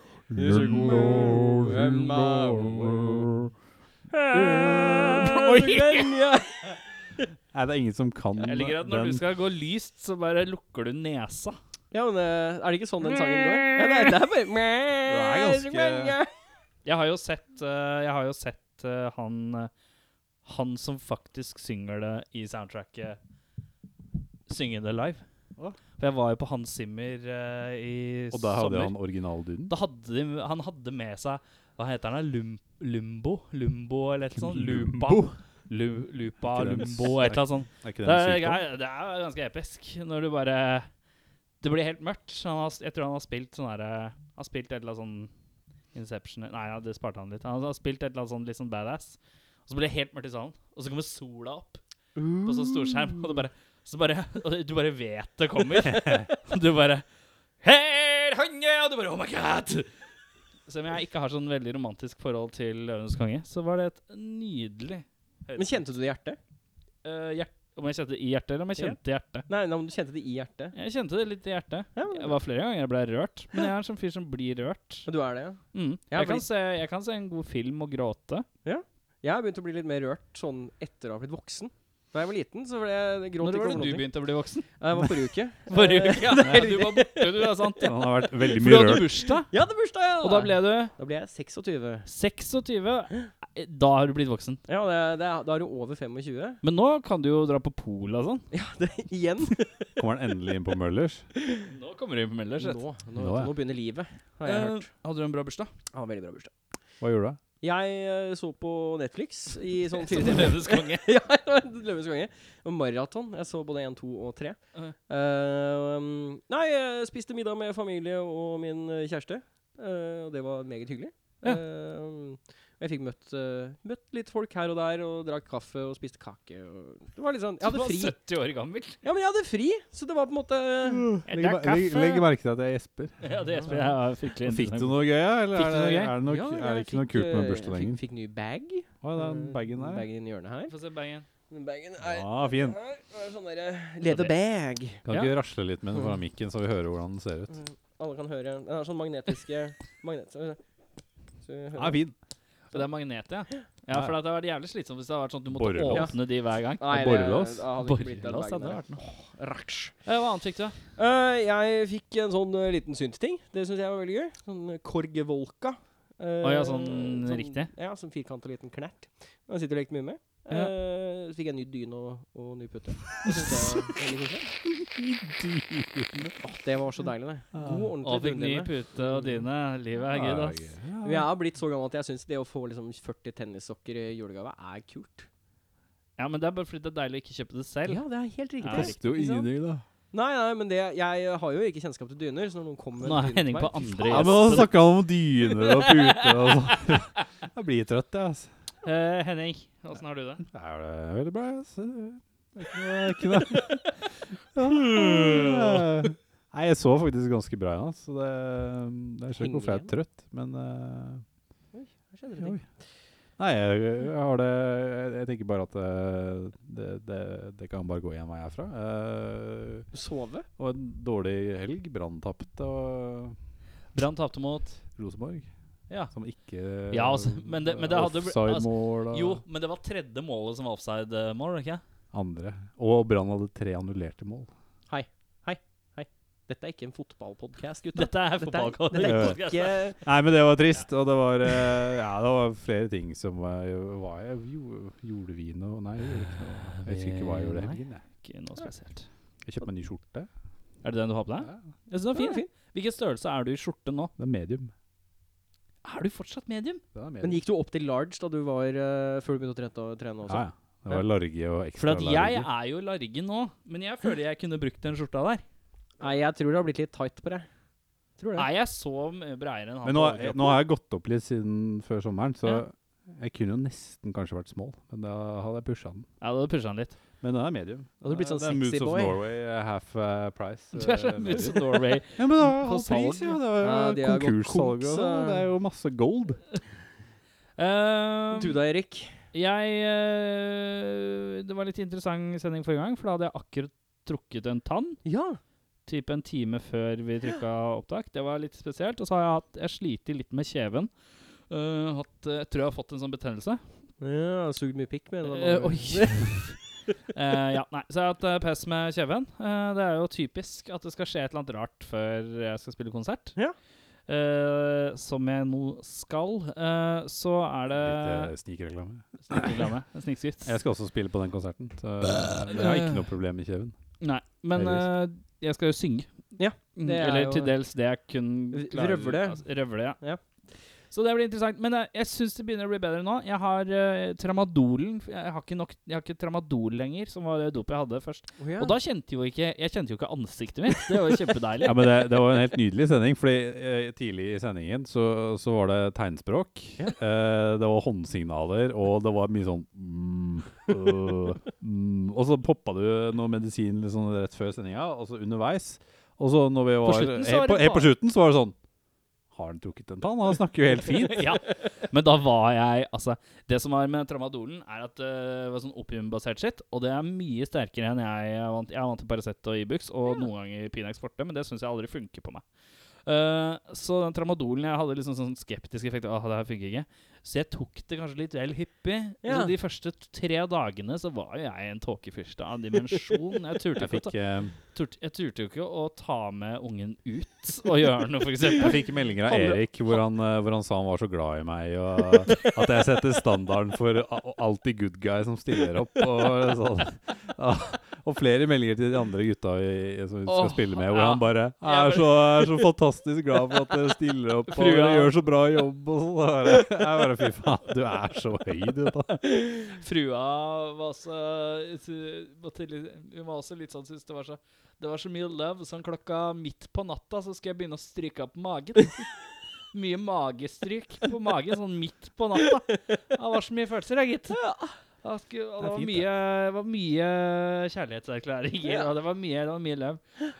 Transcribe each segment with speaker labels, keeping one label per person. Speaker 1: Oi!
Speaker 2: Nei, det er ingen som kan
Speaker 1: Jeg liker at når
Speaker 2: den.
Speaker 1: du skal gå lyst, så bare lukker du nesa.
Speaker 3: Ja, men eh, er det ikke sånn den sangen går? Ja, det, er, det er bare
Speaker 4: Det er ganske-
Speaker 1: Jeg har jo sett, eh, jeg har jo sett eh, han eh, Han som faktisk synger det i soundtracket, synge det live.
Speaker 2: Å.
Speaker 1: For jeg var jo på Hans Zimmer eh, i
Speaker 2: Og da hadde
Speaker 1: sommer.
Speaker 2: han originaldyden.
Speaker 1: Da hadde de, han hadde med seg Hva heter han? da? Lum, Lumbo? Lumbo eller et sånt? Lupa? Lu, lupa,
Speaker 2: Ikke den-
Speaker 1: Lumbo, et eller annet sånt.
Speaker 2: Er ikke
Speaker 1: Det
Speaker 2: det en
Speaker 1: er,
Speaker 2: sykdom?
Speaker 1: det er ganske episk når du bare Det blir helt mørkt. så Han har, jeg tror han har spilt sånn derre Han har spilt et eller annet sånn Inception Nei, ja, det sparte han litt. Han har spilt et eller annet sånn litt sånn badass. Og så blir det helt mørkt i salen, og så kommer sola opp på sånn storskjerm, og det bare så bare, og du bare vet det kommer. Du bare Her han er! Og du bare Oh my God! Selv om jeg ikke har sånn veldig romantisk forhold til Løvenes konge, så var det et nydelig
Speaker 3: Men kjente du det i hjertet?
Speaker 1: Eh, hjert, om jeg kjente det i hjertet, eller om jeg
Speaker 3: Ja.
Speaker 1: kjente hjertet.
Speaker 3: Nei, nei, men du kjente det i hjertet.
Speaker 1: Jeg kjente det litt i hjertet.
Speaker 3: Ja,
Speaker 1: Det
Speaker 3: men,
Speaker 1: var flere ganger jeg ble rørt, men jeg er en sånn fyr som blir rørt.
Speaker 3: men du er det, ja.
Speaker 1: Mm.
Speaker 3: Ja,
Speaker 1: Jeg,
Speaker 3: fordi-
Speaker 1: kan se, jeg kan se en god film og gråte.
Speaker 3: Jeg har begynt å bli litt mer rørt sånn etter å ha blitt voksen. Da jeg var liten, så ble jeg gråt
Speaker 1: Når
Speaker 3: ikke
Speaker 1: var
Speaker 3: over
Speaker 1: det du
Speaker 3: noe.
Speaker 1: begynte å bli voksen?
Speaker 3: Det var forrige uke.
Speaker 1: Forrige
Speaker 3: Eh,
Speaker 1: uke? Ja, du var borte, du. Det er sant.
Speaker 2: Han har vært veldig
Speaker 1: For du
Speaker 2: mye
Speaker 1: hadde
Speaker 2: rørt.
Speaker 1: bursdag,
Speaker 3: Ja, det er bursdag, ja!
Speaker 1: og da ble du
Speaker 3: Da ble jeg 26.
Speaker 1: 26. Da har du blitt voksen.
Speaker 3: Ja, det, er- det, er- da er du over 25.
Speaker 1: Men nå kan du jo dra på polet og sånn.
Speaker 3: Ja, det, igjen.
Speaker 2: Kommer han endelig inn på Møllers?
Speaker 1: Nå kommer du inn på Møllers.
Speaker 3: Nå,
Speaker 1: vet du.
Speaker 3: nå,
Speaker 2: Nå,
Speaker 3: vet du,
Speaker 2: ja.
Speaker 3: nå begynner livet, har jeg hørt.
Speaker 1: Eh, hadde du en bra bursdag?
Speaker 3: Ja, veldig bra bursdag.
Speaker 2: Hva gjorde du?
Speaker 3: Jeg eh, så på Netflix i sånn
Speaker 1: Som
Speaker 3: fire timer.
Speaker 1: Løvenes konge.
Speaker 3: ja, Løvenes konge. Og maraton. Jeg så både én, to og tre.
Speaker 1: Mhm.
Speaker 3: Eh, um, nei, jeg spiste middag med familie og min eh, kjæreste. eh, og det var meget hyggelig.
Speaker 1: Ja.
Speaker 3: Eh, og jeg fikk møtt, eh, møtt litt folk her og der, og drakk kaffe og spiste kake. Og det var litt sånn, jeg
Speaker 1: Du
Speaker 3: hadde
Speaker 1: var
Speaker 3: fri.
Speaker 1: 70 år gammel.
Speaker 3: Ja, men jeg hadde fri, så det var på en måte
Speaker 2: Mm,
Speaker 1: Jeg drakk kaffe.
Speaker 2: Legg merke til at jeg gjesper.
Speaker 1: Ja, det Jesper, jeg er fryktelig
Speaker 2: Fikk du noe gøy, ja? eller
Speaker 1: Fikk
Speaker 2: er
Speaker 1: du noe
Speaker 2: det,
Speaker 1: gøy?
Speaker 2: er det, noe,
Speaker 3: Ja,
Speaker 2: er det
Speaker 3: jeg
Speaker 2: ikke noe
Speaker 3: fikk,
Speaker 2: kult med
Speaker 3: eh,
Speaker 2: bursdagen din?
Speaker 3: Jeg fikk, fikk ny bag.
Speaker 2: Å, den
Speaker 3: Eh,
Speaker 2: bagen der.
Speaker 3: Bagen i hjørnet her.
Speaker 1: Få se bagen.
Speaker 3: Den bagen er
Speaker 2: Ja, fin.
Speaker 3: Her er det sånn derre Leather bag.
Speaker 2: Kan
Speaker 1: Ja.
Speaker 2: ikke rasle litt med den foran mikken, så vi hører hvordan den ser ut?
Speaker 3: Mm. Alle kan høre. Den har sånn magnetiske magnet, så, så hører
Speaker 2: Ja, fin.
Speaker 1: Så det er magnet, ja? Ja, for det hadde vært jævlig slitsomt hvis det hadde vært sånn at du måtte
Speaker 2: Borrelås.
Speaker 1: åpne de hver gang.
Speaker 3: Nei, det-
Speaker 2: borrelås.
Speaker 3: da hadde det ikke blitt den
Speaker 1: Borrelås
Speaker 3: bagen
Speaker 1: hadde det
Speaker 3: der.
Speaker 1: vært noe.
Speaker 3: Ratsch.
Speaker 1: Eh, Hva annet fikk du? da?
Speaker 3: Eh, jeg fikk en sånn eh, liten synt-ting. Det syns jeg var veldig gøy. Sånn eh, Korgevolka. Uh,
Speaker 1: Å ja, sånn riktig.
Speaker 3: Ja, sånn firkanta liten knert. Den sitter og lekte mye med. Eh,
Speaker 1: Ja.
Speaker 3: så fikk jeg ny dyne og, og ny pute. Det synes jeg var veldig koselig. Åh, det var så deilig, det. God,
Speaker 1: Og
Speaker 3: ordentlig
Speaker 1: Ah. fikk ny
Speaker 3: dyne.
Speaker 1: pute og dyne. Livet er gøy, ass.
Speaker 3: Men jeg har blitt så gammel at jeg syns det å få liksom 40 tennissokker i julegave er kult.
Speaker 1: Ja, men det er bare fordi det er deilig å ikke kjøpe det selv.
Speaker 3: Ja, det er helt
Speaker 1: Ja,
Speaker 2: Det
Speaker 3: riktig.
Speaker 2: koster jo
Speaker 3: Ikke sant?
Speaker 2: ingenting, da.
Speaker 3: Nei, nei, men det, jeg har jo ikke kjennskap til dyner, så når noen kommer
Speaker 1: Nå er Henning på andre
Speaker 2: Ja, men han
Speaker 1: gjester.
Speaker 2: snakka om dyner og puter og sånn. Jeg blir trøtt, jeg, altså.
Speaker 1: Eh, Henning, åssen har du det?
Speaker 2: Det er det veldig bra, altså. Det er ikke noe, det er ikke noe. Ja. Nei, jeg sov faktisk ganske bra i natt, så det, det er ikke hvorfor jeg er trøtt, men eh,
Speaker 3: andre.
Speaker 2: Nei, jeg, jeg har det jeg, jeg tenker bare at eh, det, det, det kan bare gå igjen vei herfra. Eh,
Speaker 3: Sove?
Speaker 2: og en dårlig helg. Brann tapte, og
Speaker 1: Brann tapte mot
Speaker 2: Rosenborg
Speaker 1: Ja.
Speaker 2: som ikke
Speaker 1: Ja, altså, men det- men det hadde bl- altså,
Speaker 2: Offside-mål og
Speaker 1: Jo, men det var tredje målet som var offside-mål, ikke sant?
Speaker 2: andre. Og Brann hadde tre annullerte mål.
Speaker 3: Dette er ikke en fotballpodkast, gutta.
Speaker 1: Dette er
Speaker 3: Dette er, dette
Speaker 1: fotballkål.
Speaker 3: er ikke
Speaker 2: Nei, men det var trist, og det var, eh, ja, det var flere ting som eh, hva jeg, jo, Gjorde vi noe? Nei, jeg gjorde ikke noe. Jeg husker ikke hva jeg gjorde i
Speaker 1: Nei.
Speaker 2: helgen. jeg.
Speaker 1: Ikke noe spesielt.
Speaker 2: Jeg kjøpte meg en ny skjorte.
Speaker 1: Er det den du har på deg?
Speaker 2: Ja,
Speaker 1: Jeg synes den var fin. jeg. Hvilken størrelse er du i skjorte nå?
Speaker 2: det er medium.
Speaker 1: Er du fortsatt medium?
Speaker 2: Den er medium.
Speaker 3: Men gikk du opp til large da du var eh, før du begynte å trene, trene også?
Speaker 2: ja, ja. Det var large og ekstra
Speaker 1: For at jeg
Speaker 2: large.
Speaker 1: er jo large nå, men jeg føler jeg kunne brukt den skjorta der.
Speaker 3: Nei, jeg tror det har blitt litt tight på deg. Tror det.
Speaker 1: Er jeg så mye breiere enn han?
Speaker 2: Men nå,
Speaker 1: på overkroppen?
Speaker 2: nå har jeg gått opp litt siden før sommeren, så
Speaker 1: Ja.
Speaker 2: jeg kunne jo nesten kanskje vært small, men da hadde jeg pusha den.
Speaker 1: Ja, da pusher han litt.
Speaker 2: Men den er medium.
Speaker 3: Hadde du blitt
Speaker 2: Det er-
Speaker 3: sånn
Speaker 2: det er
Speaker 3: sexy
Speaker 2: Moods
Speaker 3: boy?
Speaker 2: of Norway, eh, half eh, price.
Speaker 1: Du er
Speaker 2: eh,
Speaker 1: sånn
Speaker 2: medium.
Speaker 1: Moods of Norway.
Speaker 2: Ja, men det er jo
Speaker 1: På
Speaker 2: halv pris, ja.
Speaker 1: salg, ja.
Speaker 2: Det er jo
Speaker 3: Ja, de har gått
Speaker 2: konkurssalg og
Speaker 3: konks,
Speaker 2: sånn, og Det er jo masse gold.
Speaker 1: Ehm,
Speaker 3: Du da, Erik?
Speaker 1: jeg eh, Det var litt interessant sending forrige gang, for da hadde jeg akkurat trukket en tann.
Speaker 3: Ja.
Speaker 1: typ en time før vi trykka opptak. Det var litt spesielt. Og så har jeg hatt Jeg slitet litt med kjeven. Eh, hatt, eh, jeg tror jeg har fått en sånn betennelse.
Speaker 3: Ja, Sugd mye pikk med
Speaker 1: Eh, oi. Eh, ja, nei, Så jeg har hatt eh, pes med kjeven. Eh, det er jo typisk at det skal skje et eller annet rart før jeg skal spille konsert.
Speaker 3: Ja.
Speaker 1: Eh, som jeg nå skal. Eh, så er det
Speaker 2: Litt eh, snikreklame.
Speaker 1: Snikreklame. Snikskryt.
Speaker 2: Jeg skal også spille på den konserten, så jeg har ikke noe problem med kjeven.
Speaker 1: Nei, men
Speaker 2: Heldigvis.
Speaker 1: eh, jeg skal jo synge.
Speaker 3: Ja,
Speaker 1: Mm,
Speaker 3: det er
Speaker 1: Eller
Speaker 3: jo-
Speaker 1: til dels det jeg kun
Speaker 3: R-
Speaker 1: klarer.
Speaker 3: røvle.
Speaker 1: Altså, røvle, ja.
Speaker 3: Ja.
Speaker 1: Så det blir interessant. Men eh, jeg, jeg syns det begynner å bli bedre nå. Jeg har eh, tramadolen. Jeg har, ikke nok, jeg har ikke tramadol lenger, som var det dopet jeg hadde først.
Speaker 3: Å, ja.
Speaker 1: Og da kjente jo ikke jeg kjente jo ikke ansiktet mitt. Det var jo kjempedeilig.
Speaker 2: Ja, men det, det var en helt nydelig sending, fordi eh, tidlig i sendingen så, så var det tegnspråk. Eh, det var håndsignaler, og det var mye sånn mm, øh, mm. Og så poppa det jo noe medisin litt sånn rett før sendinga, og så underveis. Og så når vi var
Speaker 1: slutten så
Speaker 2: helt
Speaker 1: var
Speaker 2: på,
Speaker 1: det
Speaker 2: helt på
Speaker 1: bare-
Speaker 2: slutten, så var det sånn Har han trukket en tann? Han snakker jo helt fint.
Speaker 1: ja. Men da var jeg Altså, det som var med tramadolen, er at eh, det var sånn opiumbasert shit, og det er mye sterkere enn jeg er vant Jeg er vant til Paracet og Ibux, og noen ganger Pinax Forte, men det syns jeg aldri funker på meg. Eh, så den tramadolen jeg hadde liksom sånn skeptisk effekt Åh, det her funker ikke. Så jeg tok det kanskje litt vel hyppig.
Speaker 3: Ja.
Speaker 1: Så de første tre dagene så var jo jeg en tåkefyrste av dimensjon. Jeg turte,
Speaker 2: Jeg
Speaker 1: ikke å
Speaker 2: fikk,
Speaker 1: ta,
Speaker 2: eh,
Speaker 1: turte, jeg turte jo ikke å ta med ungen ut og gjøre noe, for eksempel.
Speaker 2: jeg fikk meldinger av Erik hvor han, eh, hvor han sa han var så glad i meg, og at jeg setter standarden for a- alltid good guy som stiller opp. Og, sånn. Ja, og flere meldinger til de andre gutta vi som vi skal
Speaker 1: Åh,
Speaker 2: spille med, hvor
Speaker 1: ja.
Speaker 2: han bare
Speaker 1: Ja,
Speaker 2: er så, er så fantastisk glad for at dere stiller opp og
Speaker 1: Frua.
Speaker 2: dere gjør så bra jobb. Og sånn. Jeg bare fy faen, du er så høy, du. da.
Speaker 1: Frua var også, var tidlig- hun var også litt sånn synes det var så Det var så mye love, sånn klokka midt på natta så skal jeg begynne å stryke opp magen. Mye magestryk på magen, sånn midt på natta. Det var så mye følelser, da, gitt. Da
Speaker 2: Det
Speaker 1: sku- og
Speaker 2: er
Speaker 1: det var
Speaker 2: fint,
Speaker 1: mye, det var mye kjærlighetserklæringer, og det var mye, det var mye love.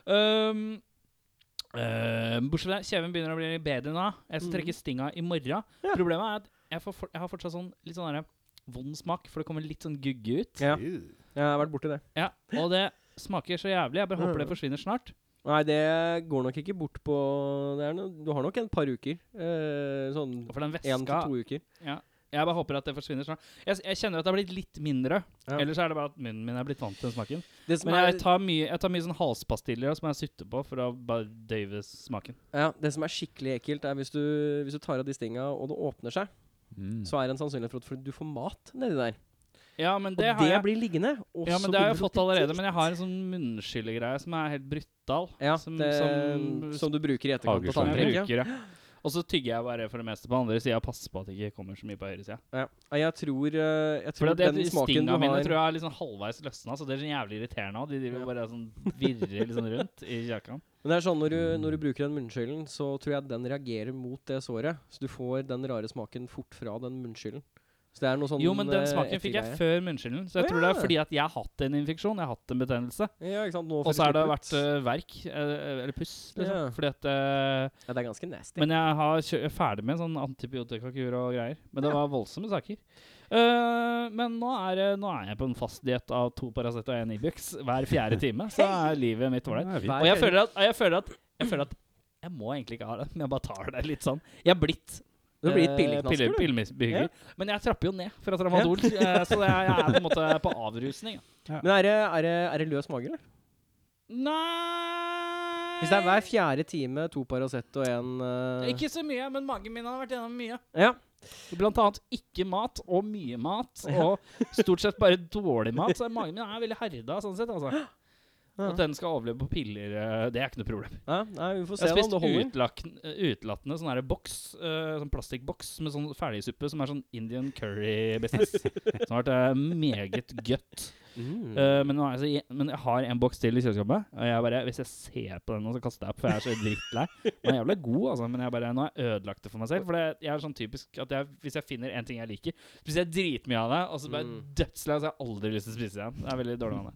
Speaker 1: Um, eh, bortsett fra det, kjeven begynner å bli bedre nå. Jeg skal
Speaker 3: Mm.
Speaker 1: trekke stinga i morgen. Problemet er at jeg, får, for- jeg har fortsatt sånn litt sånn derre vond smak, for det kommer litt sånn gugge ut.
Speaker 3: Ja. Jeg har vært borti det.
Speaker 1: Ja, Og det smaker så jævlig. Jeg bare
Speaker 3: Mm.
Speaker 1: håper det forsvinner snart.
Speaker 3: Nei, det går nok ikke bort på det er noe, Du har nok en par uker. Eh, sånn
Speaker 1: Og for den
Speaker 3: én
Speaker 1: væska
Speaker 3: til to uker.
Speaker 1: Jeg bare håper at det forsvinner snart. Jeg, s- jeg kjenner at det har blitt litt mindre.
Speaker 3: Ja.
Speaker 1: Ellers er det bare at munnen min er blitt vant til den smaken.
Speaker 3: Det som,
Speaker 1: Men
Speaker 3: er,
Speaker 1: jeg tar mye, jeg tar mye sånn halspastiller som jeg sutter på for å bare døyve smaken.
Speaker 3: ja, det som er skikkelig ekkelt, er hvis du, hvis du tar av de stinga og det åpner seg,
Speaker 2: Mm.
Speaker 3: så er det en sannsynlighet for at du får mat nedi der.
Speaker 1: Ja, men
Speaker 3: Og det,
Speaker 1: det har jeg
Speaker 3: blir liggende. Og
Speaker 1: ja,
Speaker 3: så
Speaker 1: men det har
Speaker 3: blir
Speaker 1: jeg
Speaker 3: du
Speaker 1: fått allerede, men jeg har en sånn munnskyllegreie som er helt brutal.
Speaker 3: ja,
Speaker 1: som,
Speaker 3: det, mm,
Speaker 1: som,
Speaker 3: som, du bruker i etterkant på
Speaker 2: Hageslange.
Speaker 1: som jeg
Speaker 3: tannprekk. Ja.
Speaker 1: bruker, ja. Og så tygger jeg bare for det meste på andre sida og passer på at det ikke kommer så mye på høyre sida.
Speaker 3: Ja. Nei, Jeg tror, eh, jeg
Speaker 1: For
Speaker 3: tror
Speaker 1: det, det,
Speaker 3: den smaken du
Speaker 1: Stinga
Speaker 3: har
Speaker 1: mine tror jeg er liksom halvveis løsna, så det er sånn jævlig irriterende. Og de driver
Speaker 3: Ja.
Speaker 1: bare sånn virrer liksom rundt i kjakan.
Speaker 3: Men det er sånn, når du, når du bruker den munnskyllen, så tror jeg den reagerer mot det såret. Så du får den rare smaken fort fra den munnskyllen. Så det er noe sånn
Speaker 1: Jo, men den
Speaker 3: eh,
Speaker 1: smaken fikk jeg
Speaker 3: ettergreie.
Speaker 1: før munnskylden, så jeg
Speaker 3: Å,
Speaker 1: tror det er
Speaker 3: ja.
Speaker 1: fordi at jeg har hatt en infeksjon, jeg har hatt en betennelse.
Speaker 3: Ja, ikke sant? Nå
Speaker 1: Og
Speaker 3: får
Speaker 1: så har
Speaker 3: du
Speaker 1: det
Speaker 3: slippe
Speaker 1: vært
Speaker 3: ut.
Speaker 1: eh, verk, eh, eller puss, liksom.
Speaker 3: Ja.
Speaker 1: Fordi at eh,
Speaker 3: Ja, det er ganske nasty.
Speaker 1: Men jeg har kjø jeg er ferdig med sånn antibiotikakur og greier. Men det var voldsomme saker. Eh, men nå er, det- nå er jeg på en fast diett av to Paracet og én Ibux hver fjerde time. Så er livet mitt ålreit.
Speaker 2: Det er fint.
Speaker 1: Og jeg føler, at, og jeg føler at Jeg føler at jeg må egentlig ikke ha det, men jeg bare tar det litt sånn. Jeg er blitt
Speaker 3: Du har blitt
Speaker 1: eh,
Speaker 3: pilleknasker, du.
Speaker 1: pille- pillemisbruker. Men jeg trapper jo ned fra tramadol, eh, så jeg, jeg er på en måte på avrusning. ja.
Speaker 3: Men er det, er, det, er det løs mage, eller?
Speaker 1: Nei
Speaker 3: Hvis det er hver fjerde time to Paracet og én
Speaker 1: Ikke så mye, men magen min har vært gjennom mye.
Speaker 3: Ja.
Speaker 1: Blant annet ikke mat, og mye mat, og stort sett bare dårlig mat. Så magen min er veldig herda, sånn sett. altså.
Speaker 3: Ja.
Speaker 1: At den skal overleve på piller, eh, det er ikke noe problem.
Speaker 3: ja. Nei, vi får se
Speaker 1: Jeg
Speaker 3: da om
Speaker 1: har spist
Speaker 3: det holder.
Speaker 1: utlakn- eh, utelattende sånn her boks, eh, sånn plastikkboks med sånn ferdigsuppe som er sånn Indian curry-business. som har vært eh, meget godt.
Speaker 3: Mm.
Speaker 1: Eh, men, nå er jeg så, i- men jeg har en boks til i kjøleskapet. Og jeg bare, hvis jeg ser på den, nå, så kaster jeg opp, for jeg er så drittlei. Den er jævla god, altså, men jeg bare, nå har jeg ødelagt det for meg selv. For det, jeg er sånn typisk at jeg, hvis jeg finner en ting jeg liker, spiser jeg dritmye av det, og så bare
Speaker 3: Mm.
Speaker 1: dødslei, så har jeg aldri lyst til å spise det igjen. Det er veldig dårlig av meg.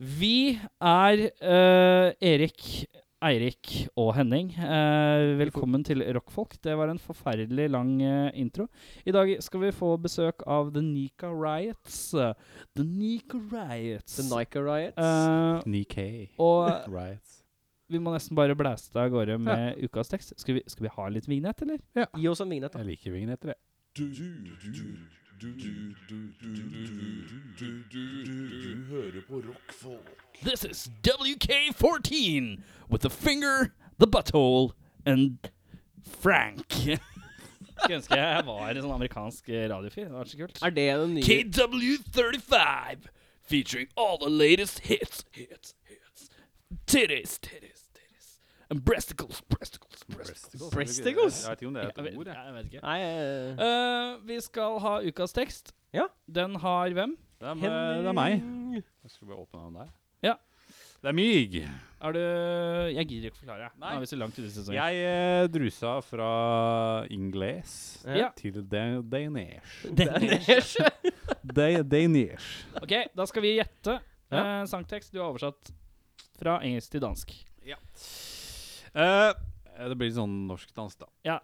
Speaker 1: Vi er eh, Erik, Eirik og Henning. Eh, velkommen til Rockfolk. Det var en forferdelig lang eh, intro. I dag skal vi få besøk av The Nika Riots. The Nika Riots.
Speaker 3: The Nika Riots.
Speaker 1: Eh,
Speaker 2: Nikkei.
Speaker 1: og
Speaker 2: Right.
Speaker 1: vi må nesten bare blæste av gårde med ukas tekst. Skal vi, skal vi ha litt vignett, eller?
Speaker 3: Gi oss en vignett, da.
Speaker 2: Jeg liker vignetter, jeg.
Speaker 5: Du, du, du, du, du, du, du, du, du, du, du hører på rockfolk.
Speaker 1: This is WK14 with the finger, the butthole and Frank. Skulle ønske jeg var en sånn amerikansk eh, radiofyr. Det hadde vært så kult.
Speaker 3: Er det den nye
Speaker 1: KW35 featuring all the latest hits, hits, hits. Titties, titties, titties. And breasticles, breasticles, breasticles.
Speaker 3: Breasticles?
Speaker 2: Jeg vet ikke om det er
Speaker 1: Jeg
Speaker 2: et
Speaker 1: vet,
Speaker 2: ord, jeg.
Speaker 1: jeg vet ikke.
Speaker 3: Nei, eh,
Speaker 1: Eh, vi skal ha ukas tekst.
Speaker 3: Ja.
Speaker 1: Den har hvem?
Speaker 2: Det er,
Speaker 1: eh,
Speaker 2: det er meg. Jeg skulle bare åpne den der.
Speaker 1: Ja.
Speaker 2: Det er mig.
Speaker 1: Er du Jeg gidder ikke å forklare. Nå er vi så langt ute i sesongen.
Speaker 2: Jeg eh, drusa fra ingles
Speaker 1: Ja.
Speaker 2: til da- danish.
Speaker 3: Danish.
Speaker 2: Da- Danish.
Speaker 1: Ok, da skal vi gjette
Speaker 2: Ja.
Speaker 1: eh, sangtekst du har oversatt fra engelsk til dansk.
Speaker 2: Eh, det blir sånn norskdans, da.
Speaker 1: Ja.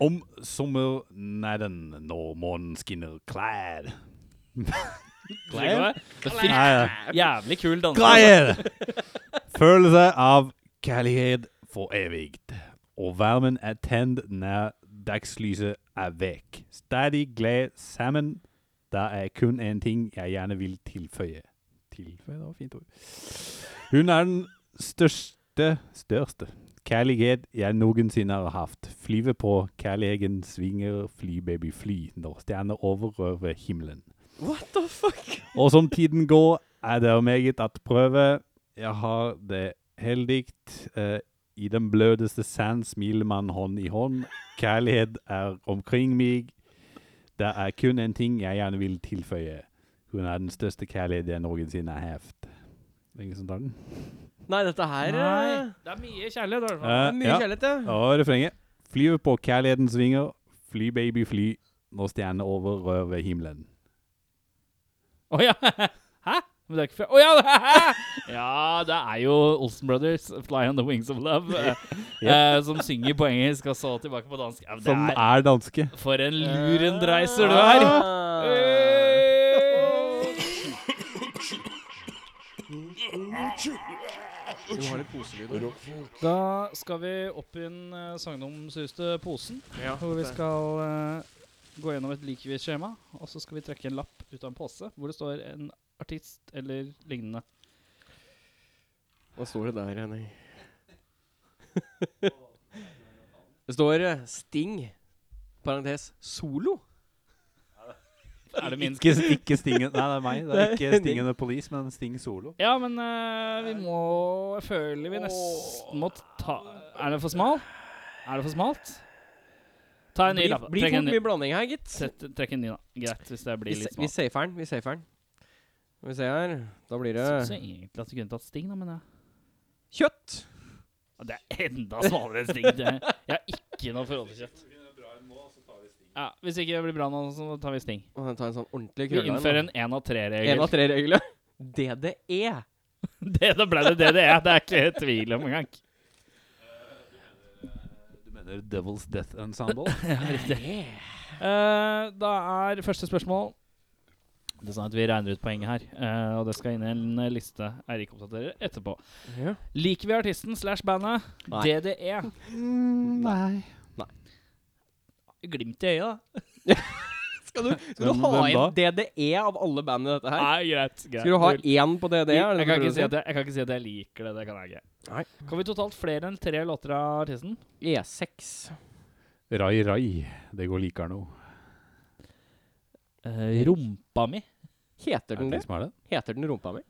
Speaker 2: Om sommernatten når månen skinner klær
Speaker 1: Klær?
Speaker 2: Nei,
Speaker 1: Jævlig kul danser.
Speaker 2: Klær! Følelse av kjærlighet for evig. Og varmen er tent når dagslyset er vekk. Stadig glad sammen. Det er kun én ting jeg gjerne vil tilføye. Tilføye, det var et fint ord. Hun er den største største kjærlighet jeg noensinne har hatt. Flyver på kjærligheten, svinger fly, baby, fly når stjerner overrøver himmelen.
Speaker 3: What the fuck?
Speaker 2: Og som tiden går, er det meget at prøve. Jeg har det heldig. Eh, I den blødeste sand smiler man hånd i hånd. Kjærlighet er omkring meg. Det er kun en ting jeg gjerne vil tilføye. Hun er den største kjærlighet jeg noensinne har hatt. Det er Ingen som tar den?
Speaker 3: Nei, dette her
Speaker 1: Nei,
Speaker 3: eh,
Speaker 1: det er mye kjærlighet. i hvert fall.
Speaker 3: det er
Speaker 2: Eh,
Speaker 3: Mye
Speaker 2: ja.
Speaker 3: kjærlighet, ja.
Speaker 2: Og refrenget. Flyver på kjærlighetens vinger. Fly, baby, fly. Når stjernene overrøver himmelen.
Speaker 1: Å ja. Hæ? Men det er ikke fra Å ja! Det er. ja, det er jo Olsen Brothers, 'Fly on the Wings of Love', eh, eh, som synger på engelsk og så tilbake på dansk. Ja,
Speaker 2: Som
Speaker 1: det er
Speaker 2: er danske.
Speaker 1: For en lurendreiser du er!
Speaker 3: Ah.
Speaker 1: Hey!
Speaker 3: Du har litt poselyd.
Speaker 5: Rockfolk.
Speaker 1: Da skal vi opp i den eh, sagnomsuste posen,
Speaker 3: Ja,
Speaker 1: hvor vi
Speaker 3: det-
Speaker 1: skal eh, gå gjennom et likevis-skjema. Og så skal vi trekke en lapp ut av en pose hvor det står en artist eller lignende.
Speaker 3: Hva står det der, Henning? det står eh, Sting, parentes, solo.
Speaker 1: Er det min
Speaker 2: Ikke, ikke Stingen Nei, det er meg. Det er
Speaker 3: Det er
Speaker 2: ikke Stingen the Police, men Sting Solo.
Speaker 1: Ja, men eh, vi må Jeg føler vi nesten må ta Er det for smal? Er det for smalt? Ta en ny
Speaker 3: Blir
Speaker 1: lapp.
Speaker 3: blir
Speaker 1: Trekk
Speaker 3: fort
Speaker 1: en ny.
Speaker 3: mye blanding her, gitt.
Speaker 1: Sett, trekk en ny, da. Greit, hvis det
Speaker 3: Vi,
Speaker 1: blir
Speaker 3: se,
Speaker 1: litt
Speaker 3: vi
Speaker 1: smalt.
Speaker 3: safer den. Vi safer den. Skal vi se her. Da blir det
Speaker 1: Syns jo egentlig at du kunne tatt Sting, da, men jeg
Speaker 3: kjøtt.
Speaker 1: Ja, Det er enda smalere enn Sting. Det. Jeg har ikke noe forhold til kjøtt. Ja, Hvis ikke det blir bra nå, så tar vi Sting.
Speaker 3: Og ta en sånn ordentlig
Speaker 1: Vi
Speaker 3: krølle.
Speaker 1: innfører en én av
Speaker 3: En av
Speaker 1: tre-regel.
Speaker 3: tre regler. E. DDE.
Speaker 1: Det, da ble det det det er. Det er ikke tvil om engang.
Speaker 2: Du mener Devil's Death Ensemble?
Speaker 1: Eh, da er første spørsmål Det er sånn at Vi regner ut poenget her, eh, og det skal inn i en eh, liste Eirik oppdaterer etterpå.
Speaker 3: Ja.
Speaker 1: Liker vi artisten slash bandet? E.
Speaker 3: Nei.
Speaker 1: DDE.
Speaker 2: nei.
Speaker 1: Glimt i øyet, da.
Speaker 3: Skal du, skal du
Speaker 2: Hvem-
Speaker 3: ha
Speaker 2: hvem
Speaker 3: inn DDE av alle band i dette her?
Speaker 1: Nei, greit. greit.
Speaker 3: Skal du ha én på DDE? er det
Speaker 1: jeg,
Speaker 3: det du
Speaker 1: kan
Speaker 3: prøver
Speaker 1: ikke
Speaker 3: å
Speaker 1: si at jeg, jeg kan ikke si at jeg liker det. Det kan jeg ikke.
Speaker 3: Nei.
Speaker 1: Kan vi totalt flere enn tre låter av artisten?
Speaker 3: E E6.
Speaker 2: Rai Rai. Det går likere nå.
Speaker 1: Eh, rumpa mi.
Speaker 3: Heter den det?
Speaker 2: som er det?
Speaker 3: Heter den rumpa mi?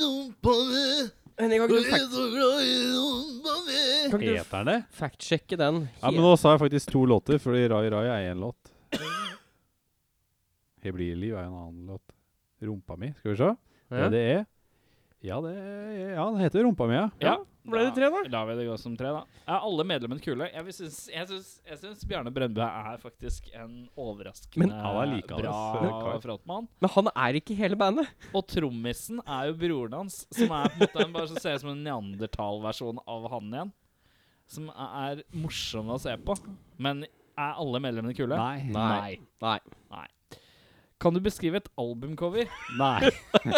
Speaker 5: Rumpa mi,
Speaker 3: Henning, kan ikke du
Speaker 5: jeg er
Speaker 3: fact-
Speaker 5: så glad i rumpa mi.
Speaker 3: kan ikke du
Speaker 2: Heter den det?
Speaker 3: fact-sjekke den?
Speaker 2: Ja, men nå sa jeg faktisk to låter, fordi Rai Rai er én låt. Hebrilliv er jo en annen låt. Rumpa mi, skal vi se.
Speaker 3: Ja.
Speaker 2: Det er Ja, det E. ja, den heter Rumpa mi, ja.
Speaker 1: Ja.
Speaker 3: Ble det tre, da?
Speaker 1: Lar vi det gå som tre, da. Er alle medlemmene kule? Jeg vil syns, jeg syns, jeg syns Bjarne Brøndbø er faktisk en overraskende
Speaker 3: Men-
Speaker 2: Ja, det er like alles,
Speaker 1: bra
Speaker 2: kar.
Speaker 1: frontmann.
Speaker 3: Men han er ikke hele bandet.
Speaker 1: Og trommisen er jo broren hans, som er på en måte en bare som ser ut som en neandertalversjon av han igjen. Som er morsom å se på. Men er alle medlemmene kule?
Speaker 2: Nei.
Speaker 1: Nei.
Speaker 3: Nei.
Speaker 1: Kan du beskrive et albumcover?
Speaker 2: Nei.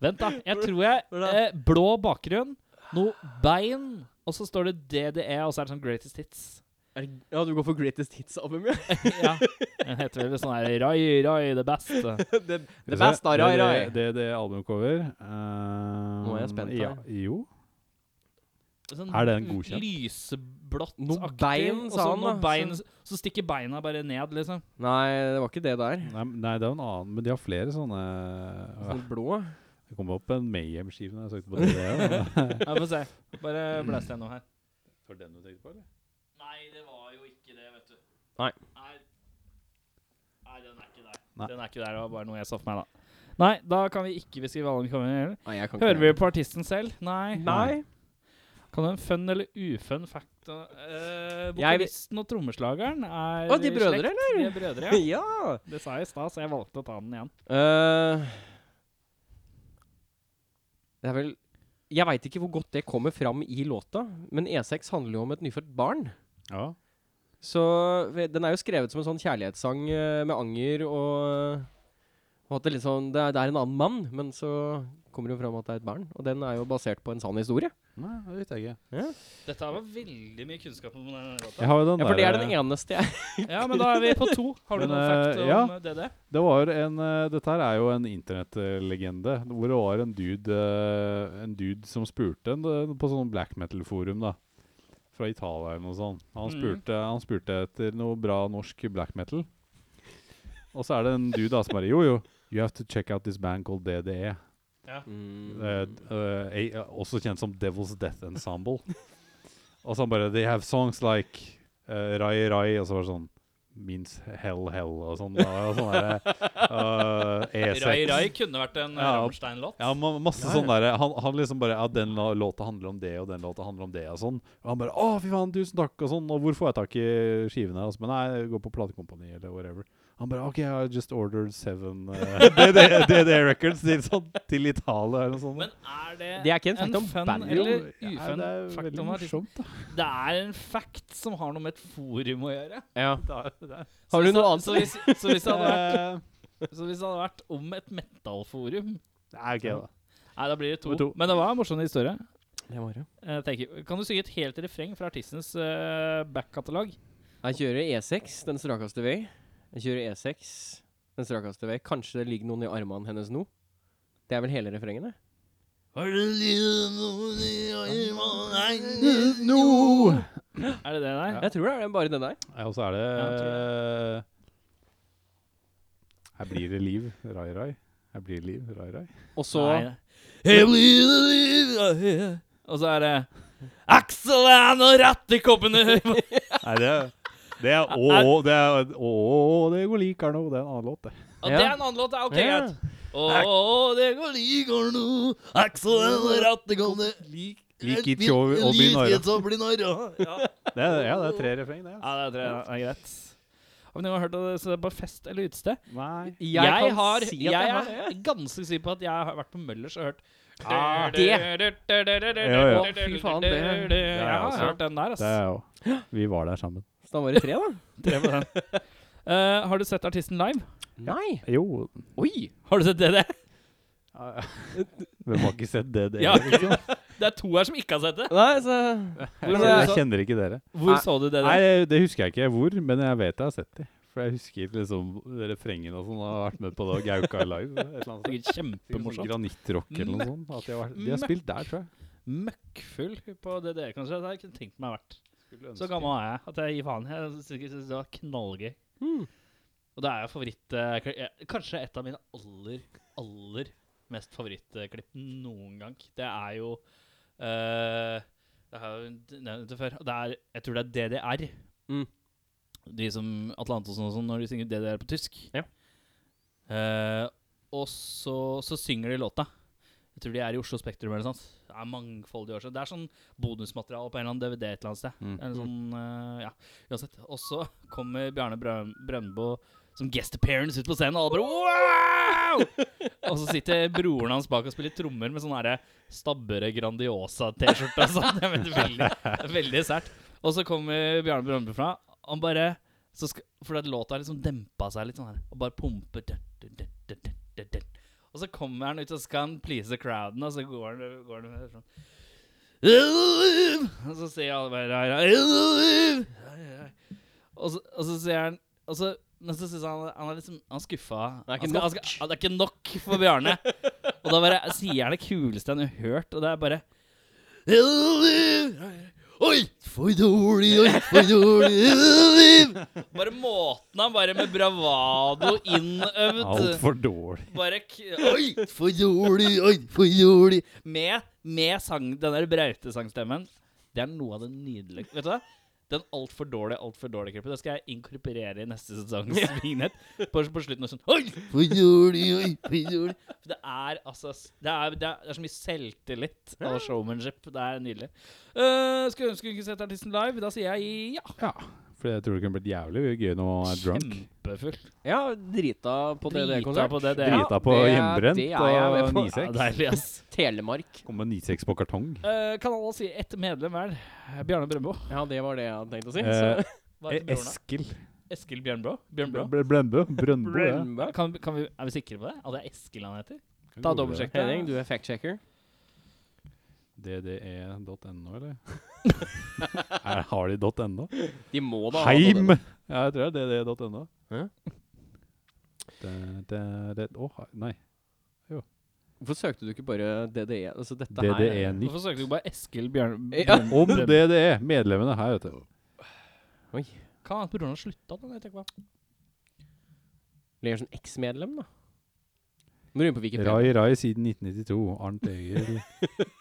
Speaker 1: Vent, da. Jeg tror jeg
Speaker 3: Hvordan?
Speaker 1: eh, Blå bakgrunn, noe bein, og så står det DDE, og så er det sånn Greatest Hits.
Speaker 3: Er det, ja, du går for Greatest Hits-albumet, ja?
Speaker 1: ja. Den heter vel sånn her Rai, rai, det beste.
Speaker 3: det, det beste av Rai Rai.
Speaker 2: Det, det, det albumcover eh,
Speaker 3: Nå er jeg spent her.
Speaker 2: Ja, jo.
Speaker 1: Sånn
Speaker 2: Er den godkjent?
Speaker 1: Lyseblått
Speaker 3: Noe bein, sa han, da.
Speaker 1: Bein, så stikker beina bare ned, liksom.
Speaker 3: Nei, det var ikke det der.
Speaker 2: Nei, men- nei, det er jo en annen, men de har flere sånne
Speaker 3: Sånn blå.
Speaker 2: Det kom opp en Mayhem-skive når jeg søkte på det. men-
Speaker 1: Ja, Få se. Bare
Speaker 2: Mm.
Speaker 1: blæs deg noe her.
Speaker 2: Var det den du tenkte på, eller?
Speaker 1: Nei, det var jo ikke det, vet du.
Speaker 3: Nei.
Speaker 1: Nei, den er ikke der.
Speaker 2: Nei.
Speaker 1: Den er ikke der, det var bare noe jeg så for meg, da. Nei, da kan vi ikke beskrive alle kommer.
Speaker 3: Nei, Ah, jeg kan
Speaker 1: Hører vi på artisten selv? Nei.
Speaker 3: Nei.
Speaker 1: Kan du en fun eller ufun fact? Uh,
Speaker 3: Jeg vil-
Speaker 1: Vokalisten og trommeslageren er
Speaker 3: Å, de
Speaker 1: i
Speaker 3: brødre,
Speaker 1: slekt.
Speaker 3: eller?
Speaker 1: De er brødre, ja.
Speaker 3: ja.
Speaker 1: Det sa jeg i stad, så jeg valgte å ta den igjen.
Speaker 3: Eh, det er vel Jeg veit ikke hvor godt det kommer fram i låta, men E6 handler jo om et nyfødt barn.
Speaker 2: Ja.
Speaker 3: Så ve- den er jo skrevet som en sånn kjærlighetssang eh, med anger og, eh, og at det liksom det er, det er en annen mann, men så kommer det jo fram at det er et barn. Og den er jo basert på en sann historie.
Speaker 2: Nei, det vet jeg ikke.
Speaker 1: Dette var veldig mye kunnskap om den
Speaker 2: Jeg
Speaker 1: låta.
Speaker 2: har jo den
Speaker 3: Ja, for det Sånn er
Speaker 2: der-
Speaker 3: den eneste jeg
Speaker 1: Ja, men da er vi på to. Har du
Speaker 2: Men,
Speaker 1: noen fact
Speaker 2: eh,
Speaker 1: om
Speaker 2: ja.
Speaker 1: eh, DD?
Speaker 2: Det var en, eh, dette her er jo en internettlegende, hvor det var en dude, eh, en dude som spurte en, eh, på sånn black metal-forum da, fra Italia eller noe sånt. Han
Speaker 3: Mm.
Speaker 1: Mhm.
Speaker 2: spurte, han spurte etter noe bra norsk black metal. Og så er det en dude da som bare, jo jo, you have to check out this band called E. DDE. Eh, d- eh, ei- eh, også kjent som Devil's Death Ensemble. og så han bare They have songs like eh, Rai Rai, og så var det sånn Means Hell Hell, og sånn. da, Og sånn derre, eh, E6.
Speaker 1: Rai Rai kunne vært en ja.
Speaker 2: Ja.
Speaker 1: Rammstein-låt.
Speaker 2: Ja, ma masse sånn derre han, han liksom bare Ja, den la- låta handler om det, og den låta handler om det, og sånn. Og han bare Å, fy faen, tusen takk, og sånn. Og hvor får jeg tak i skivene? Og så bare Nei, gå på platekompani, eller whatever. Han bare OK, I just ordered seven eh, DD DD records til, sånn, til Italia, eller noe sånt.
Speaker 1: Men er det
Speaker 3: Det er ikke en fact
Speaker 1: en
Speaker 3: om
Speaker 1: fun
Speaker 3: bandet.
Speaker 1: eller
Speaker 2: Ja,
Speaker 1: ufun
Speaker 2: det er jo
Speaker 1: fact
Speaker 2: veldig
Speaker 1: om artisten?
Speaker 2: morsomt, da.
Speaker 1: Det er en fact som har noe med et forum å gjøre.
Speaker 3: Ja.
Speaker 1: Så
Speaker 3: Har du
Speaker 1: hvis-
Speaker 3: noe annet?
Speaker 1: Så hvis, så hvis det hadde vært
Speaker 2: Eh,
Speaker 1: Så hvis det hadde vært om et metal-forum
Speaker 2: Nei, ok, da.
Speaker 1: Nei, da blir det to.
Speaker 2: Det blir to.
Speaker 1: Men det var en morsom historie.
Speaker 3: Det var det.
Speaker 1: Eh, tenker jeg. kan du synge et helt refreng fra artistens eh, backkatalog?
Speaker 3: Jeg kjører E6, den strakeste vei. Jeg kjører E6, den strakeste vei. Kanskje det ligger noen i armene hennes nå? Det er vel hele refrenget, det?
Speaker 1: Er det det der?
Speaker 3: Jeg tror det er det, bare den der.
Speaker 2: Ja, Og så er det
Speaker 1: jeg
Speaker 2: Her blir det liv, rai, rai. Her blir det liv, rai, rai.
Speaker 3: Og så
Speaker 1: Nei. Her blir det liv, ja, ja. Og så er det Aksel er nå rett i koppene høy.
Speaker 2: Nei, det er det er å, å, det er å, å, det går liker nå. Det er en annen låt, det.
Speaker 1: Og det er en annen låt. det er OK,
Speaker 3: Ja.
Speaker 1: greit. Å, å, det går liker nå. Aksel er nå rett i koppene Lik
Speaker 2: Lik i tjå og bli narra.
Speaker 1: så blir narra. Ja.
Speaker 2: Det er, ja, det er tre refreng, det.
Speaker 1: Ja, det tror jeg er greit. Om dere har hørt det så er det på fest eller utested?
Speaker 2: Nei.
Speaker 1: Jeg,
Speaker 3: kan
Speaker 1: har,
Speaker 3: si at
Speaker 1: jeg,
Speaker 3: har det.
Speaker 1: er ganske sikker på at jeg har vært på Møllers og hørt
Speaker 3: Ah, det.
Speaker 1: ja,
Speaker 3: Å, fy faen, det-
Speaker 1: Jeg
Speaker 2: jeg
Speaker 1: har
Speaker 2: også.
Speaker 1: hørt den der, ass.
Speaker 2: Det er jeg òg. Vi var der sammen.
Speaker 3: Så da var det tre, da?
Speaker 1: Det var den. Eh, har du sett artisten live?
Speaker 3: Nei.
Speaker 2: Jo
Speaker 1: Oi! Har du sett det? Det,
Speaker 2: Hvem har ikke sett det? det
Speaker 1: Ja.
Speaker 2: liksom?
Speaker 1: det er to her som ikke har sett det.
Speaker 3: Nei, så
Speaker 2: jeg,
Speaker 3: Men
Speaker 2: kjenner,
Speaker 3: eh, det-
Speaker 2: jeg kjenner ikke dere.
Speaker 1: Hvor
Speaker 3: Nei.
Speaker 1: så du det?
Speaker 2: Nei,
Speaker 1: Der?
Speaker 2: det- det husker jeg ikke hvor, men jeg vet jeg har sett det. For jeg husker liksom refrengen og sånn. og Har vært med på det og Gauka live. Et eller annet sted. Sikkert
Speaker 1: Sikkert
Speaker 2: sånn
Speaker 1: kjempemorsomt.
Speaker 2: Granittrock eller noe sånt. At de, har, vært- de har
Speaker 1: Møkk.
Speaker 2: spilt der, tror jeg.
Speaker 1: Møkkfull på E, DDE, kanskje. Det har jeg ikke tenkt meg vært.
Speaker 2: Skulle
Speaker 1: Så
Speaker 2: ønske.
Speaker 1: gammel er jeg at jeg gir faen. Jeg synes synes det var knallgøy.
Speaker 3: Mm.
Speaker 1: Og det er jo favoritt eh, kli- eh, Kanskje et av mine aller, aller mest favorittklipp noen gang. Det er jo eh, Det har jeg jo nevnt det før. og Det er, jeg tror det er DDR.
Speaker 3: Mm.
Speaker 1: De som Atle Antonsen og sånn, når de synger DDR på tysk.
Speaker 3: Ja.
Speaker 1: Eh, og så, så synger de låta. Jeg tror de er i Oslo Spektrum eller noe sånt. Det er mangfoldige år siden. Det er sånn bonusmateriale på en eller annen DVD et eller annet sted.
Speaker 2: Mm.
Speaker 1: Eller sånn, eh, ja, uansett. Og så kommer Bjarne Brøn Brøndbo som guest appearance ut på scenen, og alle bare wow! og så sitter broren hans bak og spiller trommer med sånn herre stabbere Grandiosa-T-skjorte og sånn. Jeg vet, veldig veldig sært. Og så kommer Bjarne Brøndbo fra, han bare så skal, For at låta har liksom dempa seg litt sånn her, og bare pumper dun, dun, dun, dun, dun, dun, dun. Og Og så kommer han ut og skal han please crowden, og så går han, går han sånn Elohim! Og så sier alle bare her, Elohim! Og så, og så sier han og så, Men så syns han han er liksom Han er skuffa.
Speaker 3: Det er ikke
Speaker 1: han skal, han
Speaker 3: nok.
Speaker 1: skal, det er ikke nok for Bjarne. og da bare sier han det kuleste han har hørt, og det er bare Elohim! Oi, for dårlig, oi, for dårlig Elohim! Bare måten han bare med bravado innøvd
Speaker 2: Altfor
Speaker 1: eh.
Speaker 2: dårlig.
Speaker 1: bare k Oi, for dårlig, oi, for dårlig. Med, med sang, den der braute-sangstemmen. Det er noe av det nydelige. Vet du hva? Den altfor dårlige, altfor dårlige klippet. Det skal jeg inkorporere i neste sesongs vignett. På, på slutten og sånn Oi, for dårlig, oi, for dårlig. For det er altså s- Det er, det er, det er så mye selvtillit og showmanship. Det er nydelig. Eh, skulle ønske vi kunne sett artisten live. Da sier jeg ja.
Speaker 2: Ja. For jeg tror det kunne blitt jævlig gøy når man er drunk.
Speaker 1: Kjempefull.
Speaker 3: Ja, drita på
Speaker 1: Drita
Speaker 3: DDE-konsert.
Speaker 1: på DDE.
Speaker 2: Drita på
Speaker 3: det er-
Speaker 2: hjemmebrent
Speaker 3: det er jeg med
Speaker 2: og
Speaker 3: på.
Speaker 1: Ja,
Speaker 2: 96.
Speaker 1: deilig, ass.
Speaker 3: Telemark.
Speaker 2: Kom med 96 på kartong.
Speaker 1: Eh, kan alle si ett medlem hver? Bjarne Brøndbo.
Speaker 3: Ja, det var det jeg hadde tenkt å si.
Speaker 2: Eh,
Speaker 3: Så.
Speaker 1: Hva heter broren da?
Speaker 2: Eskil
Speaker 1: Eskil Bjørnblå? Bjørnblå?
Speaker 2: Br- Brøndbø. Brøndbø. ja.
Speaker 3: Brøndberg.
Speaker 1: Kan, kan vi, er vi sikre på det? At det er Eskil han heter? Ta dobbeltsjekk det.
Speaker 3: Henning, du er fact-checker.
Speaker 2: E DDE.no, eller? er, har de .no?
Speaker 3: De må da ha
Speaker 2: Heim!
Speaker 3: noe-
Speaker 2: Ja, jeg tror det er DDE.no.
Speaker 3: Hæ?
Speaker 2: Det, det, det, å, ha- nei.
Speaker 3: Hvorfor søkte du ikke bare DDE? Altså, dette her
Speaker 2: DDE nytt.
Speaker 1: Hvorfor søkte du bare Eskil Bjørn...
Speaker 3: Ja.
Speaker 1: Bjørn-
Speaker 2: Om
Speaker 1: Bjørn-
Speaker 2: DDE. Medlemmene her, vet du.
Speaker 1: Kan han pga. slutta, da? Jeg tenker på.
Speaker 3: Ligger som sånn eksmedlem, da. Må du inn på Wikipedia.
Speaker 2: Rai Rai siden 1992. Arnt Egil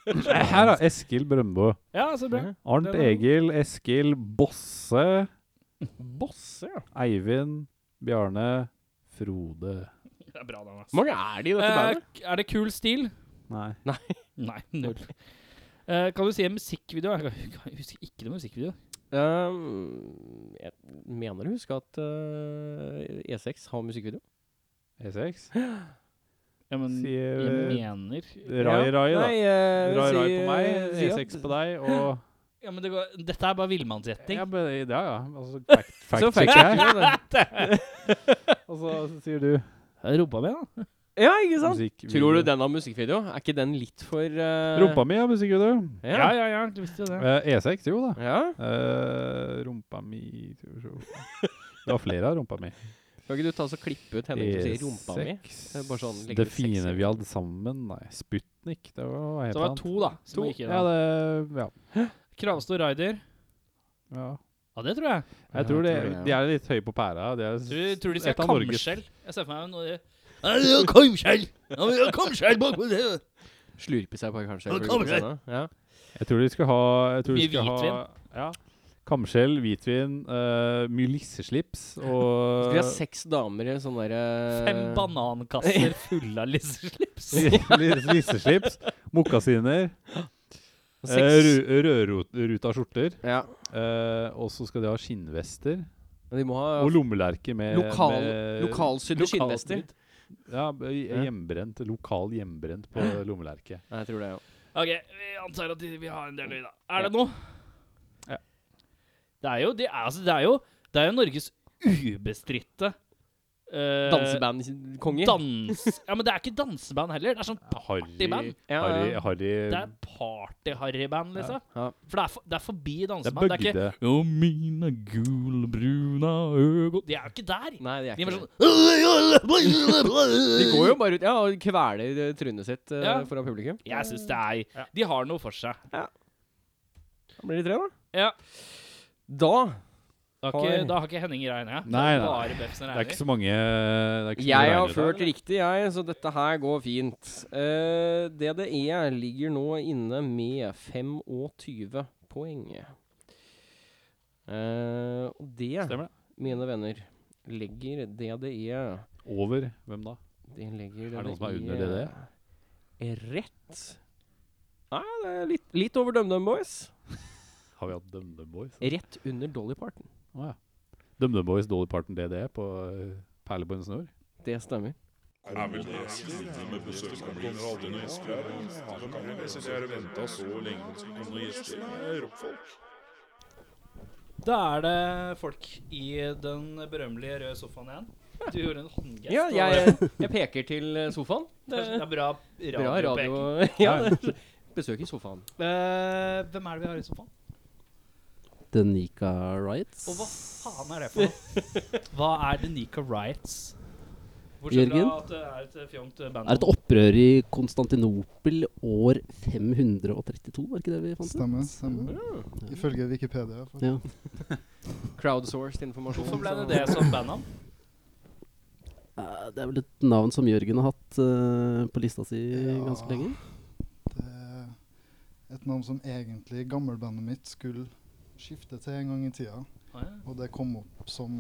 Speaker 2: Nei, Her, da. Eskil Brøndbø.
Speaker 1: Ja, så bra.
Speaker 2: Arnt
Speaker 1: Det var-
Speaker 2: Egil, Eskil, Bosse,
Speaker 3: Bosse, ja.
Speaker 2: Eivind, Bjarne, Frode.
Speaker 1: Det er bra, da. ass.
Speaker 3: Hvor mange er de i dette
Speaker 1: Eh,
Speaker 3: bandet?
Speaker 1: er det kul stil?
Speaker 2: Nei.
Speaker 1: Nei, null. Eh, kan du si en musikkvideo? Jeg kan- jeg husker ikke noen musikkvideo.
Speaker 3: Um, jeg mener å huske at eh, E6 har musikkvideo.
Speaker 2: E6.
Speaker 1: Ja, men
Speaker 2: E Sier
Speaker 1: jeg mener
Speaker 2: Rai Rai, da.
Speaker 3: Nei, eh,
Speaker 2: Rai Rai
Speaker 3: si-
Speaker 2: på meg, E
Speaker 3: si at-
Speaker 2: E6 på deg og
Speaker 1: Ja, men det går, Dette er bare villmannsgjetting.
Speaker 2: Ja, men, ja. ja. Altså, fact,
Speaker 3: Så
Speaker 2: fact
Speaker 3: fact
Speaker 2: checker jeg.
Speaker 3: checker jeg det.
Speaker 2: Og så sier du
Speaker 1: Rumpa mi, da.
Speaker 3: Ja, ikke sant?
Speaker 2: musikk.
Speaker 3: Tror du den har musikkvideo? Er ikke den litt for eh,
Speaker 2: Rumpa mi er musikk, vet du.
Speaker 1: Ja,
Speaker 3: Ja.
Speaker 1: ja, ja. Du visste jo det.
Speaker 2: Eh, E6, jo da.
Speaker 3: ja.
Speaker 2: Eh, rumpa mi skal vi se. Det var flere av rumpa mi. E
Speaker 3: Kan ikke du ta og så klippe ut Henning som sier 'rumpa mi'? Det er bare sånn,
Speaker 2: Det,
Speaker 3: legger du seks
Speaker 2: fine
Speaker 3: i
Speaker 2: vi hadde sammen. Nei, Sputnik. Det var hva
Speaker 1: Så
Speaker 2: het
Speaker 1: det var
Speaker 2: han?
Speaker 1: to, da. Som
Speaker 2: To?
Speaker 1: Gikk inn,
Speaker 2: Ja,
Speaker 1: da.
Speaker 2: det ja.
Speaker 1: Kravstor Raider.
Speaker 2: ja.
Speaker 1: Ja, det tror jeg.
Speaker 2: Jeg tror det, de er litt høye på pæra. De er
Speaker 1: Tror, tror de skal
Speaker 2: et av
Speaker 1: ha
Speaker 2: Norges-
Speaker 1: kamskjell? Jeg ser for meg noe Ja, vi har Kamskjell! Ja, vi har kamskjell bakpå det!
Speaker 3: Slurpe seg på, kanskje. for
Speaker 1: Nå
Speaker 3: å
Speaker 1: kommer
Speaker 3: gå
Speaker 1: det.
Speaker 3: sånn, ja.
Speaker 2: Jeg tror de skal ha jeg tror de
Speaker 1: Mye
Speaker 2: skal Ha, ja. Kamskjell, hvitvin, eh, mye lisseslips og
Speaker 3: Skal vi ha seks damer i sånn derre
Speaker 1: Fem banankasser fulle av lisseslips.
Speaker 2: Li- Lisseslips, mokkasiner, eh,
Speaker 3: Seks.
Speaker 2: rø- rødruta skjorter.
Speaker 3: Ja.
Speaker 2: Eh, og så skal de ha skinnvester
Speaker 3: Men de må ha
Speaker 2: og lommelerker
Speaker 3: Eh,
Speaker 2: med
Speaker 3: lokal,
Speaker 2: med-
Speaker 3: lokalsydd
Speaker 2: lokal-
Speaker 3: skinnvester.
Speaker 2: Ja, b-
Speaker 3: Ja.
Speaker 2: hjemmebrent. Lokal hjemmebrent på lommelerke.
Speaker 3: Nei, Jeg tror det, ja.
Speaker 1: OK, vi antar at de- vi har en del lyd, da. Er det noe?
Speaker 2: Ja.
Speaker 1: Det er jo Det er, altså, det er, jo, det er jo Norges ubestridte eh,
Speaker 3: Dansebandkonger.
Speaker 1: Dans... Ja, men det er ikke danseband heller. Det er sånn
Speaker 2: Harry,
Speaker 1: partyband.
Speaker 3: Ja,
Speaker 2: Harry,
Speaker 3: ja.
Speaker 2: Harry
Speaker 1: Det er party-harryband, liksom.
Speaker 3: Ja.
Speaker 1: For det er, for, det er forbi
Speaker 2: Det er
Speaker 1: danseband. Det er,
Speaker 2: bygde.
Speaker 1: ikke «Å, mine gulbruna øgo De er jo ikke der.
Speaker 3: Nei, de er
Speaker 1: De
Speaker 3: ikke
Speaker 1: var
Speaker 3: det.
Speaker 1: sånn
Speaker 3: De går jo bare ut ja, og kveler eh, trynet sitt eh,
Speaker 1: Ja.
Speaker 3: foran publikum.
Speaker 1: Jeg syns det er De har noe for seg.
Speaker 3: Da blir de tre, da.
Speaker 1: Ja.
Speaker 3: Da
Speaker 1: Da har
Speaker 3: Har-
Speaker 1: ikke, da har ikke Henning regna.
Speaker 2: Nei, nei.
Speaker 1: Bare Befsen
Speaker 2: Det er ikke
Speaker 1: regner.
Speaker 2: så mange det er ikke så mye
Speaker 3: Jeg har
Speaker 2: regnet der.
Speaker 3: ført riktig, jeg, så dette her går fint. Eh, DDE ligger nå inne med 25 poeng. Eh, og det,
Speaker 2: Stemmer det.
Speaker 3: mine venner, legger E DDE
Speaker 2: Over hvem da?
Speaker 3: Det legger
Speaker 2: Er det noen som er
Speaker 3: DDE
Speaker 2: under DDE?
Speaker 3: Rett. Nei, det er litt, litt over DumDum Boys.
Speaker 2: Har vi hatt DumDum Boys?
Speaker 3: Rett under Dolly Parton.
Speaker 2: Å ja. DumDum Boys, Dolly Parton, DDE på eh, Perle på en snor?
Speaker 3: Det stemmer.
Speaker 5: Er vi neslige med besøksmål? Aldri neslige her. Jeg synes jeg har ventet så lenge på noen gjester. Jeg er rockfolk.
Speaker 1: Da er det folk i den berømmelige røde sofaen igjen. Du gjorde en håndgest.
Speaker 3: Ja, jeg, jeg peker til eh, sofaen.
Speaker 1: Det
Speaker 3: Det
Speaker 1: er bra radio.
Speaker 3: bra radio.
Speaker 1: Pek.
Speaker 3: Ja, det- besøk i sofaen.
Speaker 1: Eh, hvem er det vi har i sofaen?
Speaker 6: The Nika Riots.
Speaker 1: Og hva faen er det for noe? Hva er Denica Riots? Bortsett fra
Speaker 6: Jørgen?
Speaker 1: at det er et eh, fjongt eh, band.
Speaker 6: Er et opprør i Konstantinopel år 532, var ikke det vi fant ut?
Speaker 7: Stemmer. stemmer. Ifølge Wikipedia. i hvert fall.
Speaker 6: Ja.
Speaker 3: Crowdsourced informasjon.
Speaker 1: Hvorfor ble det
Speaker 3: så-
Speaker 1: det som bandnavn?
Speaker 6: Eh, Det er vel et navn som Jørgen har hatt eh, på lista si ganske
Speaker 7: Ja.
Speaker 6: lenge.
Speaker 7: Det er et navn som egentlig gammelbandet mitt skulle skifte til en gang i tida.
Speaker 1: Ah, ja.
Speaker 7: Og det kom opp som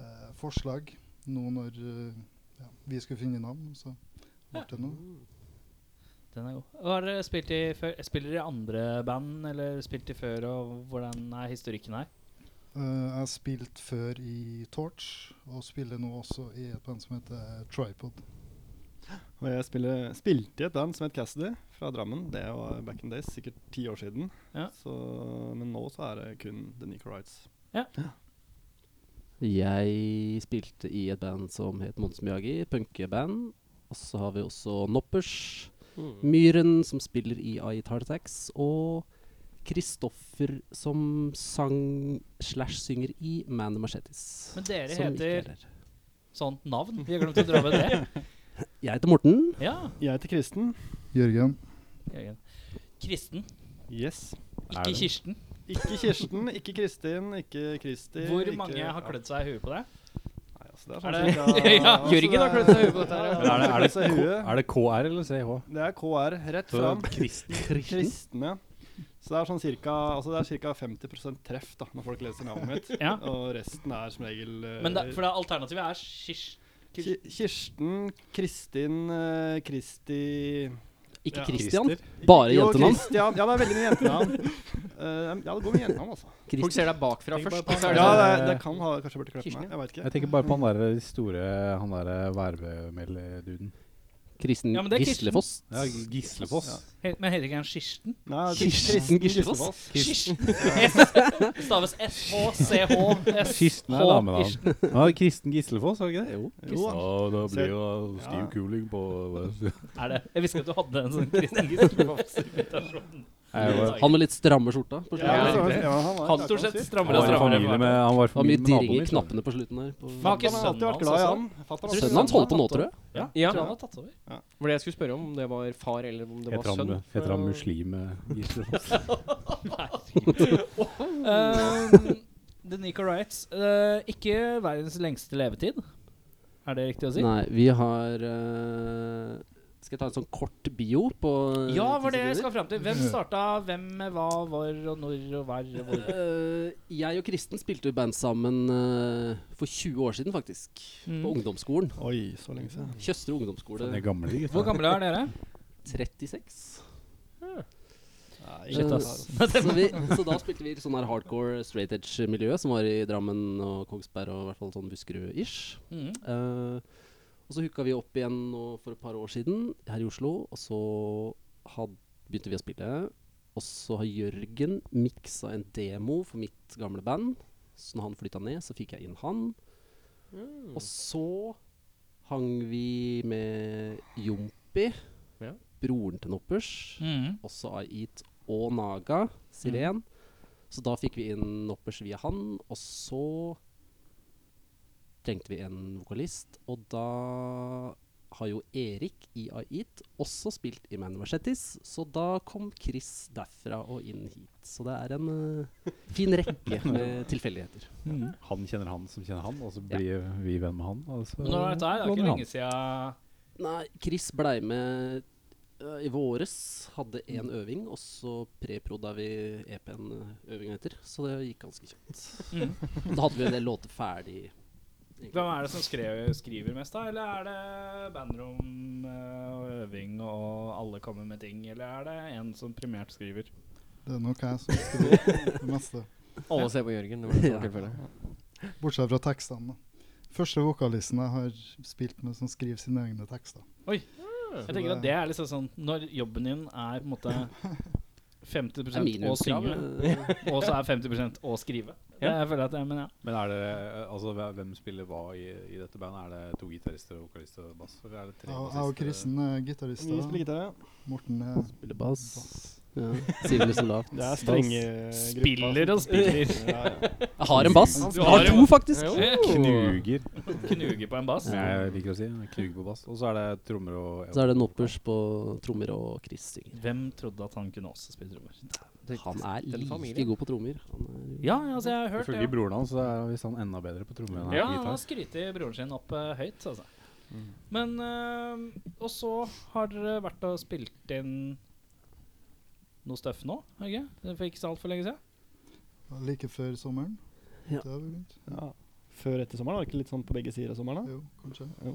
Speaker 7: eh, forslag nå når eh, ja, vi skulle finne navn. Så ble det noe.
Speaker 1: Den er god. Har dere spilt i før? Spiller dere i andre band, eller spilt i før, og hvordan er historikken her?
Speaker 7: Eh, jeg har spilt før i Torch, og spiller nå også i et band som heter Tripod.
Speaker 8: Og jeg spiller, spilte i et band som het Cassidy fra Drammen. Det var back in days, sikkert ti år siden.
Speaker 1: Ja.
Speaker 8: Så, men nå så er det kun The Nico Rights.
Speaker 6: Jeg spilte i et band som het Mons Miyagi, punkeband. Og så har vi også Noppers,
Speaker 3: Mm.
Speaker 6: Myhren, som spiller i Ait Heart Attacks, og Kristoffer, som sang slash synger i Man the Machetes.
Speaker 1: Men dere
Speaker 6: som ikke er
Speaker 1: heter
Speaker 6: her.
Speaker 1: sånt navn. Vi har glemt å dra med det.
Speaker 6: Jeg heter Morten.
Speaker 1: Ja,
Speaker 8: Jeg heter Kristen.
Speaker 7: Jørgen,
Speaker 1: Jørgen. Kristen,
Speaker 8: Yes.
Speaker 2: Er
Speaker 1: ikke
Speaker 2: det?
Speaker 1: Kirsten.
Speaker 8: Ikke Kirsten, ikke Kristin, ikke Kristi.
Speaker 1: Hvor
Speaker 8: ikke,
Speaker 1: mange har kledd seg i huet på det?
Speaker 8: Nei, altså, det er
Speaker 1: Er
Speaker 8: sånn
Speaker 1: det-
Speaker 8: cirka-
Speaker 1: Ja,
Speaker 8: altså,
Speaker 3: Jørgen har klødd seg i huet på dette her, ja.
Speaker 8: Ja,
Speaker 2: Men er, det, er, det,
Speaker 8: klødd seg i huet.
Speaker 2: K- er det KR eller CH?
Speaker 8: Det er KR rett
Speaker 2: Så
Speaker 8: fram.
Speaker 2: kristen.
Speaker 8: Kristen, ja. Så det er sånn cirka, altså det er cirka 50 treff da, når folk leser navnet mitt.
Speaker 1: Ja.
Speaker 8: Og resten er som regel eh,
Speaker 1: Men da, for da, alternativet er Kirsten.
Speaker 8: Ki- Kirsten, Kristin, eh, Kristi
Speaker 6: Ikke
Speaker 8: Ja.
Speaker 6: Christian.
Speaker 2: Christer.
Speaker 6: Bare
Speaker 8: Jo,
Speaker 6: jentenavn.
Speaker 8: Christian. Ja, det er veldig mye jentenavn. Eh, ja, det går med jentenavn, altså.
Speaker 3: Folk ser deg bakfra først. og så er
Speaker 8: Ja, det,
Speaker 3: det sånn-
Speaker 8: er- det kan ha kanskje jeg burde klippe
Speaker 3: Kirsten,
Speaker 8: meg. Jeg vet ikke.
Speaker 2: Jeg tenker bare på han der store Han der eh, værmeldeduden.
Speaker 6: Kristen
Speaker 1: Ja, men det er Kirsten.
Speaker 6: Gislefoss.
Speaker 2: Ja, Gislefoss.
Speaker 1: He- Men heter ikke han Kirsten?
Speaker 8: Nei, det er
Speaker 6: Kirsten Gislefoss.
Speaker 8: Gislefoss.
Speaker 1: Kirsten. S- Staves S-H-C-H-S.
Speaker 2: Kirsten er damenavn. Ja, Kristen Gislefoss, var det ikke det? Jo.
Speaker 8: Jo da.
Speaker 2: da
Speaker 8: blir
Speaker 2: jo
Speaker 8: stiv
Speaker 2: kuling på
Speaker 1: Er det? Jeg visste ikke at du hadde en sånn Kristin Gislefoss-imitasjon.
Speaker 6: Han med litt stramme skjorta. På
Speaker 8: Ja,
Speaker 6: slutten.
Speaker 8: det er- ja, han var-
Speaker 1: Han stort sett
Speaker 2: Han
Speaker 1: strammer og
Speaker 2: var i familie
Speaker 1: strammer.
Speaker 2: med, han var i
Speaker 6: Det var mye
Speaker 2: familie med
Speaker 6: dirring
Speaker 2: naboen
Speaker 6: i
Speaker 2: min. liksom.
Speaker 6: knappene på slutten her. På
Speaker 1: Fuck.
Speaker 8: Han har alltid vært glad i han. Fatter'n har
Speaker 1: Tror
Speaker 8: alltid-
Speaker 6: Sønnen hans holdt på nå, tror jeg.
Speaker 1: Ja,
Speaker 3: Ja.
Speaker 1: tror han har tatt over.
Speaker 3: Var det jeg skulle spørre om, om det var far eller om det var
Speaker 2: Heter han,
Speaker 3: sønn?
Speaker 2: heter han muslim eh, Gislefoss?
Speaker 1: Um, The Nico Rights. eh, ikke verdens lengste levetid. Er det riktig å si?
Speaker 6: Nei, vi har eh, Skal jeg ta en sånn kort bio på eh,
Speaker 1: Ja, var det
Speaker 6: ti
Speaker 1: jeg
Speaker 6: sekunder?
Speaker 1: skal fram til. Hvem starta hvem, hva, hvor og når og hver og hvor?
Speaker 6: Eh, jeg og Kristen spilte jo band sammen eh, for 20 år siden, faktisk.
Speaker 1: Mm.
Speaker 6: På ungdomsskolen.
Speaker 8: Oi, så lenge siden.
Speaker 6: Tjøstre ungdomsskole
Speaker 2: Det er gamle gutter.
Speaker 1: Hvor gamle er dere?
Speaker 6: 36.
Speaker 8: Nei,
Speaker 6: Shit,
Speaker 8: ingen
Speaker 6: ass.
Speaker 8: har-
Speaker 6: Eh, så, vi, så da spilte vi i sånn her hardcore straight edge-miljø som var i Drammen og Kongsberg og i hvert fall sånn Buskerud-ish.
Speaker 1: Mm.
Speaker 6: Eh, og så hooka vi opp igjen nå for et par år siden her i Oslo, og så had, begynte vi å spille. Og så har Jørgen miksa en demo for mitt gamle band. Så når han flytta ned, så fikk jeg inn han. Og så hang vi med Jompi,
Speaker 3: Ja.
Speaker 6: broren til Noppers,
Speaker 1: Mm.
Speaker 6: også Ait og Naga, Siren. Så da fikk vi inn Noppers via han, og så trengte vi en vokalist. Og da har jo Erik i Ait også spilt i Man Machetes, så da kom Chris derfra og inn hit. Så det er en eh, fin rekke med tilfeldigheter.
Speaker 2: Mm. Han kjenner han som kjenner han, og så blir vi venn med han. Og så
Speaker 1: Men når var dette her? Det er ikke lenge siden
Speaker 6: Nei, Chris blei med ø, i våres. Hadde én øving, og så preproda vi E EP-en øvinga etter. Så det gikk ganske kjapt.
Speaker 1: Mm.
Speaker 6: Og da hadde vi en del låter ferdig. egentlig.
Speaker 1: Hvem er det som skrev, skriver mest, da? Eller er det bandrom eh, og øving og alle kommer med ting? Eller er det en som primært skriver?
Speaker 7: det er nok jeg som skriver det meste.
Speaker 3: Alle ser på Jørgen. Det var det
Speaker 6: Ja.
Speaker 3: som var tilfellet.
Speaker 7: Bortsett fra tekstene. da. Første vokalisten jeg har spilt med som skriver sine egne tekster.
Speaker 1: Jeg tenker at det er liksom sånn Når jobben din er på en måte
Speaker 6: Det er eh,
Speaker 1: 50 å
Speaker 6: minimumskrav.
Speaker 1: synge,
Speaker 6: ø,
Speaker 1: og så er 50 å skrive. Ja, jeg føler at det, men ja.
Speaker 2: Men er det eh, Altså, hve- hvem spiller hva i, i dette bandet? Er det to gitarister, vokalist og bass? Eller er det tre
Speaker 7: Jeg og- jeg og
Speaker 2: bassister?
Speaker 7: Kristen er
Speaker 8: Vi
Speaker 7: gitarister.
Speaker 8: spiller gitar, ja.
Speaker 7: Morten eh, er
Speaker 6: Spiller bass. Ja. Sier det så lavt.
Speaker 8: Det er strenge
Speaker 1: Spiller og spiller.
Speaker 8: Ja, ja.
Speaker 6: Jeg har en bass.
Speaker 1: Du
Speaker 6: Jeg har
Speaker 1: har en
Speaker 6: to, faktisk.
Speaker 1: Oh!
Speaker 2: Knuger,
Speaker 1: Knuger på en bass.
Speaker 2: som jeg liker å si. Knuger på bass. Og så er det trommer og
Speaker 6: Så er det Noppers på trommer og Chris synger.
Speaker 1: Hvem trodde at han kunne også spille trommer?
Speaker 6: Han er
Speaker 3: Den familien.
Speaker 6: like god på trommer. Han er jo
Speaker 1: Ja, altså, jeg har hørt
Speaker 2: Ifølge
Speaker 1: det.
Speaker 2: broren hans så er visst han enda bedre på trommer enn
Speaker 1: Ja,
Speaker 2: han er
Speaker 1: han
Speaker 2: på
Speaker 1: har
Speaker 2: gitar.
Speaker 1: skrytt broren sin opp eh, høyt, altså. Men eh, Og så har dere vært og spilt inn noe støff nå, har dere ikke? Det for ikke så altfor lenge siden?
Speaker 7: like før sommeren.
Speaker 6: Ja.
Speaker 7: Det har vi begynt.
Speaker 8: ja. Før etter sommeren, var det ikke litt sånn på begge sider av sommeren? da?
Speaker 7: Jo, kanskje.
Speaker 8: Jo.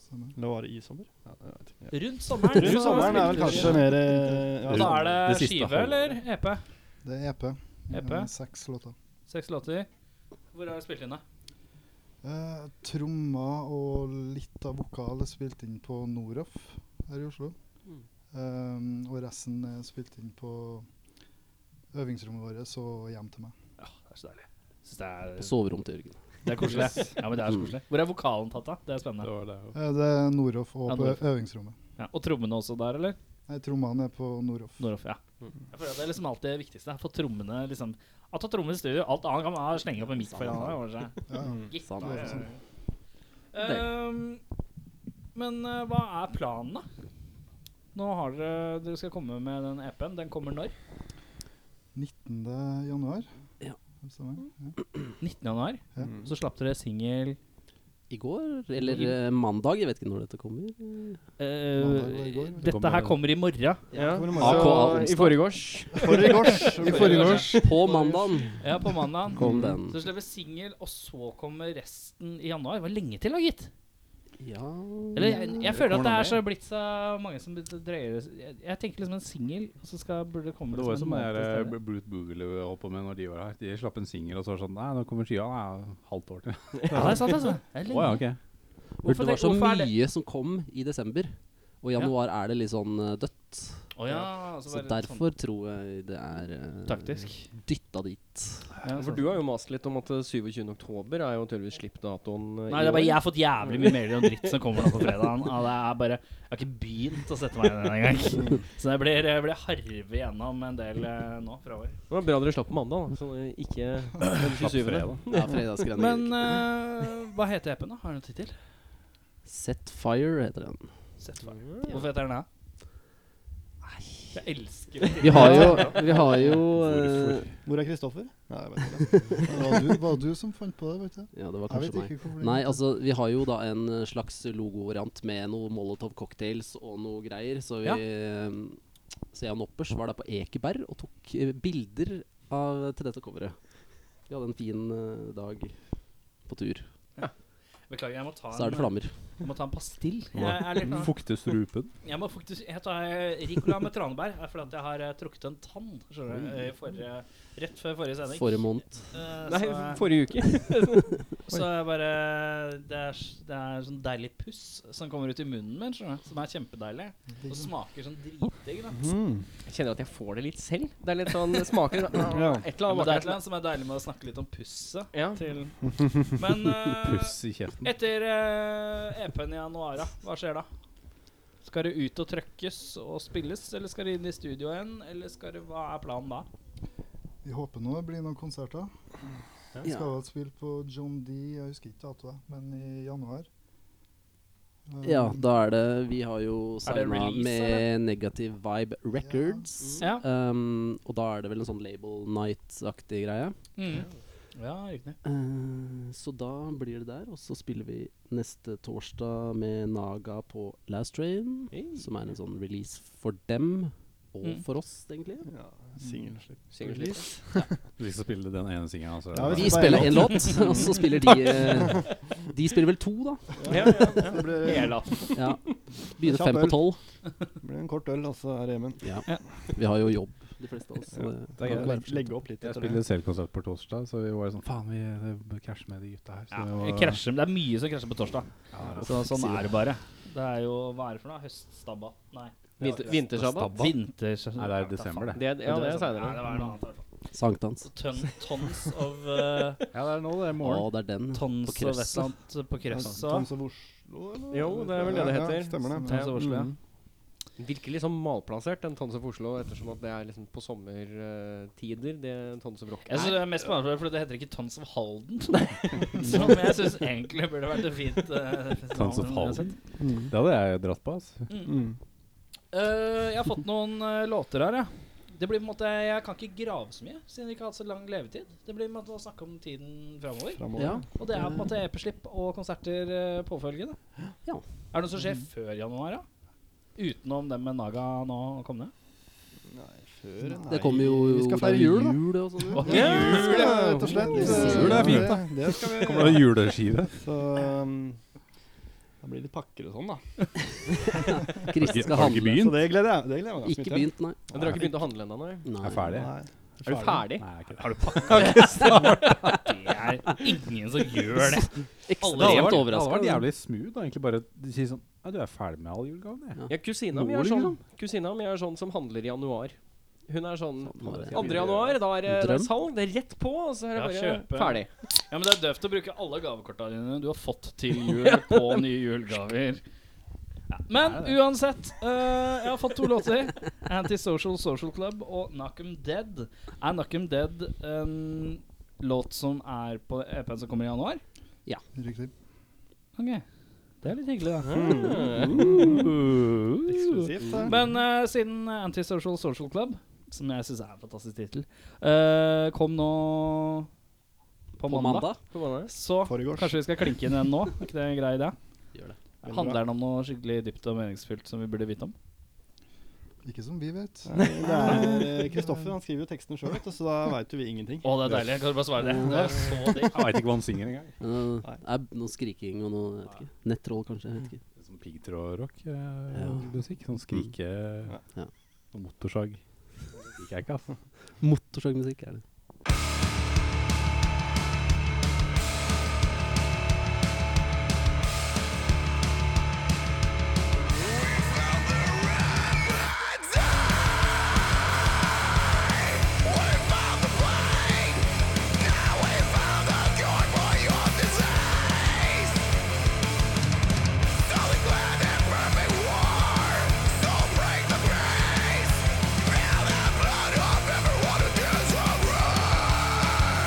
Speaker 7: Stemmer.
Speaker 8: Eller var det i sommer? Ja, jeg vet ikke.
Speaker 1: Rundt sommeren.
Speaker 8: Rundt sommeren er vel kanskje mer eh,
Speaker 1: Og da
Speaker 8: ja.
Speaker 1: er det,
Speaker 2: Det siste
Speaker 1: skive
Speaker 2: halvåret.
Speaker 1: eller E EP?
Speaker 7: Det er EP.
Speaker 1: EP?
Speaker 7: Eh, Seks låter.
Speaker 1: Seks låter. Hvor har dere spilt inn, da?
Speaker 7: Eh, trommer og litt av vokal er spilt inn på Noroff her i Oslo. Eh, og resten er spilt inn på øvingsrommet vårt og hjem til meg.
Speaker 1: Ja, det er så deilig. Synes det,
Speaker 6: på
Speaker 1: er,
Speaker 6: soverommet til Jørgen.
Speaker 1: det er koselig. Ja, men det er så koselig. Hvor er vokalen tatt, da? Det er
Speaker 2: Det
Speaker 1: spennende.
Speaker 2: var det.
Speaker 7: Eh, det er Noroff og
Speaker 1: Ja,
Speaker 7: på
Speaker 1: Noroff.
Speaker 7: øvingsrommet.
Speaker 1: Ja. Og trommene også der, eller?
Speaker 7: Nei, trommene er på Noroff.
Speaker 1: Nordhoff, ja. Jeg føler at Det er liksom alltid det viktigste. Få trommene liksom At ta trommene i studio. Alt annet kan man ha- slenge opp en mic foran her, over seg.
Speaker 7: Ja, ja.
Speaker 1: Gitt.
Speaker 7: det sånn er sant.
Speaker 1: Ehm, men eh, hva er planen, da? Nå har dere Dere skal komme med den EP-en. Den kommer når?
Speaker 7: 19. januar.
Speaker 6: Ja.
Speaker 7: Det stemmer.
Speaker 1: 19. januar.
Speaker 7: Ja.
Speaker 8: Mm.
Speaker 1: Så slapp dere singel
Speaker 6: I går, eller eh, mandag, jeg vet ikke når dette kommer.
Speaker 7: Mandag var i går, vel?
Speaker 1: eh, Dette her kommer i morgen.
Speaker 6: Ja.
Speaker 8: Hvor mange-
Speaker 6: AK
Speaker 8: I
Speaker 6: onsdag.
Speaker 8: forgårs.
Speaker 7: I forrige års.
Speaker 6: På mandagen
Speaker 1: Ja, på mandag.
Speaker 6: kom den.
Speaker 1: Så slipper singel, og så kommer resten i januar. Det var lenge til, da, gitt.
Speaker 6: Ja
Speaker 1: Eller jeg, jeg føler at
Speaker 2: kommer
Speaker 1: det
Speaker 2: noe
Speaker 1: er så blitt så mange som drøyer jeg, jeg tenker liksom en singel, og så skal, burde det komme
Speaker 2: Det var jo
Speaker 1: liksom
Speaker 2: som eh,
Speaker 1: en
Speaker 2: det
Speaker 1: måned
Speaker 2: der
Speaker 1: til stedet.
Speaker 2: Brute Boogaloo holdt på med når de var her. De slapp en singel, og så var det sånn Nei, nå kommer skiva. Nei, halvt år til.
Speaker 1: Ja, det er sant, altså. Det er
Speaker 2: Å
Speaker 1: lenge.
Speaker 2: ja, ok.
Speaker 1: Hvorfor
Speaker 6: Hvorfor det var så
Speaker 1: hvorfor er det-
Speaker 6: mye som kom i desember, og i
Speaker 1: Ja.
Speaker 6: januar er det litt sånn eh, dødt.
Speaker 1: Å ja, så
Speaker 6: Så
Speaker 1: bare sånn
Speaker 6: derfor tror jeg det er eh,
Speaker 1: taktisk.
Speaker 6: dytta dit.
Speaker 1: Ja,
Speaker 3: For
Speaker 1: sånn.
Speaker 3: du har jo mast litt om at eh, 27. oktober er jo tydeligvis slippdatoen. eh,
Speaker 1: Nei,
Speaker 3: i
Speaker 1: det er bare,
Speaker 3: år.
Speaker 1: jeg har fått jævlig mye mailer om dritt som kommer nå på fredagen. Og det er bare, jeg har ikke begynt å sette meg inn i det engang. Så jeg blir, jeg blir harve gjennom en del eh, nå framover.
Speaker 3: Det var bra dere slapp på mandag, da. Så eh, ikke den 27.
Speaker 6: Ja, fredagsgreiene.
Speaker 1: Men
Speaker 6: gir ikke.
Speaker 1: eh, hva heter appen, da? Har du noen tittel?
Speaker 6: Set Fire heter den.
Speaker 1: Setfire. Hvorfor heter den det? Jeg elsker det.
Speaker 6: Vi har jo, vi har jo eh,
Speaker 8: Hvor er Kristoffer? Nei, jeg vet ikke.
Speaker 7: Det var du, var du som fant på det, vet du.
Speaker 6: Ja, det var
Speaker 7: Jeg
Speaker 6: kanskje
Speaker 7: vet
Speaker 6: meg.
Speaker 7: ikke hvorfor. det- sånn.
Speaker 6: Nei, altså, vi har jo da en eh, slags logovariant med noe Molotov cocktails og noe greier, så vi
Speaker 1: Ja.
Speaker 6: eh, Så jeg og Noppers var der på Ekeberg og tok eh, bilder av, til dette coveret. Vi hadde en fin eh, dag på tur.
Speaker 1: Beklager, jeg må ta
Speaker 6: Så er det
Speaker 1: en,
Speaker 6: flammer.
Speaker 1: jeg må ta en pastill. Jeg, er litt, sånn.
Speaker 2: Fukte strupen.
Speaker 1: Jeg må faktisk Jeg tar eh, Ricola med tranebær. Det er fordi at jeg har eh, trukket en tann skjønner du, eh, i forrige, rett før forrige sending.
Speaker 6: Forrige måned.
Speaker 1: Eh,
Speaker 3: Nei,
Speaker 1: så,
Speaker 3: forrige uke.
Speaker 1: så jeg bare det er, s- det er sånn deilig puss som kommer ut i munnen min, skjønner du. Som er kjempedeilig. Og smaker sånn dritdigg. da.
Speaker 3: Jeg kjenner at jeg får det litt selv. Det er litt sånn det smaker Et
Speaker 8: Ja.
Speaker 3: eller
Speaker 1: Ja, men
Speaker 3: annet.
Speaker 1: det er
Speaker 3: vakkert.
Speaker 1: et eller annet som er deilig med å snakke litt om pusset
Speaker 3: Ja.
Speaker 1: til Men eh,
Speaker 2: Puss i kjeften.
Speaker 1: etter eh, EP-en i januar, da, hva skjer da? Skal det ut og trøkkes og spilles, eller skal det inn i studio igjen? Eller skal det, hva er planen da?
Speaker 7: Vi håper nå det blir noen konserter. Vi skal vel spille på John D, jeg husker ikke datoen, men i januar. Eh,
Speaker 6: Ja, da er det Vi har jo
Speaker 1: Er det
Speaker 6: signa
Speaker 1: release,
Speaker 6: med Negative Vibe Records.
Speaker 1: Ja.
Speaker 6: Um, og da er det vel en sånn Label Night-aktig greie.
Speaker 1: Mm. Ja, riktig.
Speaker 6: Eh, Så da blir det der, og så spiller vi neste torsdag med Naga på Last Train. Som er en sånn release for dem, og
Speaker 1: Mm.
Speaker 6: for oss, egentlig.
Speaker 8: Ja, Singelslipp.
Speaker 3: Singelslipp.
Speaker 2: Vi skal spille den ene singelen, altså.
Speaker 8: Ja,
Speaker 6: Vi
Speaker 8: Bare
Speaker 6: spiller én låt, og så spiller de eh, De spiller vel to, da.
Speaker 8: Ja, ja, ja. Det blir,
Speaker 6: Ja. Begynner
Speaker 8: Kjapp
Speaker 6: fem
Speaker 8: øl.
Speaker 6: på tolv.
Speaker 8: det blir en kort øl, altså, her hjemme.
Speaker 6: Ja.
Speaker 1: Ja.
Speaker 6: Vi har jo jobb, de fleste av oss. Så
Speaker 2: Det er
Speaker 6: det kan
Speaker 2: greit.
Speaker 6: ikke være for sent.
Speaker 8: Legge opp litt
Speaker 2: Jeg
Speaker 8: etter det.
Speaker 2: spiller selvkonsert på torsdag, så vi var sånn Faen, vi det krasjer med de gutta her.
Speaker 1: Ja,
Speaker 2: Så det
Speaker 1: vi
Speaker 2: var-
Speaker 1: krasjer, men det er mye som krasjer på torsdag.
Speaker 2: Ja,
Speaker 1: Så, sånn
Speaker 6: sier
Speaker 1: er det bare. Det er jo Hva er det for noe? Høststabba? Nei.
Speaker 3: Vinter, vintersabbat.
Speaker 1: Vinterstabba?
Speaker 2: Nei, det er desember, det.
Speaker 3: Det, ja, det er
Speaker 1: Ja,
Speaker 3: seinere.
Speaker 1: det var noe annet, i hvert fall.
Speaker 6: Sankthans.
Speaker 1: Tønn, tons of uh,
Speaker 8: Ja, det er nå, det er
Speaker 6: Å,
Speaker 8: morgen.
Speaker 6: det er den.
Speaker 1: Tons
Speaker 6: På
Speaker 1: og
Speaker 6: krøsset.
Speaker 1: Vestland på krøssa.
Speaker 7: Tons av Oslo, eller?
Speaker 3: Jo, det er vel det det
Speaker 8: Ja, ja,
Speaker 3: heter.
Speaker 8: stemmer det.
Speaker 1: Tons av Oslo, ja.
Speaker 8: Mm.
Speaker 3: Virker liksom malplassert, den Tons of Oslo, ettersom at det er liksom på sommertider, det Tons of Rock
Speaker 1: Jeg synes
Speaker 3: er.
Speaker 1: det er mest spennende, for det heter ikke Tons of Halden. Som jeg syns egentlig burde vært et fint eh, festivalnavn
Speaker 2: Tons of
Speaker 1: uansett.
Speaker 2: Halden. Det hadde jeg dratt på. ass.
Speaker 8: Mm.
Speaker 1: Eh, jeg har fått noen eh, låter her, ja. Det blir på en måte, Jeg kan ikke grave så mye, siden vi ikke har hatt så lang levetid. Det blir på en måte å snakke om tiden framover.
Speaker 8: Fremover.
Speaker 6: Ja.
Speaker 1: Og det er på en måte EP-slipp og konserter eh, påfølgende.
Speaker 6: Ja.
Speaker 1: Er det noe som skjer før januar, da? Utenom den med Naga nå kommende?
Speaker 8: Før, nei.
Speaker 6: Det kommer jo
Speaker 8: Vi skal
Speaker 6: det er
Speaker 8: feire
Speaker 6: jo
Speaker 8: jul, da.
Speaker 6: jul og sånn.
Speaker 1: Ja.
Speaker 7: Jul, ja, rett og slett. eh,
Speaker 6: Jul
Speaker 2: er fint,
Speaker 7: da.
Speaker 8: Det, det skal vi
Speaker 2: Kommer det juleskive?
Speaker 8: Så um, da blir det pakker og sånn, da.
Speaker 6: Kristin skal
Speaker 2: Har du ikke
Speaker 6: handle.
Speaker 8: Så
Speaker 2: begynt?
Speaker 8: det gleder jeg, det gleder jeg meg ganske
Speaker 6: Ikke
Speaker 8: mye til.
Speaker 6: begynt, nei.
Speaker 3: Dere har ikke begynt å handle ennå, nei?
Speaker 6: nei.
Speaker 2: Jeg er ferdig.
Speaker 8: Nei.
Speaker 3: Er du ferdig?
Speaker 2: Nei, jeg er ikke det.
Speaker 1: Har du pakka? det er ingen som gjør
Speaker 2: Det hadde
Speaker 1: det.
Speaker 2: vært,
Speaker 6: Ekstremt
Speaker 2: det hadde vært
Speaker 6: overraska.
Speaker 2: jævlig smooth å egentlig bare si sånn Ja, du er ferdig med all julegavene, jeg.
Speaker 3: Ja, kusina mi
Speaker 6: Nå,
Speaker 3: er sånn.
Speaker 6: liksom.
Speaker 3: Kusina mi er sånn som handler i januar. Hun er sånn
Speaker 6: må det
Speaker 3: 2. januar, da er det det er
Speaker 6: Drøm.
Speaker 3: salg, det er rett på, og så er det bare
Speaker 1: Ja, kjøpe.
Speaker 3: ferdig.
Speaker 1: Ja, men Det er døvt å bruke alle gavekorta dine du har fått til jul på nye julegaver. Ja, men uansett, eh, jeg har fått to låter. Antisocial Social Club og Knock 'em Dead. Er Knock 'em Dead en låt som er på EP-en som kommer i januar?
Speaker 7: Riktig.
Speaker 1: Ok, Det er litt hyggelig, da.
Speaker 2: Mm.
Speaker 8: Eksklusivt, da.
Speaker 1: Men eh, siden Antisocial Social Club, som jeg syns er en fantastisk tittel, eh, kom nå på,
Speaker 6: På mandag.
Speaker 3: På hva da?
Speaker 1: Så
Speaker 8: Foregårs.
Speaker 1: kanskje vi skal klinke inn en nå? Er ikke det en grei idé?
Speaker 6: Gjør det.
Speaker 1: Handler den om noe skikkelig dypt og meningsfylt som vi burde vite om?
Speaker 7: Mm, Ikke som vi vet.
Speaker 8: Nei, Det er eh, Kristoffer han skriver jo teksten sjøl, så da veit jo vi ingenting.
Speaker 1: Å, det er deilig. Kan du bare svare det?
Speaker 3: Mm.
Speaker 1: Det er så digg.
Speaker 2: Jeg veit ikke hva han synger engang.
Speaker 6: Men, uh, Det er noe skriking og noe jeg vet ikke. Nettroll, kanskje. Jeg vet ikke.
Speaker 2: Sånn piggtrådrock-musikk. Sånn skrike
Speaker 6: Ja.
Speaker 2: og motorsag. Det liker jeg ikke, altså.
Speaker 6: Mm. Motorsagmusikk er det.
Speaker 9: Break the grace, and the blood of everyone who does wrong.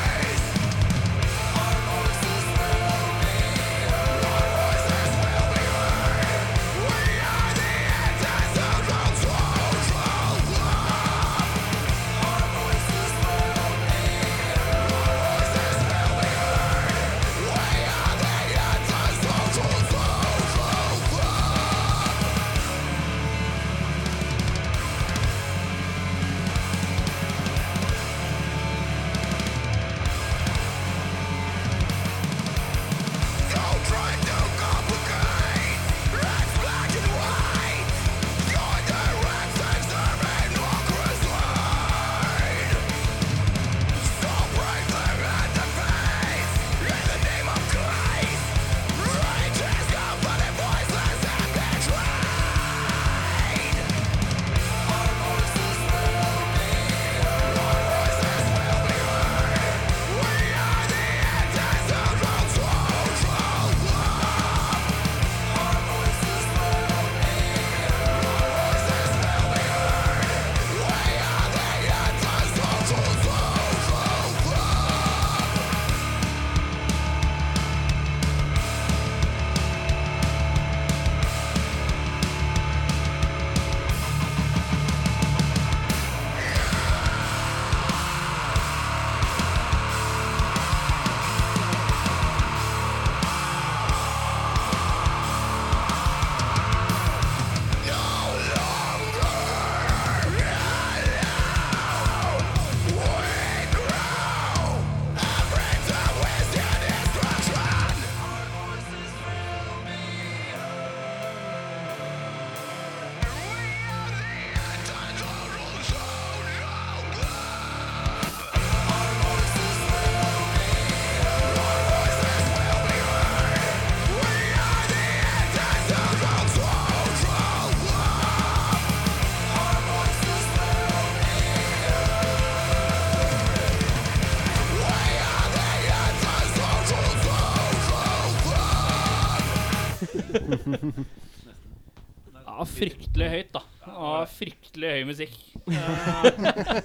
Speaker 1: høyt, da. Og fryktelig høy musikk. Eh,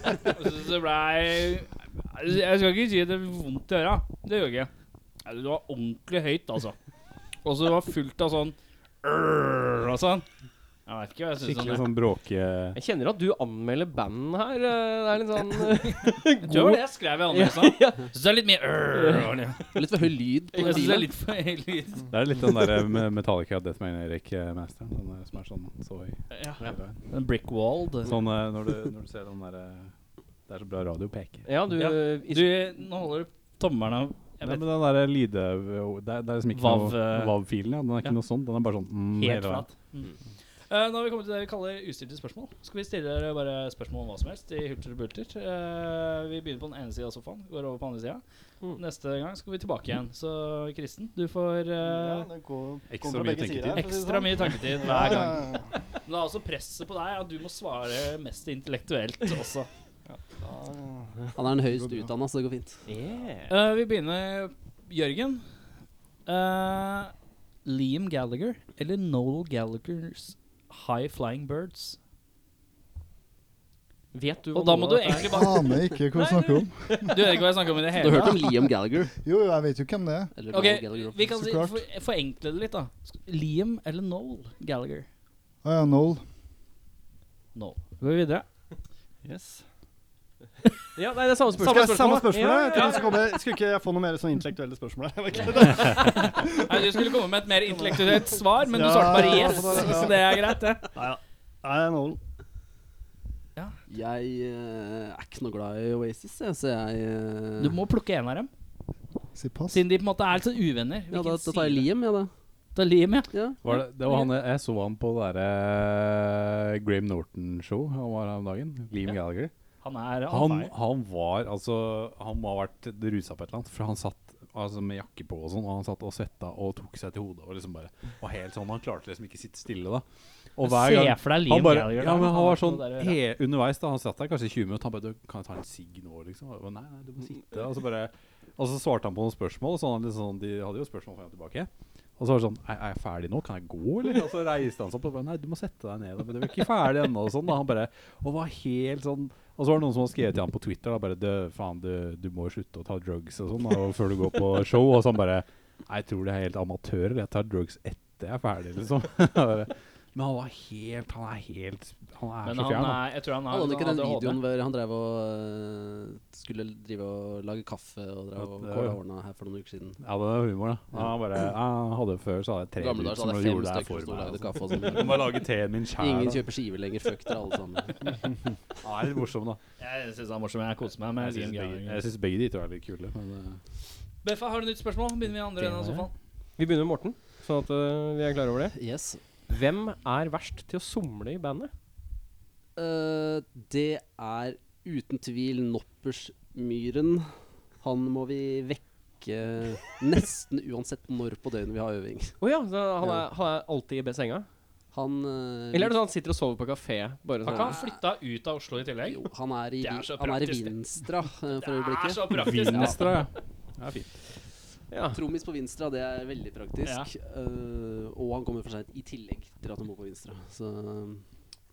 Speaker 1: Jeg synes det blei Jeg skal ikke si det var vondt i øra. Det gjør jeg ikke. Nei, Det var ordentlig høyt, altså. Og så det var fullt av sånn «Rrrr» og sånn. Jeg vet ikke hva jeg syns om
Speaker 2: Skikkelig
Speaker 1: det.
Speaker 2: sånn bråke...
Speaker 3: Jeg kjenner at du anmelder band her. eh, Det er litt sånn eh,
Speaker 1: Jeg tror det var det jeg skrev i anmeldelsen. Jeg synes det er litt mye «Rrrr» over det.
Speaker 6: Litt for høy lyd på
Speaker 1: Jeg
Speaker 6: den
Speaker 1: synes det er
Speaker 6: bilen.
Speaker 1: litt for høy lyd.
Speaker 2: Det er litt den der med Metallica Death Magnetic-masteren. Den der som er sånn så høy.
Speaker 1: Ja. En brick wall. det-
Speaker 2: Sånn eh, når du, når du ser den derre Det er så bra radio peker.
Speaker 3: Ja, du
Speaker 1: Ja.
Speaker 3: eh,
Speaker 1: Du, nå holder du tommelen av jeg
Speaker 2: Nei,
Speaker 1: vet,
Speaker 2: men den derre lyde... Det er, det er liksom ikke
Speaker 1: Vav,
Speaker 2: noe
Speaker 1: eh,
Speaker 2: Vav-filen, ja. Den er ikke
Speaker 1: ja.
Speaker 2: noe sånn. Den er bare sånn mm, hele
Speaker 1: Helt
Speaker 2: veien.
Speaker 1: flat. Mm. Eh, nå har vi kommet til det vi kaller ustilte spørsmål. Skal vi stille dere bare spørsmål om hva som helst i hulter og bulter? Eh, vi begynner på den ene sida av sofaen, går over på andre sida.
Speaker 3: Mm.
Speaker 1: Neste gang skal vi tilbake igjen. Så Kristen, du får eh,
Speaker 8: det går,
Speaker 2: Ikke
Speaker 8: kommer
Speaker 2: så
Speaker 8: fra
Speaker 2: mye
Speaker 8: begge
Speaker 2: tenketid.
Speaker 8: sider, for å si det
Speaker 1: ekstra
Speaker 8: sånn.
Speaker 1: mye tanketid hver gang. Men det er også presset på deg at du må svare mest intellektuelt også.
Speaker 6: Han er den høyest utdanna, så det går fint.
Speaker 1: Eh, vi begynner Jørgen. Eh, Liam Gallagher eller Noel Gallaghers High Flying Birds?
Speaker 3: vet du hva
Speaker 1: Og da må
Speaker 3: noe
Speaker 1: du
Speaker 3: av dette er?
Speaker 1: egentlig bare
Speaker 7: Aner ikke hva vi snakker om.
Speaker 1: Du hører ikke hva jeg snakker om i det
Speaker 6: Du har
Speaker 1: hele
Speaker 6: hørt om Liam Gallagher?
Speaker 7: Jo, jo, jeg vet jo hvem det er.
Speaker 6: Eller
Speaker 1: Ok,
Speaker 6: Noel Gallagher.
Speaker 1: vi kan
Speaker 7: Så
Speaker 1: si,
Speaker 7: klart.
Speaker 1: for, forenkle det litt, da. Liam eller Noel Gallagher?
Speaker 7: Ah, ja, Noel.
Speaker 1: Noel. Går vi videre?
Speaker 8: Yes.
Speaker 3: Ja, nei, det er samme spørsmål.
Speaker 8: Samme, samme spørsmål.
Speaker 3: Ja,
Speaker 8: Jeg
Speaker 3: ja,
Speaker 8: tenkte jeg skulle komme- Skulle ikke jeg få noe mer sånn intellektuelle spørsmål? Jeg vet ikke, det er-
Speaker 1: Nei, Du skulle komme med et mer intellektuelt svar, men du
Speaker 8: Ja,
Speaker 1: svarte bare
Speaker 8: ja,
Speaker 1: yes.
Speaker 8: ja.
Speaker 1: Så det er greit, det.
Speaker 8: Nei, det er noen.
Speaker 6: Jeg eh, er ikke noe glad i Oasis, jeg, så jeg eh,
Speaker 1: Du må plukke en av dem,
Speaker 7: Si pass.
Speaker 1: siden de på en måte er litt sånn uvenner.
Speaker 6: Ja, da,
Speaker 1: Hvilken
Speaker 6: da tar jeg
Speaker 1: side?
Speaker 6: Liam, jeg, ja,
Speaker 1: Ta Liam, ja.
Speaker 6: da. Ja.
Speaker 2: Var det, det var han, jeg så han på det derre Graham Norton-show han var her om dagen. Liam Gallagher.
Speaker 1: Han er
Speaker 2: Han,
Speaker 1: on fire.
Speaker 2: han var altså Han må ha vært rusa på et eller annet, for han satt altså, med jakke på og sånn, og han satt og svetta og tok seg til hodet og liksom bare var helt sånn Han klarte liksom ikke sitte stille da. Og hver
Speaker 1: Se
Speaker 2: gang
Speaker 1: for deg
Speaker 2: han
Speaker 1: Liam
Speaker 2: bare,
Speaker 1: Gallagher.
Speaker 2: ja,
Speaker 1: der.
Speaker 2: men han var
Speaker 1: ikke
Speaker 2: sånn
Speaker 1: noe der å gjøre.
Speaker 2: he, underveis da Han satt der kanskje i 20 minutter Han bare, du, kan jeg ta en sigg nå liksom og, Nei, nei, du må sitte Og så bare Og så svarte han på noen spørsmål Sånn, sånn De hadde jo spørsmål frem og tilbake Og så var det sånn Er er jeg ferdig nå? Kan jeg gå, eller? Og så reiste han seg opp Og bare, nei, du må sette deg ned Men du er ikke ferdig enda Og sånn da Han bare Og var helt sånn Og så var det noen som hadde skrevet til han på Twitter da Bare, du, faen, du, du må jo slutte å ta drugs og sånn da og Før du går på show Og så han bare Nei, jeg tror det er helt amatører Jeg tar drugs etter jeg er ferdig, liksom Bare, men han var helt Han er helt Han er
Speaker 1: Men
Speaker 2: så fjern
Speaker 1: han
Speaker 2: da.
Speaker 1: er, jeg tror han har
Speaker 6: Hadde han ikke den
Speaker 1: ADHD.
Speaker 6: videoen hvor han drev og eh, skulle drive og lage kaffe og drev og
Speaker 2: Ja, det-
Speaker 6: kåla hårene her for noen uker siden?
Speaker 2: Ja, det var humor, da. Han bare Jeg hadde før, så hadde jeg tre
Speaker 6: Gamle
Speaker 2: minutter
Speaker 6: dager så
Speaker 2: som
Speaker 6: hadde jeg fem
Speaker 2: gjorde det her for
Speaker 6: stykker som sto og
Speaker 2: meg.
Speaker 6: lagde
Speaker 2: altså.
Speaker 6: kaffe og
Speaker 2: Jeg
Speaker 6: sånn.
Speaker 2: må lage teen min sjæl.
Speaker 6: Ingen
Speaker 2: da.
Speaker 6: kjøper skiver lenger, fuck dere alle sammen.
Speaker 2: Han er litt morsom, da.
Speaker 1: Jeg syns han er morsom. Jeg koser meg med
Speaker 2: Jeg syns
Speaker 1: Liam
Speaker 2: begge, jeg
Speaker 1: Gallagher.
Speaker 2: synes begge de to er litt kule. Men eh,
Speaker 1: Beffa, har du nytt spørsmål? Begynner vi i andre enden av sofaen.
Speaker 3: Vi begynner med Morten, sånn at eh, vi er klare over det.
Speaker 6: Yes.
Speaker 3: Hvem er verst til å somle i bandet?
Speaker 6: Eh, det er uten tvil Noppersmyren. Han må vi vekke nesten uansett når på døgnet vi har øving.
Speaker 3: Å ja, så han,
Speaker 6: Ja.
Speaker 3: er, han er alltid i be- senga?
Speaker 6: Han eh,
Speaker 3: Eller er det sånn at han sitter og sover på kafé? Bare
Speaker 1: Har
Speaker 3: sånn
Speaker 1: ikke han flytta ut av Oslo i tillegg?
Speaker 6: Jo, han er i,
Speaker 1: Det er så
Speaker 6: han er i
Speaker 1: praktisk, det.
Speaker 6: Vinstra eh, for
Speaker 1: Det er
Speaker 6: øyeblikket.
Speaker 1: så praktisk!
Speaker 2: Vinstra, ja. Det er fint.
Speaker 3: Ja.
Speaker 6: Trommis på Vinstra, det er veldig praktisk. Eh, og han kommer for seint i tillegg til at han bor på Vinstra. Så um,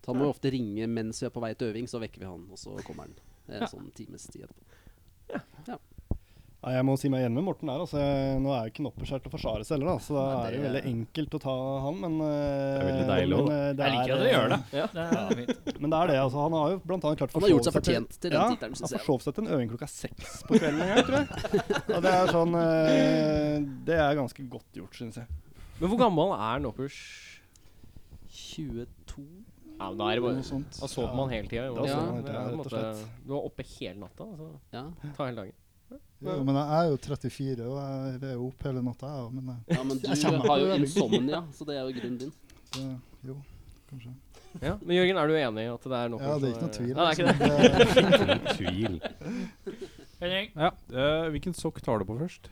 Speaker 6: han må jo ofte ringe mens vi er på vei til øving, så vekker vi han, og så kommer han. En sånn times tid etterpå.
Speaker 8: Nei, jeg må si meg igjen med Morten der. Altså, jeg, nå er jo ikke Knoppers her til å forsvare seg heller, da, så da
Speaker 6: Nei,
Speaker 8: er det jo
Speaker 6: det-
Speaker 8: veldig enkelt å ta han, men eh,
Speaker 2: Det er veldig deilig også, da.
Speaker 8: men, eh, det
Speaker 1: Jeg liker
Speaker 8: er,
Speaker 1: at dere gjør det.
Speaker 3: Ja.
Speaker 1: Det er fint.
Speaker 8: Men det er det, altså. Han har jo blant annet klart
Speaker 6: Han har gjort seg
Speaker 8: forsov til-
Speaker 6: fortjent til den
Speaker 8: ja,
Speaker 6: tittelen, synes
Speaker 8: Han
Speaker 6: jeg.
Speaker 8: forsov seg til en øving klokka seks på kvelden en gang, tror jeg. Og det er sånn eh, Det er ganske godt gjort, syns jeg.
Speaker 3: Men hvor gammel er Noppers?
Speaker 6: 22
Speaker 3: Ja, men da er det
Speaker 7: Noe
Speaker 3: bare
Speaker 7: sånt.
Speaker 3: Da sover man hele tida.
Speaker 8: Da
Speaker 6: sover
Speaker 3: Ja,
Speaker 6: man
Speaker 8: hele
Speaker 3: det er på
Speaker 8: tida,
Speaker 3: en
Speaker 8: rett og
Speaker 3: måte- du var oppe hele natta, altså.
Speaker 6: Ja.
Speaker 3: Ta hele dagen.
Speaker 7: Jo, men jeg er jo 34, og jeg er jo opp hele natta, jeg òg. Men jeg,
Speaker 6: ja, men du
Speaker 7: kjenner
Speaker 6: har jo
Speaker 7: det veldig.
Speaker 6: insomnia, så det er jo grunnen din.
Speaker 7: det, jo, kanskje.
Speaker 3: Ja. Men Jørgen, er du enig i at det er Noppers?
Speaker 7: Ja, det er ikke
Speaker 3: som
Speaker 7: noe tvil.
Speaker 3: Nei, det er ikke det.
Speaker 7: altså. Det-
Speaker 2: Tvil.
Speaker 1: Henning,
Speaker 2: Ja. eh, hvilken sokk tar du på først?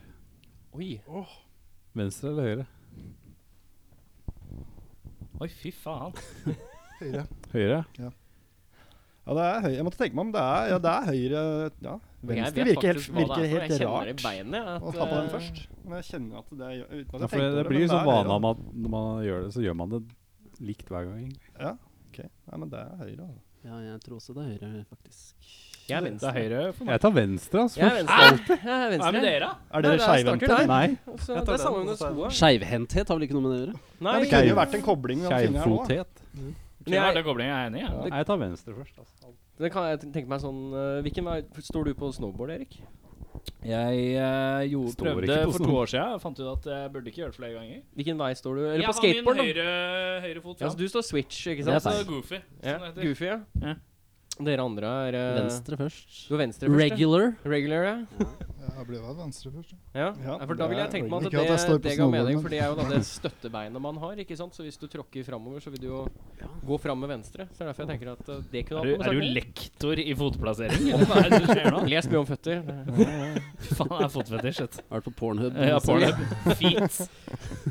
Speaker 3: Oi.
Speaker 2: Venstre eller høyre?
Speaker 1: Oi, fy faen.
Speaker 7: Høyre.
Speaker 2: Høyre.
Speaker 8: Ja, det er høyre. Jeg måtte tenke meg om. Det er, ja, det er høyre ja. Venstre
Speaker 3: Jeg vet
Speaker 8: virker helt,
Speaker 3: faktisk hva det er for,
Speaker 8: virker helt
Speaker 3: jeg kjenner det i
Speaker 8: rart
Speaker 3: beinet. At,
Speaker 8: å ta på den
Speaker 3: eh,
Speaker 8: først. Men jeg kjenner at det er uten at
Speaker 2: Ja,
Speaker 8: jeg
Speaker 2: for det,
Speaker 8: tenkte over
Speaker 2: blir jo
Speaker 8: men
Speaker 2: sånn
Speaker 8: det er
Speaker 2: vane
Speaker 8: høyre.
Speaker 2: om at når man gjør det, så gjør man det likt hver gang. egentlig.
Speaker 8: Ja. Ok, Nei, men det er høyre. Altså.
Speaker 6: Ja, jeg tror også det er høyre, faktisk.
Speaker 3: Jeg er
Speaker 1: Det
Speaker 3: venstre.
Speaker 1: er høyre for meg.
Speaker 2: Jeg tar venstre, altså.
Speaker 3: Jeg er
Speaker 2: først.
Speaker 3: venstre. Jeg er
Speaker 1: Hva er med
Speaker 3: venstre.
Speaker 1: dere, da?
Speaker 8: Er
Speaker 3: Nei,
Speaker 8: dere
Speaker 3: det er
Speaker 8: skeivhendte?
Speaker 3: starter der.
Speaker 2: Nei.
Speaker 3: Også,
Speaker 8: Jeg tar
Speaker 3: det er samme
Speaker 8: den,
Speaker 3: under
Speaker 8: så er
Speaker 3: skoa.
Speaker 6: Skeivhendthet har vel ikke noe med det å gjøre?
Speaker 3: Nei,
Speaker 8: Nei, det kunne jo vært en kobling. vi hadde funnet her nå, da.
Speaker 2: Skeivfotet.
Speaker 1: Kunne vært en kobling, jeg er enig. Ja.
Speaker 2: Nei, jeg tar venstre først. Altså.
Speaker 3: det kan jeg tenke meg sånn eh, Hvilken vei står du på snowboard, Erik?
Speaker 1: Jeg eh, gjorde,
Speaker 2: Står
Speaker 1: prøvde
Speaker 2: ikke på
Speaker 1: for
Speaker 2: snor.
Speaker 1: to år siden. Jeg fant ut at jeg burde ikke gjøre det flere ganger.
Speaker 3: Hvilken vei står du? Eller
Speaker 1: jeg
Speaker 3: på skateboard,
Speaker 1: har min
Speaker 3: da?
Speaker 1: høyre, høyre fot
Speaker 3: Ja,
Speaker 1: fram.
Speaker 3: så Altså, du står switch, ikke
Speaker 1: Ja,
Speaker 3: sant?
Speaker 6: Det er feil.
Speaker 1: goofy.
Speaker 3: Ja.
Speaker 1: Sånn heter det.
Speaker 3: Goofy, ja.
Speaker 1: Ja.
Speaker 3: Dere andre er eh,
Speaker 6: Venstre først.
Speaker 3: Du er venstre først, ja.
Speaker 6: Regular.
Speaker 3: Regular, ja.
Speaker 7: Jeg ble vel venstre først.
Speaker 3: Ja,
Speaker 8: Ja,
Speaker 3: for da
Speaker 8: det
Speaker 3: vil jeg
Speaker 8: er
Speaker 3: tenke meg at
Speaker 7: Ikke at jeg
Speaker 3: det,
Speaker 7: står på
Speaker 3: det ga
Speaker 7: snowboarden,
Speaker 3: mening,
Speaker 7: men-
Speaker 3: for det er jo da det støttebeinet man har, ikke sant? Så hvis du tråkker framover, så vil du jo gå fram med venstre. Så det er derfor jeg tenker at eh, det kunne
Speaker 1: Er, du,
Speaker 3: hatt noe
Speaker 1: er
Speaker 3: med
Speaker 1: du
Speaker 3: saken.
Speaker 1: lektor i fotplassering? eller Hva er det som skjer nå?
Speaker 3: Les mye om føtter.
Speaker 1: Fy Faen, det er fotfetisj. vet du.
Speaker 6: Har vært på Pornhub.
Speaker 1: Ja, pornhub. Feet.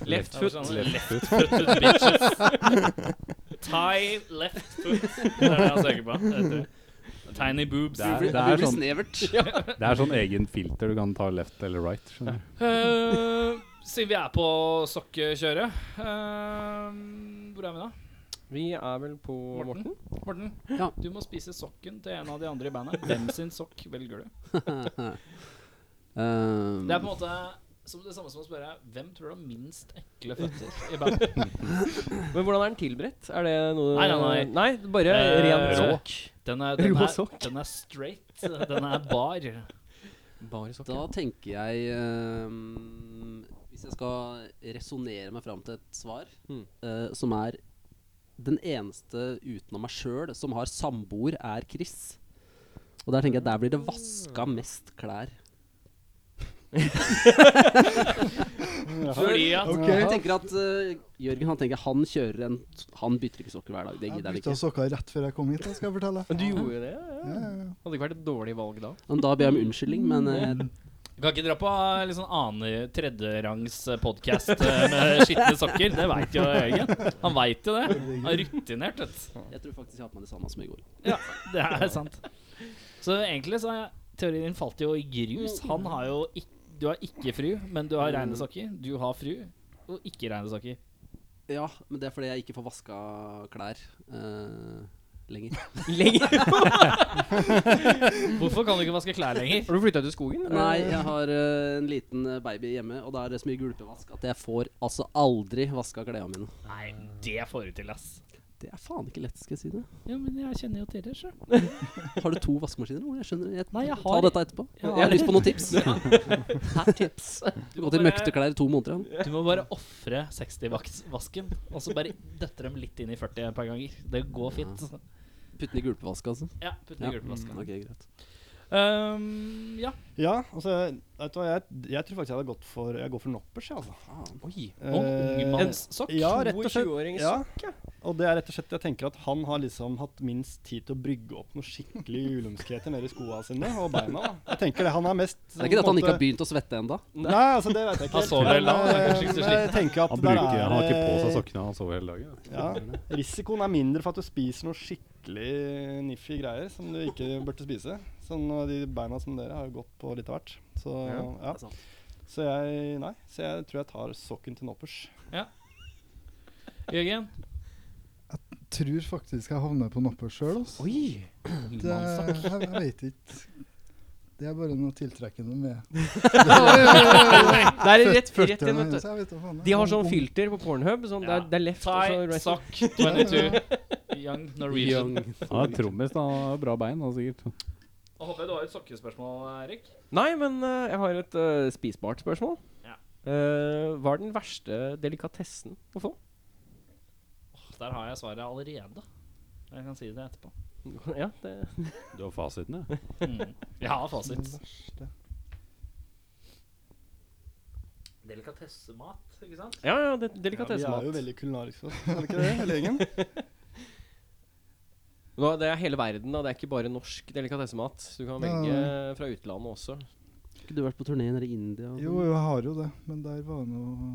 Speaker 3: Left
Speaker 1: Det er
Speaker 3: foot.
Speaker 1: sånn, Left footed bitches. Tie left foot. Det er det jeg søker på. Det heter det. Tiny boobs.
Speaker 2: Det er,
Speaker 6: Det
Speaker 2: det,
Speaker 6: blir
Speaker 2: er
Speaker 6: blir
Speaker 2: sånn,
Speaker 6: snevert. Eh,
Speaker 2: det er sånn egen filter du kan ta left eller right. skjønner du.
Speaker 1: Eh, Siden vi er på sokkekjøret eh, Hvor er vi da?
Speaker 3: Vi er vel på Morten?
Speaker 1: Morten? Morten,
Speaker 6: Ja.
Speaker 1: du må spise sokken til en av de andre i bandet. Hvem sin sokk velger du?
Speaker 6: Um,
Speaker 1: Det er på en måte som det samme som å spørre hvem tror du har minst ekle føtter i bandet.
Speaker 3: Men hvordan er den tilberedt? Er det noe
Speaker 1: Nei, nei,
Speaker 3: bare
Speaker 1: Eh,
Speaker 3: ren
Speaker 1: rå.
Speaker 3: sokk.
Speaker 1: Den er, den
Speaker 3: Rå
Speaker 1: er,
Speaker 3: sokk.
Speaker 1: den er straight. Den er bar.
Speaker 3: Bare sokk.
Speaker 6: Da tenker jeg ehm, Hvis jeg skal resonnere meg fram til et svar,
Speaker 3: Mm.
Speaker 6: eh, som er den eneste utenom meg sjøl som har samboer, er Chris. Og der tenker jeg der blir det vaska mest klær.
Speaker 1: Fordi at
Speaker 6: Jeg tenker at eh, Jørgen han tenker han kjører en Han bytter ikke sokker hver dag. Det
Speaker 7: Jeg
Speaker 6: gidder han
Speaker 7: bytta
Speaker 6: ikke.
Speaker 7: sokker rett før jeg kom hit, da, skal jeg fortelle.
Speaker 3: Men du gjorde det? Ja.
Speaker 7: Ja, ja, ja.
Speaker 3: Hadde ikke vært et dårlig valg da.
Speaker 6: Men da ber jeg om unnskyldning, men eh,
Speaker 1: Du kan ikke dra på eh, litt sånn annen tredjerangs podkast med skitne sokker. Det veit jo Jørgen. Han veit jo det. Han er rutinert, vet du.
Speaker 6: jeg tror faktisk jeg har på meg det samme som i går.
Speaker 1: Ja, det er sant. Så egentlig så har teorien din falt jo i grus. Han har jo ikke Du har ikke fru, men du har reine sokker. Du har fru, og ikke reine sokker.
Speaker 6: Ja, men det er fordi jeg ikke får vaska klær eh, lenger.
Speaker 1: Hvorfor kan du ikke vaske klær lenger?
Speaker 3: Har du flytta til skogen?
Speaker 6: Nei, jeg har eh, en liten eh, baby hjemme, og da er det så mye gulpevask at jeg får altså aldri vaska klærne mine.
Speaker 1: Nei, det får du til, ass.
Speaker 6: Det er faen ikke lett, skal jeg si det.
Speaker 1: Ja, men jeg kjenner jo til det, sjø.
Speaker 6: Har du to vaskemaskiner? Ole? Jeg skjønner jeg,
Speaker 1: Nei, jeg
Speaker 6: Ta
Speaker 1: har-
Speaker 6: dette etterpå.
Speaker 1: jeg
Speaker 6: Jeg
Speaker 1: har-
Speaker 6: har lyst på noen tips. Her tips. Du
Speaker 1: må
Speaker 6: går til
Speaker 1: bare-
Speaker 6: møkteklær i to måneder igjen.
Speaker 1: Du må bare ofre 60-vasken, og så bare døtte dem litt inn i 40 et par ganger. Det går fint. altså.
Speaker 6: Putte den i gulpevask, altså.
Speaker 1: Ja, putt den i
Speaker 6: Ja. Mm,
Speaker 1: gulpevasken.
Speaker 6: Ok, greit.
Speaker 1: Ehm, ja.
Speaker 8: Ja, altså, vet du hva, jeg, jeg tror faktisk jeg hadde gått for Jeg går for noppers, jeg, altså.
Speaker 1: Oi.
Speaker 8: Eh,
Speaker 1: Ungmannssokk.
Speaker 8: Ja, rett og slett.
Speaker 3: 22-åring
Speaker 8: Ja. Og det er rett og slett, jeg tenker at han har liksom hatt minst tid til å brygge opp noe skikkelig ulumskheter nede i skoa sine og beina. da. Jeg tenker det, han er mest...
Speaker 6: Det er ikke det at han ikke har begynt å svette ennå.
Speaker 8: Nei, altså det vet jeg ikke.
Speaker 1: Han
Speaker 8: helt,
Speaker 1: sover hele
Speaker 8: men,
Speaker 1: dagen, han er kanskje
Speaker 8: eh,
Speaker 1: ikke så
Speaker 8: men jeg tenker at
Speaker 2: Han,
Speaker 8: der
Speaker 2: bruker,
Speaker 8: er,
Speaker 2: han har ikke på seg
Speaker 8: eh,
Speaker 2: sokkene, han sover hele dagen.
Speaker 8: Ja, risikoen er mindre for at du spiser noe skikkelig niffy greier som du ikke burde spise. Sånn, og de beina som dere har jo gått på litt av hvert. Så, ja.
Speaker 6: det er sant.
Speaker 8: så, jeg, nei, så jeg tror jeg tar sokken til noppers.
Speaker 1: Jørgen.
Speaker 7: Tror faktisk jeg havner på nappet sjøl, altså.
Speaker 1: Oi.
Speaker 7: Det, jeg, jeg vet ikke. Det er bare noe tiltrekkende med
Speaker 3: Det er rett, rett inn,
Speaker 7: føttene
Speaker 3: vet
Speaker 7: hennes.
Speaker 3: du.
Speaker 7: Jeg vet da faen. jeg.
Speaker 3: De har sånn filter på Pornhub. Sånn, det, er, det er left og så
Speaker 1: Thai
Speaker 3: right.
Speaker 1: sock 22. Young Norwegian.
Speaker 2: Han er trommis, da. Han har bra bein, han sikkert.
Speaker 1: Jeg håper du har et sokkespørsmål, Erik.
Speaker 3: Nei, men eh, jeg har et eh, spisbart spørsmål.
Speaker 1: Ja.
Speaker 3: Eh, hva er den verste delikatessen å få?
Speaker 1: Der har jeg svaret allerede. Jeg kan si det etterpå.
Speaker 3: ja, det
Speaker 2: Du har fasiten, ja.
Speaker 1: Mm. Jeg har
Speaker 7: Den
Speaker 1: fasit.
Speaker 7: verste.
Speaker 1: Delikatessemat, ikke sant?
Speaker 3: Ja, ja, det,
Speaker 8: Ja, vi er
Speaker 3: delikatessemat.
Speaker 8: jo veldig kulinariske, også, er vi ikke det, Legen?
Speaker 3: Nå, det er hele verden, da. Det er ikke bare norsk delikatessemat. Du kan
Speaker 7: Nei, nei,
Speaker 3: velge fra utlandet også.
Speaker 6: Har ikke du vært på turné nede i India? og sånn?
Speaker 7: Jo, jeg har jo det, men der var noe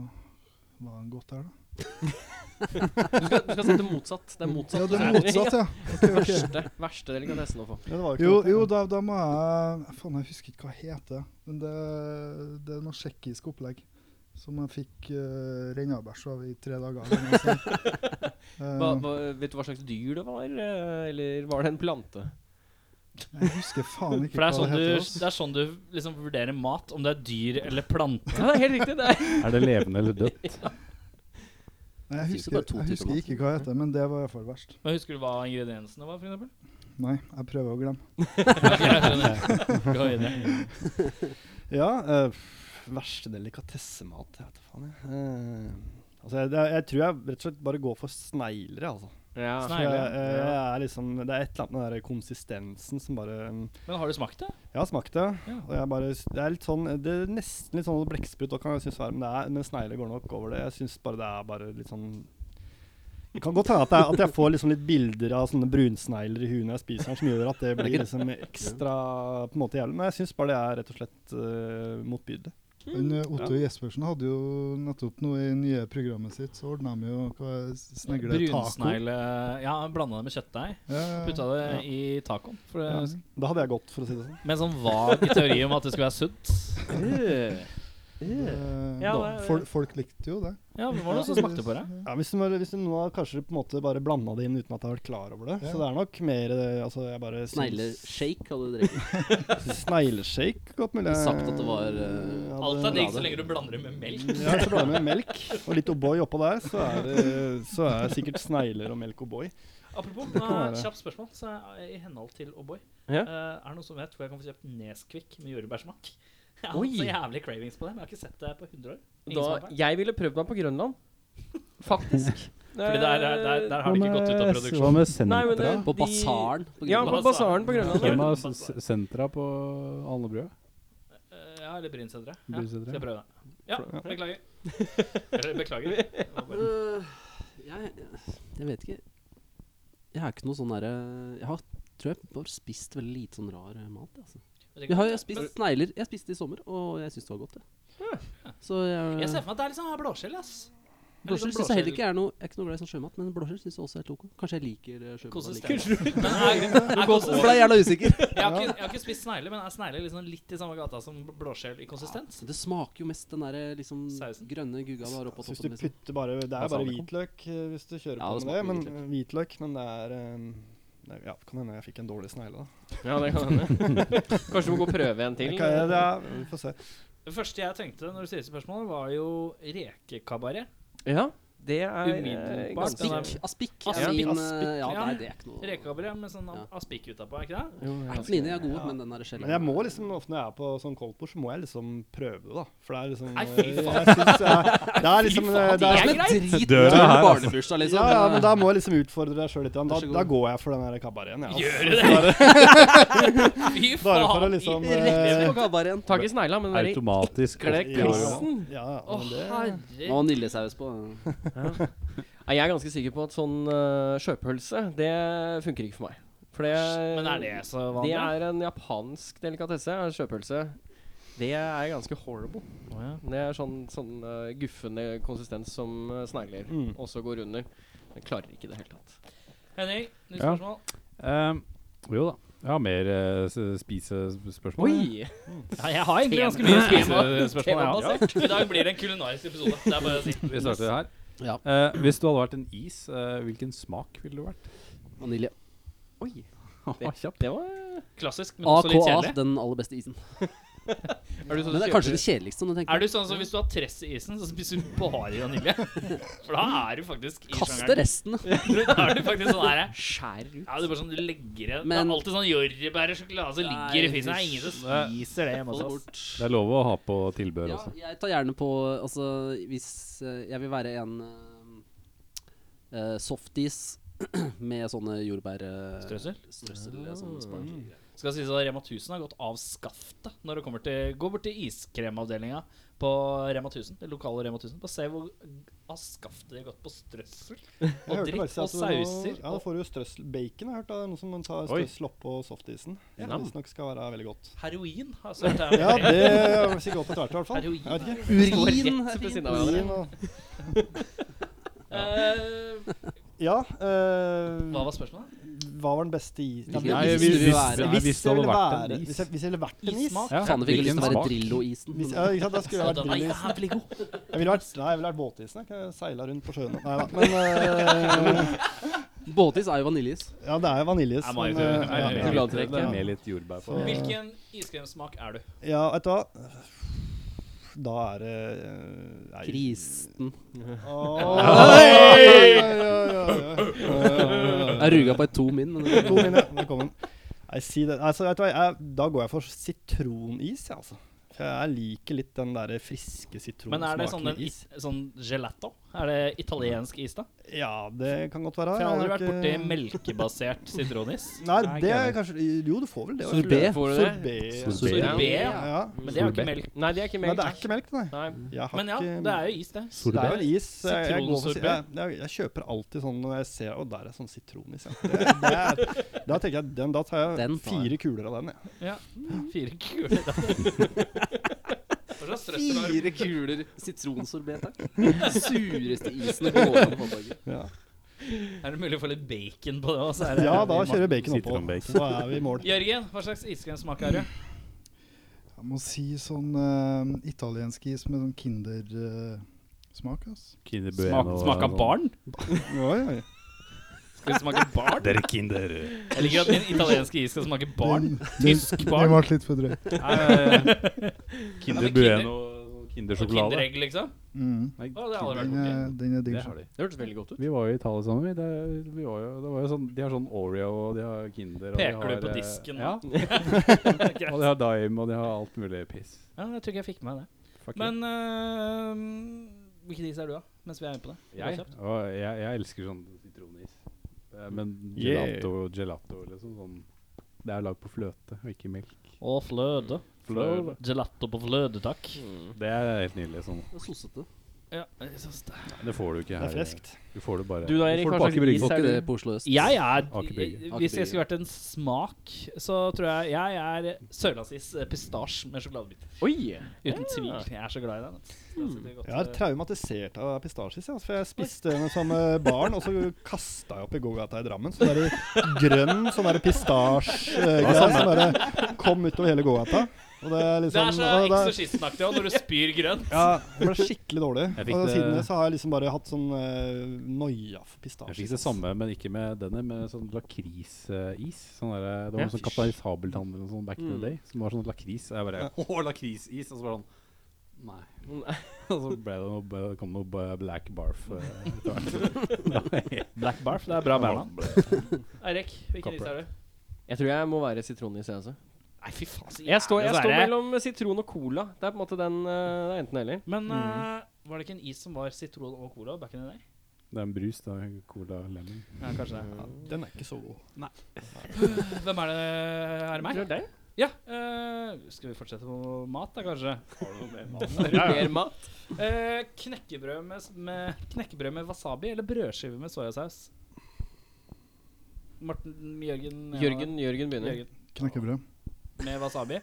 Speaker 7: Var han godt der, da?
Speaker 3: Du skal, du skal sette motsatt. Det er motsatt.
Speaker 7: Ja, det er
Speaker 3: du sier.
Speaker 7: motsatt, ja.
Speaker 3: Ja,
Speaker 7: Ok, ok.
Speaker 3: Verste, verste delikatessen å få.
Speaker 8: Ja, det var
Speaker 7: Jo,
Speaker 8: ikke det.
Speaker 7: jo da, da må jeg eh, Faen, jeg husker ikke hva det heter. Men det, det er noe eh, tsjekkisk opplegg som jeg fikk uh, rennabæsj av i tre dager. eller noe sånt. Eh,
Speaker 3: Hva, hva, vet du hva slags dyr det var, eh, eller var det en plante?
Speaker 7: jeg husker faen ikke
Speaker 1: For det
Speaker 7: hva
Speaker 1: er sånn
Speaker 7: det heter.
Speaker 1: du,
Speaker 7: altså.
Speaker 1: det er sånn du liksom vurderer mat, om det er dyr eller plante.
Speaker 3: Ja, det er helt riktig. Det er.
Speaker 2: Er det levende eller dødt?
Speaker 7: Nei, jeg
Speaker 6: Det finnes jo
Speaker 7: husker,
Speaker 6: bare to
Speaker 7: jeg
Speaker 6: typer
Speaker 7: husker
Speaker 6: mat.
Speaker 7: ikke hva det heter, men det var i hvert fall verst.
Speaker 1: Men Husker du hva ingrediensene var, for eksempel?
Speaker 7: Nei, jeg prøver å glemme.
Speaker 1: Ok, jeg skjønner. Gå videre.
Speaker 8: Ja, eh, verste delikatessemat. Jeg vet da faen, jeg. Eh, altså, jeg, det er- jeg tror jeg rett og slett bare går for snegler, jeg, altså.
Speaker 3: Ja.
Speaker 8: For jeg,
Speaker 1: Snegle.
Speaker 8: eh,
Speaker 1: Ja.
Speaker 8: jeg er liksom, det er et eller annet med den der konsistensen som bare mm,
Speaker 1: Men har du smakt det?
Speaker 8: Jeg har smakt det.
Speaker 1: Ja.
Speaker 8: Og jeg bare, det er litt sånn, det er nesten litt sånn blekksprut, og kan jeg synes være, men, det er- men snegler går nok over det. Jeg synes bare det er bare litt sånn Det kan godt hende at, jeg- at jeg får liksom litt bilder av sånne brunsnegler i huet når jeg spiser den, som gjør at det blir liksom ekstra på en måte jævlig. Men jeg synes bare det er rett og slett eh, motbydelig.
Speaker 1: Mm.
Speaker 7: Men eh, Otto Jespersen hadde jo nettopp noe i nye programmet sitt, så ordna de jo hva er det, snegle taco.
Speaker 1: Brunsnegle Ja, blanda det med kjøttdeig.
Speaker 7: Ja,
Speaker 1: Putta det i tacoen. For det,
Speaker 7: Ja.
Speaker 8: Da hadde jeg gått, for å si det sånn.
Speaker 1: Med en sånn vag teori om at det skulle være sunt.
Speaker 7: Eh,
Speaker 1: Ja,
Speaker 7: da-
Speaker 1: det-
Speaker 7: fol- folk likte jo det.
Speaker 1: Ja, det var noen som smakte på det.
Speaker 8: Ja, hvis, du, bare- hvis du nå har kanskje på en måte bare blanda det inn uten at jeg har vært klar over det.
Speaker 7: Ja.
Speaker 8: Så det er nok mer eh, altså, jeg bare syns-
Speaker 6: Snegleshake hadde du drukket.
Speaker 8: Snegleshake, godt mulig.
Speaker 6: Sagt at det var, eh,
Speaker 8: Ja,
Speaker 1: Alt
Speaker 8: det-
Speaker 1: er digg så lenge du blander det med melk.
Speaker 8: Ja, så blander jeg med melk og litt O'boy oppå der, så er det så er det sikkert snegler og melk O'boy.
Speaker 1: Apropos,
Speaker 8: kan
Speaker 1: eh,
Speaker 8: være.
Speaker 1: kjapt spørsmål. Så eh, I henhold til O'boy,
Speaker 3: Ja.
Speaker 1: eh, er det noen som vet hvor jeg kan få kjøpt Nesquik med jordbærsmak? Jeg har hatt så jævlig cravings på det, men jeg har ikke sett det på 100 år. Ingen
Speaker 3: Da,
Speaker 1: som har det.
Speaker 3: jeg ville prøvd meg på Grønland, faktisk.
Speaker 1: Fordi der, der, der, der har det ikke gått ut av
Speaker 2: Hva
Speaker 1: produksjon.
Speaker 2: med
Speaker 3: Nei, men
Speaker 2: sentra?
Speaker 3: det-
Speaker 6: På
Speaker 3: De-
Speaker 6: basaren. på
Speaker 3: Ja,
Speaker 6: Grønland.
Speaker 3: på basaren på Grønland.
Speaker 2: Hvem
Speaker 3: ja.
Speaker 2: har s- s- sentra på Alnebrua?
Speaker 1: Eh, Ja, eller Brynsedre. Ja,
Speaker 2: Brynsedre.
Speaker 1: skal jeg prøve det. Ja, beklager. Eller beklager. Det var bare-
Speaker 6: Øh, jeg, jeg vet ikke. Jeg er ikke noe sånn derre Jeg har, tror jeg bare spist veldig lite sånn rar eh, mat. Altså. Jeg har jo spist snegler. Jeg spiste i sommer, og jeg syns det var godt. Det. Så jeg,
Speaker 1: Jeg ser for meg at det er litt sånn blåskjell, ass. Det er litt sånn
Speaker 6: eh, blåskjell syns jeg heller ikke er noe Jeg er ikke noe glad i sånn sjømat, men blåskjell syns jeg også er helt ok. Kanskje jeg liker eh, sjømat. allikevel.
Speaker 1: Konsistens. Men er, er
Speaker 6: Nå ble
Speaker 1: konsistens
Speaker 6: jeg jævla usikker.
Speaker 1: jeg, har ikke, jeg har ikke spist snegle, men er snegle liksom litt i samme gata som blåskjell i konsistens?
Speaker 6: Det smaker jo mest den derre liksom
Speaker 1: Sausen.
Speaker 6: grønne gugga du har oppå
Speaker 8: Så hvis
Speaker 6: toppen.
Speaker 8: du
Speaker 6: Liksom.
Speaker 8: putter bare Det er jo bare
Speaker 6: Balsamico.
Speaker 8: hvitløk eh, hvis du kjører
Speaker 6: Ja, det
Speaker 8: på med det. Men,
Speaker 6: smaker
Speaker 8: hvitløk, men det er eh, det er- Ja, kan hende jeg fikk en dårlig snegle, da.
Speaker 3: Ja, det kan hende. Kanskje du må gå og prøve en til?
Speaker 8: Jeg kan, ja, det er, vi får se.
Speaker 1: Det første jeg tenkte når du stilte spørsmål, var jo rekekabaret.
Speaker 3: Ja, det er eh,
Speaker 1: Umiddelbart.
Speaker 3: ganske
Speaker 1: Den er-
Speaker 6: Aspik. Aspik
Speaker 1: Ja,
Speaker 6: er min
Speaker 8: aspik,
Speaker 6: eh, Ja,
Speaker 1: ja.
Speaker 6: nei, det er ikke noe
Speaker 1: Rekekabaret med sånn
Speaker 6: Ja.
Speaker 1: aspik utapå, er ikke det?
Speaker 3: Jo, ja.
Speaker 6: Mine er gode, men den er sjelden.
Speaker 8: Men jeg må liksom, ofte når jeg er på sånn koldtbord, så må jeg liksom prøve det, da. For det er liksom
Speaker 1: Nei, fy
Speaker 8: eh,
Speaker 1: faen.
Speaker 8: Jeg synes jeg, det er liksom eh,
Speaker 1: faen,
Speaker 8: det er,
Speaker 1: jeg-
Speaker 6: Men drit
Speaker 2: Døra
Speaker 6: når du
Speaker 2: her,
Speaker 6: har
Speaker 2: altså.
Speaker 6: barnebursdag,
Speaker 8: ja,
Speaker 6: liksom.
Speaker 8: ja, men da må jeg liksom utfordre deg sjøl litt. grann. Da,
Speaker 6: Vær så god.
Speaker 8: da går jeg for den her kabareten. jeg, altså.
Speaker 1: Gjør du det? Fy
Speaker 8: Bare for å
Speaker 1: faen!
Speaker 8: liksom
Speaker 1: i-
Speaker 8: eh,
Speaker 6: På kabaret igjen.
Speaker 3: Tak i snegla, men bare
Speaker 2: Automatisk
Speaker 3: Gled
Speaker 2: opp i
Speaker 3: krisen.
Speaker 2: Alnebrua.
Speaker 8: Ja,
Speaker 1: Å,
Speaker 8: ja, men det,
Speaker 6: Med
Speaker 1: herregud.
Speaker 6: vaniljesaus på.
Speaker 3: Nei, Jeg er ganske sikker på at sånn eh, sjøpølse, det funker ikke for meg. For det
Speaker 1: Men er det så
Speaker 3: Det
Speaker 1: vanlig?
Speaker 3: er en japansk delikatesse. er Sjøpølse. Det er ganske horrible.
Speaker 1: Å, ja.
Speaker 3: Det er sånn, sånn eh, guffende konsistens som eh, snegler
Speaker 8: Mm.
Speaker 3: også går under. Jeg klarer ikke i det hele tatt.
Speaker 1: Henning, nytt
Speaker 2: Ja.
Speaker 1: spørsmål.
Speaker 2: Ehm, jo da. Jeg har mer eh, s- spisespørsmål. Eh,
Speaker 3: Oi!
Speaker 1: Ja, jeg har egentlig ganske mye spisespørsmål.
Speaker 3: Tema-
Speaker 1: jeg også. I dag blir det en kulinarisk episode. Det er bare å si.
Speaker 2: altså. Vi starter her.
Speaker 6: Ja.
Speaker 2: Eh, hvis du hadde vært en is, eh, hvilken smak ville du vært?
Speaker 6: Vanilje.
Speaker 3: Oi.
Speaker 2: Det,
Speaker 3: Det var
Speaker 1: Klassisk, men også litt
Speaker 6: AKA,
Speaker 1: kjedelig.
Speaker 6: den aller beste isen.
Speaker 3: er du sånn
Speaker 6: Men det er kanskje det kjedeligste når du
Speaker 1: Er
Speaker 6: tenker
Speaker 1: du sånn som hvis du har tress i isen, så spiser du bare vanilje? For da er du faktisk i
Speaker 6: Kaste
Speaker 1: sjangeren.
Speaker 6: resten.
Speaker 1: Da er du faktisk sånn her
Speaker 6: Skjær ut.
Speaker 1: Ja, du bare sånn legger det Det
Speaker 6: Men-
Speaker 1: er alltid sånn jordbær og sjokolade som ligger i fisen. Det er ingen som spiser det hjemme
Speaker 6: Få det
Speaker 1: hos oss.
Speaker 6: bort.
Speaker 2: er lov å ha på tilbør
Speaker 6: Ja,
Speaker 2: også.
Speaker 6: jeg tar gjerne på Altså, hvis eh, jeg vil være en eh, eh, softis med sånne jordbær... eh,
Speaker 1: Strøssel?
Speaker 6: Strøssel, ja, sånn spark.
Speaker 1: Skal sies at Rema 1000 har gått av skaftet når det kommer til Gå bort til iskremavdelinga på Rema 1000, det lokale Rema 1000, og se hvor av skaftet de har gått på strøssel
Speaker 8: Jeg
Speaker 1: og
Speaker 8: hørte
Speaker 1: dritt
Speaker 8: faktisk
Speaker 1: og
Speaker 8: at det var noe-
Speaker 1: sauser.
Speaker 8: Ja, da får du jo strøssel. Bacon har jeg hørt. da, er Noe som man tar
Speaker 2: Oi.
Speaker 8: strøssel oppå softisen. Som
Speaker 1: Ja.
Speaker 8: visstnok skal være veldig godt.
Speaker 1: Heroin har jeg sett
Speaker 8: Ja,
Speaker 1: her.
Speaker 8: det er sikkert godt etter hvert, i hvert fall.
Speaker 1: Heroin.
Speaker 8: Jeg vet ikke.
Speaker 6: Urin!
Speaker 3: rett ved siden av hverandre.
Speaker 8: Urin og
Speaker 1: Eh,
Speaker 8: Ja. eh,
Speaker 1: Hva var spørsmålet?
Speaker 8: Hva var den beste isen?
Speaker 6: Hvilken
Speaker 8: Ja, men
Speaker 6: is
Speaker 8: hvis-
Speaker 6: ville du være?
Speaker 8: hvis-
Speaker 2: Nei,
Speaker 8: hvis
Speaker 2: hvis det
Speaker 8: jeg
Speaker 2: hadde
Speaker 8: ville
Speaker 2: vært en
Speaker 8: være-
Speaker 2: is.
Speaker 8: Hvis jeg, hvis jeg ville vært en is?
Speaker 1: Issmak?
Speaker 2: Ja.
Speaker 6: Faen, jeg fikk lyst
Speaker 2: Hvilken
Speaker 6: til å være
Speaker 2: smak?
Speaker 6: Drillo-isen.
Speaker 8: Hvis, ja, ikke sant? Da skulle jeg vært
Speaker 1: Nei,
Speaker 8: Drillis.
Speaker 1: jævlig god.
Speaker 8: Jeg ville vært, nei, jeg ville vært båtisen. Jeg kunne seila rundt på sjøen. Nei da. Men eh,
Speaker 6: Båtis er jo vaniljeis.
Speaker 8: Ja, det er jo vaniljeis.
Speaker 1: Jeg må
Speaker 8: men,
Speaker 1: jo gjøre
Speaker 8: eh,
Speaker 1: det.
Speaker 8: ja.
Speaker 2: Med litt-
Speaker 6: Sjokoladetrekk, ja.
Speaker 2: Med litt jordbær på.
Speaker 8: Så-
Speaker 1: Hvilken iskremsmak er du?
Speaker 8: ja, vet du hva? Da er det eh, nei.
Speaker 6: Kristen.
Speaker 8: Åh.
Speaker 6: Jeg ruga på et to min. Men
Speaker 8: God minne. Velkommen. Nei, si det. Altså, vet du hva? Jeg, da går jeg for sitronis, jeg, altså. For jeg liker litt den der friske
Speaker 1: Men er det sånn,
Speaker 8: sitronsmaken
Speaker 1: en,
Speaker 8: i is.
Speaker 1: is- sånn gelato? Er det italiensk is, da?
Speaker 8: Ja, det kan godt være.
Speaker 1: For jeg har aldri vært
Speaker 8: ikke-
Speaker 1: borti melkebasert sitronis.
Speaker 8: Nei, det er kanskje Jo, du får vel det. vet du.
Speaker 6: Sorbet.
Speaker 3: Får du det?
Speaker 8: Sorbet.
Speaker 2: Sorbet.
Speaker 1: Sorbet, ja.
Speaker 8: Ja.
Speaker 1: Men det er jo ikke melk.
Speaker 3: Nei, det er ikke
Speaker 8: Nei,
Speaker 3: melk.
Speaker 8: det er ikke melk, nei.
Speaker 3: Nei.
Speaker 8: Jeg har
Speaker 1: Men ja,
Speaker 8: ikke-
Speaker 1: det er jo is, det.
Speaker 8: det er jo en is. så Jeg, jeg, går for, si- jeg,
Speaker 1: Sitronsorbet?
Speaker 8: jeg, jeg kjøper alltid sånn når jeg ser Å, der er sånn sitronis. Ja. Det, det er, da tenker jeg den, Da tar jeg
Speaker 6: Den tar
Speaker 8: fire kuler av den. jeg.
Speaker 1: Ja. Fire kuler. da. Hva slags trøst det var?
Speaker 6: Fire kuler sitronsorbet, takk. Den sureste isen det går an å få tak i.
Speaker 8: Ja.
Speaker 1: Er det mulig å få litt bacon på det òg?
Speaker 8: ja, da kjører jeg bacon oppå.
Speaker 2: Sitronbacon.
Speaker 8: Så er vi i mål.
Speaker 1: Jørgen, hva slags iskremsmak er du?
Speaker 7: Jeg må si sånn eh, italiensk is med sånn Kinder-smak. ass.
Speaker 2: Kinder
Speaker 1: Smak,
Speaker 2: Bueno og
Speaker 1: smak av
Speaker 2: sånn.
Speaker 1: barn?
Speaker 8: Oi, oi.
Speaker 1: Skal det smake barn?
Speaker 2: Dere Kinder.
Speaker 1: Jeg liker at min italienske is skal smake barn. Tysk
Speaker 7: Det
Speaker 1: barn.
Speaker 7: ble litt for drøyt.
Speaker 1: Ja,
Speaker 2: Kinder
Speaker 1: men
Speaker 2: Bueno eh, og
Speaker 1: Og
Speaker 2: Kindersjokolade.
Speaker 1: Kinderegg, liksom?
Speaker 7: Mm.
Speaker 2: Nei,
Speaker 1: Å, det har aldri vært
Speaker 7: Den
Speaker 1: borti.
Speaker 7: er, den er digg.
Speaker 2: det
Speaker 7: sjøl.
Speaker 2: har de.
Speaker 3: Det hørtes veldig godt ut.
Speaker 2: Vi var jo i Italia sammen. Vi. Det, vi var jo, det var jo sånn, de har sånn Oreo og de har Kinder. Og
Speaker 1: Peker
Speaker 2: de
Speaker 1: du
Speaker 2: har,
Speaker 1: på
Speaker 2: eh,
Speaker 1: disken nå?
Speaker 2: Ja.
Speaker 1: Greit.
Speaker 2: Og de har Dime og de har alt mulig piss.
Speaker 1: Ja, jeg tror ikke jeg fikk med meg det.
Speaker 2: Fuck you.
Speaker 1: Men øh, hvilken is er du, da? Mens vi er inne på det.
Speaker 2: jeg,
Speaker 1: Kjapt.
Speaker 2: og jeg, jeg elsker sånn sitronis. Eh, Men
Speaker 8: Yeah.
Speaker 2: gelato, gelato liksom sånn Det er lagd på fløte og ikke melk.
Speaker 1: Og fløte.
Speaker 2: Fløte.
Speaker 1: Gelato på fløte, takk.
Speaker 2: Det er helt nydelig. sånn
Speaker 6: Det er Sossete.
Speaker 1: Ja, jeg synes det.
Speaker 2: Det får du ikke
Speaker 8: Det
Speaker 2: her.
Speaker 8: er freskt.
Speaker 2: Du får det bare
Speaker 3: Du da,
Speaker 2: du
Speaker 3: Erik,
Speaker 2: får det
Speaker 3: hva
Speaker 2: på
Speaker 3: slags
Speaker 2: Aker Brygge.
Speaker 3: is
Speaker 6: Får
Speaker 3: er
Speaker 6: ikke det
Speaker 3: du?
Speaker 6: på Oslo øst.
Speaker 1: Jeg er
Speaker 2: Aker Brygge.
Speaker 1: Hvis jeg
Speaker 6: Aker Brygge.
Speaker 1: skulle vært en smak, så tror jeg jeg er sørlandsis eh, pistasje med sjokoladebit.
Speaker 3: Oi!
Speaker 1: Uten tvil. Jeg er så glad i den. vet du. Da sitter vi godt,
Speaker 8: Jeg er
Speaker 1: eh,
Speaker 8: traumatisert av pistasjis. jeg, altså, For jeg spiste den som eh, barn, og så kasta jeg opp i gågata i Drammen. Så der grønn sånn der pistasjegreie som bare kom utover hele gågata. Og det er
Speaker 1: Det
Speaker 8: liksom
Speaker 1: er så
Speaker 8: og det-
Speaker 1: eksorsistenaktig også, når du spyr grønt.
Speaker 8: Ja, jeg ble skikkelig dårlig.
Speaker 2: Jeg fikk
Speaker 8: Og
Speaker 2: det-
Speaker 8: siden det så har jeg liksom bare hatt sånn uh, noia for pistasje.
Speaker 2: Jeg fikk det samme, men ikke med denne, med sånn lakrisis. Sånn der, det var
Speaker 3: Ja.
Speaker 2: noe sånn Kaptein Sabeltann eller noe sånt back in
Speaker 3: Mm.
Speaker 2: the day, som var sånn lakris. Og jeg bare Å, lakrisis! Og så var det sånn Nei. Og så ble det noe, ble- kom noe b- black barf. eh, etter hvert.
Speaker 1: Black Barf, det er bra band. Eirik, hvilken is er du?
Speaker 3: Jeg tror jeg må være sitronis, jeg også.
Speaker 1: Nei, fy faen.
Speaker 3: altså.
Speaker 1: så
Speaker 3: Jeg står, jeg
Speaker 1: jævlig
Speaker 3: står
Speaker 1: svære.
Speaker 3: mellom sitron og cola. Det er på en måte den eh, Det er enten eller.
Speaker 1: Men eh, var det ikke en is som var sitron og cola back in the day?
Speaker 2: det er en brus, da. Cola lemon.
Speaker 1: Ja, kanskje det.
Speaker 8: Den er ikke så god.
Speaker 1: Hvem er det? Er det meg?
Speaker 3: Det er deg.
Speaker 1: Ja. eh, skal vi fortsette på mat, da, kanskje?
Speaker 3: Er du mer mat?
Speaker 1: Eh, knekkebrød, med, s- med, knekkebrød med wasabi eller brødskive med soyasaus? Morten Jørgen ja,
Speaker 3: Jørgen, Jørgen begynner.
Speaker 1: Jørgen.
Speaker 7: Knekkebrød.
Speaker 1: Med wasabi?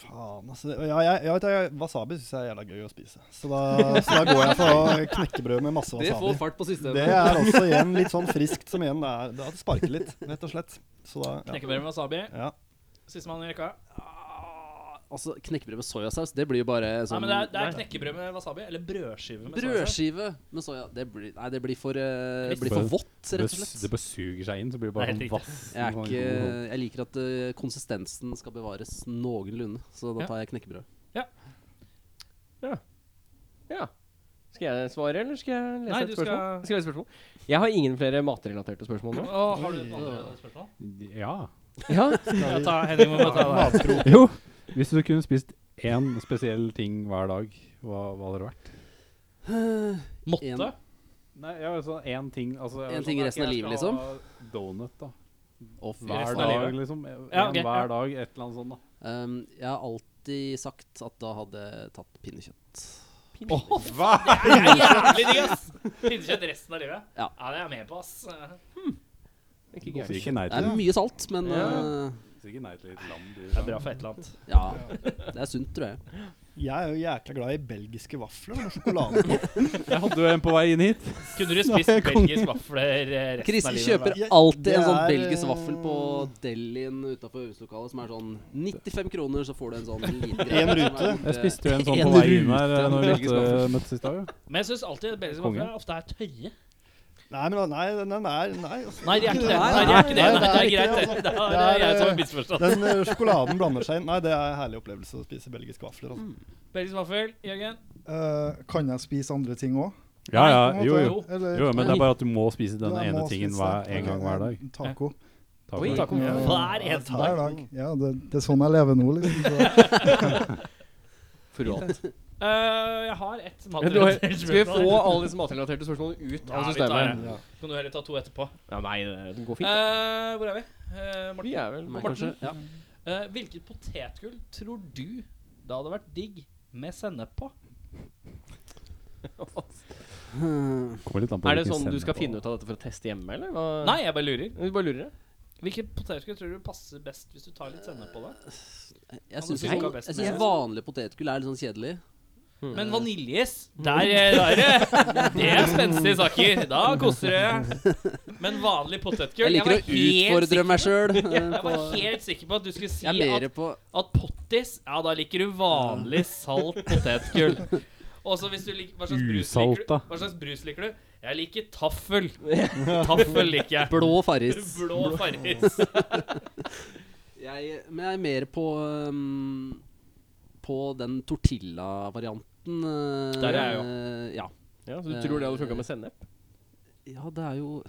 Speaker 8: Faen, altså. det- Ja, jeg, jeg vet, jeg, wasabi syns jeg er jævla gøy å spise. Så da, så da går jeg for knekkebrød med masse
Speaker 6: Det får
Speaker 8: wasabi.
Speaker 6: fart på
Speaker 8: Det
Speaker 6: systemet.
Speaker 8: er også igjen litt sånn friskt som igjen er Det sparker litt, rett og slett. Så da ja.
Speaker 1: Knekkebrød med wasabi.
Speaker 8: ja.
Speaker 1: Sistemann i rekka.
Speaker 6: Ah, Altså, Knekkebrød med soyasaus, det blir jo bare
Speaker 1: Nei,
Speaker 6: sånn
Speaker 1: men det er, det er knekkebrød med wasabi eller brødskive med soyasaus.
Speaker 6: Brødskive med soya Det blir, nei, det blir for, eh,
Speaker 1: Litt
Speaker 6: blir for vått,
Speaker 2: Det,
Speaker 6: rett og
Speaker 2: s-
Speaker 6: slett.
Speaker 2: det bare suger seg inn, så blir det bare
Speaker 1: Det er
Speaker 2: sånn
Speaker 1: helt
Speaker 2: vass.
Speaker 6: Jeg, er
Speaker 2: sånn
Speaker 6: ikke,
Speaker 2: god-
Speaker 6: jeg liker at eh, konsistensen skal bevares noenlunde, så
Speaker 1: Ja.
Speaker 6: da tar jeg knekkebrød.
Speaker 3: Ja. Skal jeg svare, eller skal jeg lese
Speaker 1: Nei,
Speaker 3: et
Speaker 1: du
Speaker 3: spørsmål?
Speaker 1: skal-
Speaker 3: jeg lese et spørsmål? Jeg har ingen flere matrelaterte spørsmål nå.
Speaker 1: Å, har du et annet spørsmål?
Speaker 2: Ja.
Speaker 3: Ja,
Speaker 1: Jeg tar Henning må bare ta det.
Speaker 2: Jo, hvis du kunne spist én spesiell ting hver dag, hva, hva hadde det vært?
Speaker 1: Måtte?
Speaker 6: En-
Speaker 2: Nei, ja, altså én ting altså,
Speaker 6: En ting resten av livet, liksom?
Speaker 2: ha donut, da.
Speaker 6: Og
Speaker 2: Hver
Speaker 1: Resten av
Speaker 2: dag,
Speaker 1: livet.
Speaker 2: liksom. En
Speaker 1: Ja, ok, ja.
Speaker 2: hver dag, et eller annet sånt, da.
Speaker 6: Um, jeg har alltid sagt at da hadde jeg tatt pinnekjøtt.
Speaker 1: Det er jævlig digg, ass! Pinnekjøtt resten av livet?
Speaker 6: Ja.
Speaker 1: det er jeg med på, ass.
Speaker 3: ikke
Speaker 2: Sier
Speaker 3: gærent.
Speaker 2: ikke nei
Speaker 6: Det
Speaker 2: til
Speaker 6: er mye salt, men
Speaker 3: Ja.
Speaker 6: uh,
Speaker 2: Sier ikke nei til litt liksom. lam.
Speaker 1: Det er bra for et eller annet.
Speaker 6: ja. Det er sunt, tror jeg.
Speaker 8: Jeg er jo jækla glad i belgiske vafler med sjokolade på.
Speaker 2: Jeg hadde jo en på vei inn hit.
Speaker 1: Kunne du spist
Speaker 8: Nei, konge.
Speaker 1: belgisk vafler eh, resten
Speaker 6: Kristin
Speaker 1: av livet?
Speaker 6: kjøper
Speaker 8: Jeg-
Speaker 6: alltid
Speaker 8: det
Speaker 6: en sånn
Speaker 8: er,
Speaker 6: belgisk
Speaker 8: eh,
Speaker 6: vaffel på Delien utafor øvingslokalet som er sånn 95 kroner, så får du en sånn liten greie
Speaker 8: En
Speaker 6: som er
Speaker 8: rute.
Speaker 6: borte.
Speaker 2: Jeg spiste jo en sånn på
Speaker 6: En
Speaker 2: vei inn
Speaker 6: rute
Speaker 2: her eh, når vi
Speaker 6: belgisk
Speaker 2: møtte- møttes i stad. jo.
Speaker 1: Men jeg syns alltid at belgiske
Speaker 2: Konge.
Speaker 1: vafler ofte er tørre.
Speaker 8: Nei, men da- nei, den den er Nei. altså.
Speaker 1: Nei, de er ikke det.
Speaker 6: Nei,
Speaker 1: Nei, de er ikke det.
Speaker 8: nei,
Speaker 1: Nei, det er
Speaker 8: det er ikke
Speaker 1: greit.
Speaker 8: det,
Speaker 1: Det er, det
Speaker 8: Det
Speaker 1: er
Speaker 8: er,
Speaker 1: jeg som har
Speaker 8: eh,
Speaker 1: misforstått.
Speaker 8: Den eh, sjokoladen blander seg inn. Nei, det er en herlig opplevelse å spise belgiske vafler. Altså.
Speaker 1: Belgisk vaffel, Jørgen.
Speaker 7: Eh, kan jeg spise andre ting òg?
Speaker 2: Ja, ja, jo, jo.
Speaker 7: Eller,
Speaker 2: Jo, men det er bare at du må spise den
Speaker 7: Ja, jeg
Speaker 2: ene
Speaker 7: må
Speaker 2: tingen
Speaker 7: spise
Speaker 2: hver,
Speaker 7: det.
Speaker 2: en gang hver dag.
Speaker 7: Taco.
Speaker 2: Takk.
Speaker 1: Oi, takk.
Speaker 7: Ja.
Speaker 1: Hver eneste
Speaker 7: Hver
Speaker 1: dag.
Speaker 7: dag. Ja, det, det er sånn jeg lever nå, liksom. Så.
Speaker 6: Forrådt.
Speaker 1: Eh, jeg har ett
Speaker 2: Ja, du har-
Speaker 1: matrelatert
Speaker 3: Skal vi få
Speaker 1: spørsmål.
Speaker 3: alle disse matrelaterte spørsmålene ut
Speaker 1: Ja,
Speaker 3: av
Speaker 1: vi tar
Speaker 3: systemet?
Speaker 1: det. Kan du heller ta to etterpå?
Speaker 3: Ja, nei, det- den går fint. da.
Speaker 1: Eh, hvor er vi? Eh, Morten?
Speaker 3: Vi er vel
Speaker 1: Morten?
Speaker 6: Kanskje. Ja.
Speaker 1: Eh, hvilket potetgull tror du det hadde vært digg med sennep på?
Speaker 2: Kommer litt an på
Speaker 3: Er det
Speaker 2: hvilken
Speaker 3: sånn du
Speaker 2: sender
Speaker 3: skal
Speaker 2: på.
Speaker 3: finne ut av dette for å teste hjemme, eller? Hva?
Speaker 1: Nei, jeg bare lurer.
Speaker 3: Du bare lurer?
Speaker 1: Hvilket potetgull tror du passer best hvis du tar litt sennep på det?
Speaker 6: Jeg
Speaker 1: du
Speaker 6: syns
Speaker 1: funka
Speaker 6: sånn,
Speaker 1: best
Speaker 6: jeg
Speaker 1: med
Speaker 6: synes
Speaker 1: det.
Speaker 6: vanlig potetgull er litt sånn kjedelig.
Speaker 1: Men vaniljeis, der, eh, der eh, Det er spenstige saker. Da koser det. Men vanlig potetgull
Speaker 6: Jeg liker å
Speaker 1: var helt
Speaker 6: utfordre meg sjøl.
Speaker 1: sikker- Jeg var helt sikker på at du skulle si
Speaker 6: Jeg er
Speaker 1: at,
Speaker 6: mer på
Speaker 1: at pottis Ja, da liker du vanlig salt potetgull. Og så hvis du liker Hva slags brus liker du?
Speaker 2: Usalta.
Speaker 1: Hva slags brus liker du? Jeg liker taffel. Taffel liker jeg.
Speaker 6: blå farris.
Speaker 1: Blå farris.
Speaker 6: Jeg, men jeg er mer på um, På den tortilla-varianten. eh,
Speaker 1: Der er jeg
Speaker 6: Ja.
Speaker 3: Ja, Så du tror det hadde funka med sennep?
Speaker 6: ja, det er jo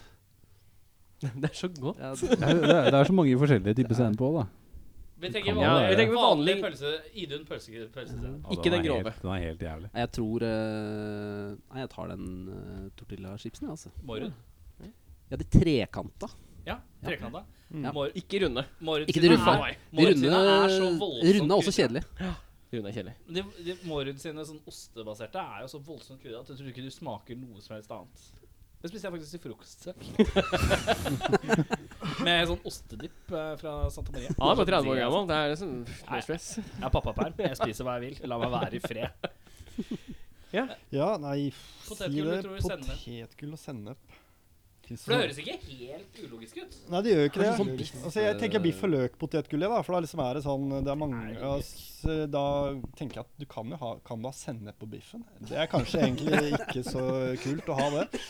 Speaker 3: Det er så godt.
Speaker 6: ja,
Speaker 2: Det er, det, er, det er så mange forskjellige typer sender på, da.
Speaker 1: Vi tenker
Speaker 2: Ja,
Speaker 1: vanlig,
Speaker 2: vi
Speaker 3: tenker
Speaker 1: vanlig
Speaker 3: vanlig-
Speaker 1: pølse. Idun pølse, pølsesennep.
Speaker 2: Ja,
Speaker 3: Ikke den
Speaker 2: er
Speaker 3: grove.
Speaker 2: helt- Den er helt jævlig.
Speaker 6: Nei, jeg tror eh, Nei, jeg tar den eh, tortilla-chipsen, jeg, altså.
Speaker 1: Morud.
Speaker 6: Ja, de trekanta.
Speaker 1: Ja, trekanta.
Speaker 6: Ja.
Speaker 1: Mor-
Speaker 3: Ikke runde.
Speaker 1: Morudsina
Speaker 6: Ikke de runde.
Speaker 1: er-
Speaker 6: De
Speaker 1: Morudsina
Speaker 6: runde,
Speaker 1: er så voldsomt
Speaker 6: runde er også
Speaker 1: krydret.
Speaker 6: kjedelige.
Speaker 3: Runde er kjedelig.
Speaker 1: De, de Morud sine sånn ostebaserte er jo så voldsomt krydra at jeg tror ikke du smaker noe som helst annet. Det spiste jeg faktisk til frokost. takk. Med sånn ostedipp eh, fra Santa
Speaker 3: Ja,
Speaker 1: Maria.
Speaker 3: det er bare 30 år gammel. Det er liksom no stress.
Speaker 1: Jeg har pappaperm. Jeg spiser hva jeg vil. La meg være i fred.
Speaker 8: Ja, nei f-
Speaker 1: Potetgull, du tror sennep.
Speaker 8: Potetgull og sennep. Finnes
Speaker 1: For det
Speaker 8: noe-
Speaker 1: høres ikke helt ulogisk ut.
Speaker 8: Nei, det gjør jo ikke det.
Speaker 6: Kanskje sånn biff-
Speaker 8: altså, jeg tenker biff og løk-potetgull, jeg, da. For da liksom er det sånn Det er mange altså, Da tenker jeg at du kan jo ha Kan du ha sennep på biffen? Det er kanskje egentlig ikke så kult å ha det.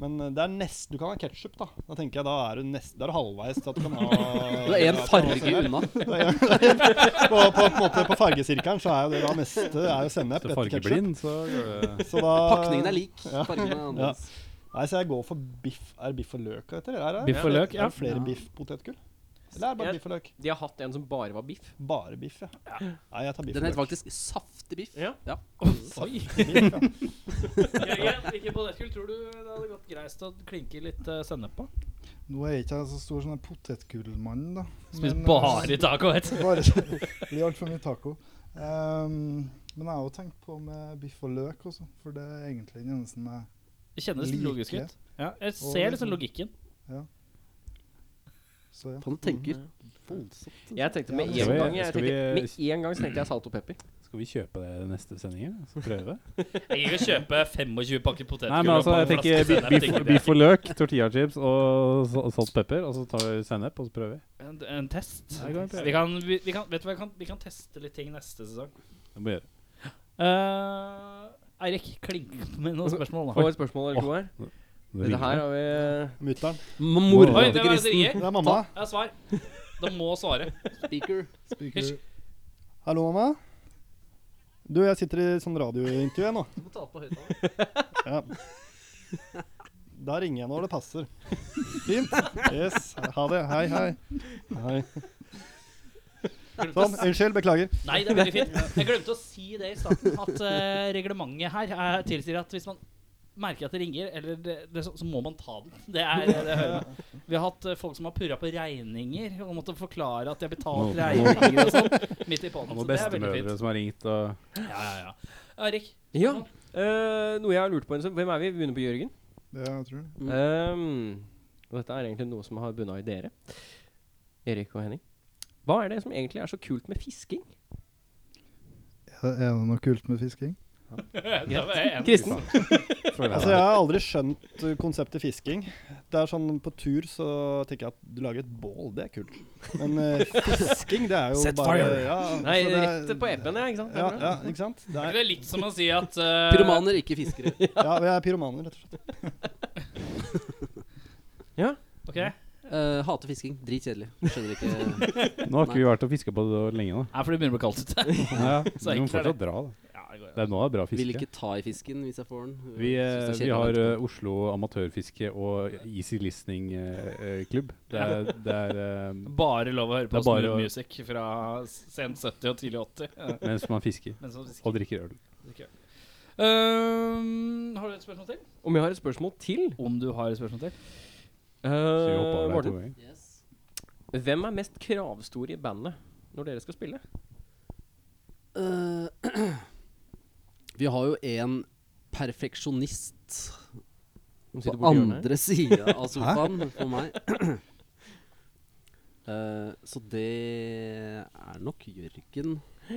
Speaker 8: Men det er nesten Du kan ha ketsjup, da. Da tenker jeg da er du nesten Da er du halvveis til at du kan ha
Speaker 6: Du er én
Speaker 8: ja, kan ha
Speaker 6: farge
Speaker 8: sennep.
Speaker 6: unna.
Speaker 8: På, på, på, en måte, på fargesirkelen så er jo det da neste er jo sennep
Speaker 2: Så
Speaker 8: etter ketsjup.
Speaker 2: fargeblind, så går det
Speaker 8: Så da
Speaker 6: Pakningen er lik. Fargen er annerledes.
Speaker 8: Nei, så jeg går for biff Er det biff og løk heter det? Er det-
Speaker 2: Biff og løk, ja.
Speaker 8: Er det flere
Speaker 6: Ja.
Speaker 8: biff-potetgull? Eller er det bare
Speaker 3: Jeg-
Speaker 8: biff og løk?
Speaker 3: De har hatt en som bare var biff.
Speaker 8: Bare biff, ja. Nei, jeg tar biff.
Speaker 6: Den
Speaker 8: og
Speaker 6: heter
Speaker 8: løk.
Speaker 6: faktisk saftig biff.
Speaker 3: Ja.
Speaker 6: Ja.
Speaker 1: Oi.
Speaker 8: Biff, ja.
Speaker 1: Jørgen, hvilken potetgull tror du det hadde gått greist å klinke litt eh, sennep på?
Speaker 7: Nå er jeg ikke så stor sånn potetgullmann, da.
Speaker 1: Spis
Speaker 7: Men, eh,
Speaker 1: bare taco, vet du.
Speaker 7: Bare sånn. det blir altfor mye taco. Ehm, men jeg har jo tenkt på med biff og løk også, for det er egentlig den eneste jeg
Speaker 1: Det kjennes
Speaker 7: Like.
Speaker 1: logisk ut. Ja, jeg
Speaker 7: Og
Speaker 1: ser liksom
Speaker 7: liksom-
Speaker 1: logikken.
Speaker 7: Så ja.
Speaker 6: Han tenker
Speaker 1: Mm,
Speaker 6: voldsomt.
Speaker 3: Jeg tenkte med
Speaker 7: Ja,
Speaker 3: en
Speaker 2: skal vi-
Speaker 3: gang jeg
Speaker 2: skal vi-
Speaker 3: tenkte, Med en gang så tenkte jeg salt og pepper.
Speaker 2: Skal vi kjøpe det neste sending? ja? Så prøve?
Speaker 1: Jeg vil kjøpe 25 pakker potetgull.
Speaker 2: Nei, men altså, jeg
Speaker 1: og en
Speaker 2: tenker
Speaker 1: flaske
Speaker 2: bi-
Speaker 1: sennep,
Speaker 2: biff,
Speaker 1: tenker jeg.
Speaker 2: biff og løk, tortillachips og sa- salt og pepper. Og så tar vi sennep, og så prøver vi.
Speaker 1: En, en test.
Speaker 2: Ja, det kan vi prøve.
Speaker 1: Vi kan, vi, vi kan, vet du hva, vi kan, vi kan teste litt ting neste sesong.
Speaker 2: Det må vi gjøre.
Speaker 1: Eh, Eirik, klink med noen spørsmål.
Speaker 3: Få
Speaker 1: da
Speaker 3: et spørsmål eller to her.
Speaker 2: Det
Speaker 3: Dette
Speaker 2: ringer.
Speaker 3: her har vi
Speaker 8: Mutter'n.
Speaker 1: Oi,
Speaker 6: Mora
Speaker 1: det
Speaker 6: til
Speaker 1: var
Speaker 6: grisen.
Speaker 1: Eirik.
Speaker 8: Det er mamma.
Speaker 1: Ja, svar. De må svare.
Speaker 6: Speaker.
Speaker 7: Speaker.
Speaker 8: Hallo, mamma. Du, jeg sitter i sånn radiointervju jeg nå.
Speaker 1: Du må ta på høyttaler.
Speaker 8: Ja. Da ringer jeg når det passer. Fint. Yes. Ha det. Hei, hei. Hei. Sånn. Unnskyld. Beklager.
Speaker 1: Nei, det er veldig fint. Jeg glemte å si det i starten, at eh, reglementet her eh, tilsier at hvis man merker at det ringer, eller det, det, så, så må man ta den. Det er det det hører med. Vi har hatt eh, folk som har purra på regninger og måtte forklare at de har betalt
Speaker 2: Nå-
Speaker 1: regninger og sånn midt
Speaker 2: Det
Speaker 1: i
Speaker 2: er
Speaker 1: på'n.
Speaker 2: noen
Speaker 1: Så det er veldig
Speaker 2: bestemødre
Speaker 1: fint.
Speaker 2: som har ringt og
Speaker 1: Ja, ja, ja. Eirik,
Speaker 3: Ja. eh, noe jeg har lurt på en stund. Hvem er vi? Vi begynner på Jørgen.
Speaker 7: Det jeg tror jeg.
Speaker 6: Mm.
Speaker 3: Ehm, og dette er egentlig noe som har bunna i dere. Erik og Henning. Hva er det som egentlig er så kult med fisking?
Speaker 7: Er det noe kult med fisking?
Speaker 1: Det var en.
Speaker 3: Kristen.
Speaker 8: Altså, jeg har aldri skjønt uh, konseptet fisking. Det er sånn, På tur så tenker jeg at du lager et bål, det er kult. Men uh, fisking, det er jo
Speaker 6: Set
Speaker 8: bare
Speaker 6: fire.
Speaker 8: Ja,
Speaker 3: Nei,
Speaker 8: så det er-
Speaker 3: rett på EP-en, ja. Ikke sant? Det
Speaker 8: Ja,
Speaker 3: er bra.
Speaker 8: ja, ikke sant? Det
Speaker 1: Er
Speaker 8: er,
Speaker 1: ikke det litt som å si at eh,
Speaker 6: Pyromaner, ikke fiskere.
Speaker 8: ja, vi er pyromaner, rett og slett.
Speaker 1: Ok.
Speaker 6: Eh, hater fisking. Dritkjedelig. Skjønner ikke
Speaker 2: Nå har ikke vi vært og fiska på det lenge, da.
Speaker 1: Er fordi det begynner å bli kaldt ute.
Speaker 2: Ja, vi må
Speaker 1: Så enkelt er det.
Speaker 2: fortsatt dra, da.
Speaker 1: Ja, det går
Speaker 2: Det
Speaker 1: jo.
Speaker 2: er nå det er bra
Speaker 6: Vil
Speaker 2: fiske.
Speaker 6: ikke ta i fisken hvis jeg får den.
Speaker 2: Vi, eh,
Speaker 6: Synes det er
Speaker 2: vi
Speaker 6: kjedelig å
Speaker 2: har
Speaker 6: vente
Speaker 2: eh, Oslo Amatørfiske og Easy Listening eh, eh, Klubb. Det er, det er eh,
Speaker 1: Bare lov å høre
Speaker 2: Det
Speaker 1: på
Speaker 2: er bare
Speaker 1: Smooth
Speaker 2: å-
Speaker 1: Music fra sent 70 og tidlig 80. Ja.
Speaker 2: mens man fisker
Speaker 1: Men så sikkert
Speaker 2: og drikker øl.
Speaker 1: ikke. Ehm, har du et spørsmål til?
Speaker 3: Om jeg har et spørsmål til
Speaker 1: Om du har et spørsmål til?
Speaker 2: Så vi hopper
Speaker 3: uh,
Speaker 2: over der to
Speaker 3: Morten,
Speaker 2: ganger.
Speaker 6: på. Yes.
Speaker 3: hvem er mest kravstor i bandet når dere skal spille?
Speaker 6: Eh, vi har jo en perfeksjonist
Speaker 3: De sitter
Speaker 6: på
Speaker 3: borti hjørnet her.
Speaker 6: andre sida av sofaen for meg. Eh, så det er nok Jørgen.
Speaker 1: Det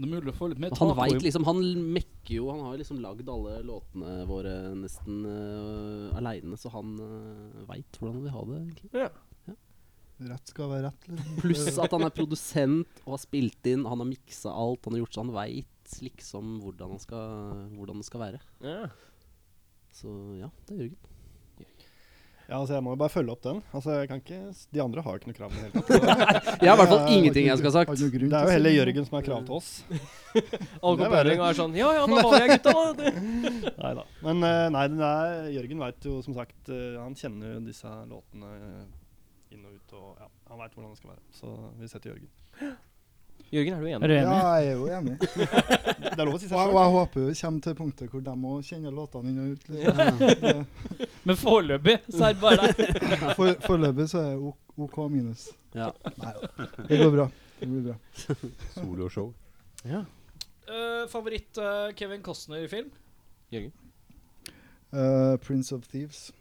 Speaker 1: er mulig å få litt mer
Speaker 6: Og han
Speaker 1: tak på-
Speaker 6: veit liksom Han mekker jo. Han har jo liksom lagd alle låtene våre nesten uh, aleine, så han uh, veit hvordan vi har det. egentlig
Speaker 7: Rett skal være rett. Liksom.
Speaker 6: Pluss at han er produsent og har spilt inn, han har miksa alt, han har gjort så han veit liksom hvordan, han skal, hvordan det skal være.
Speaker 3: Ja.
Speaker 6: Så ja, det er Jørgen.
Speaker 8: Ja, altså, jeg må jo bare følge opp den. Altså, jeg kan ikke, s- de andre har jo ikke noe krav. i det hele tatt.
Speaker 6: Jeg har i hvert fall ingenting jeg skal ha
Speaker 7: Har
Speaker 6: sagt.
Speaker 7: du noe grunn
Speaker 8: Det
Speaker 7: til å
Speaker 8: er jo
Speaker 7: si
Speaker 8: heller
Speaker 7: noe?
Speaker 8: Jørgen som har krav til oss.
Speaker 3: Alle
Speaker 8: Det er
Speaker 3: kompaninger er sånn Ja, ja, da var jeg gutta, da.
Speaker 8: Neida. Men eh, nei, den er, Jørgen veit jo som sagt eh, Han kjenner jo disse låtene eh, inn og ut, og ja, han veit hvordan det skal være. Så vi setter Jørgen.
Speaker 3: Jørgen, er du enig?
Speaker 1: Er du enig?
Speaker 7: Ja, jeg er jo enig. Og
Speaker 8: Det er lov å si seg
Speaker 7: jeg, og
Speaker 8: selv.
Speaker 7: jeg håper vi kommer til punktet hvor de òg kjenner låtene inn og ut. Liksom.
Speaker 1: Men foreløpig så er det bare deg.
Speaker 7: For, foreløpig så er jeg OK, OK minus.
Speaker 6: Ja.
Speaker 7: Nei, det går bra. Det blir bra.
Speaker 2: Soloshow.
Speaker 1: Eh, favoritt eh, Kevin Costner-film?
Speaker 7: Eh, Prince of Thieves.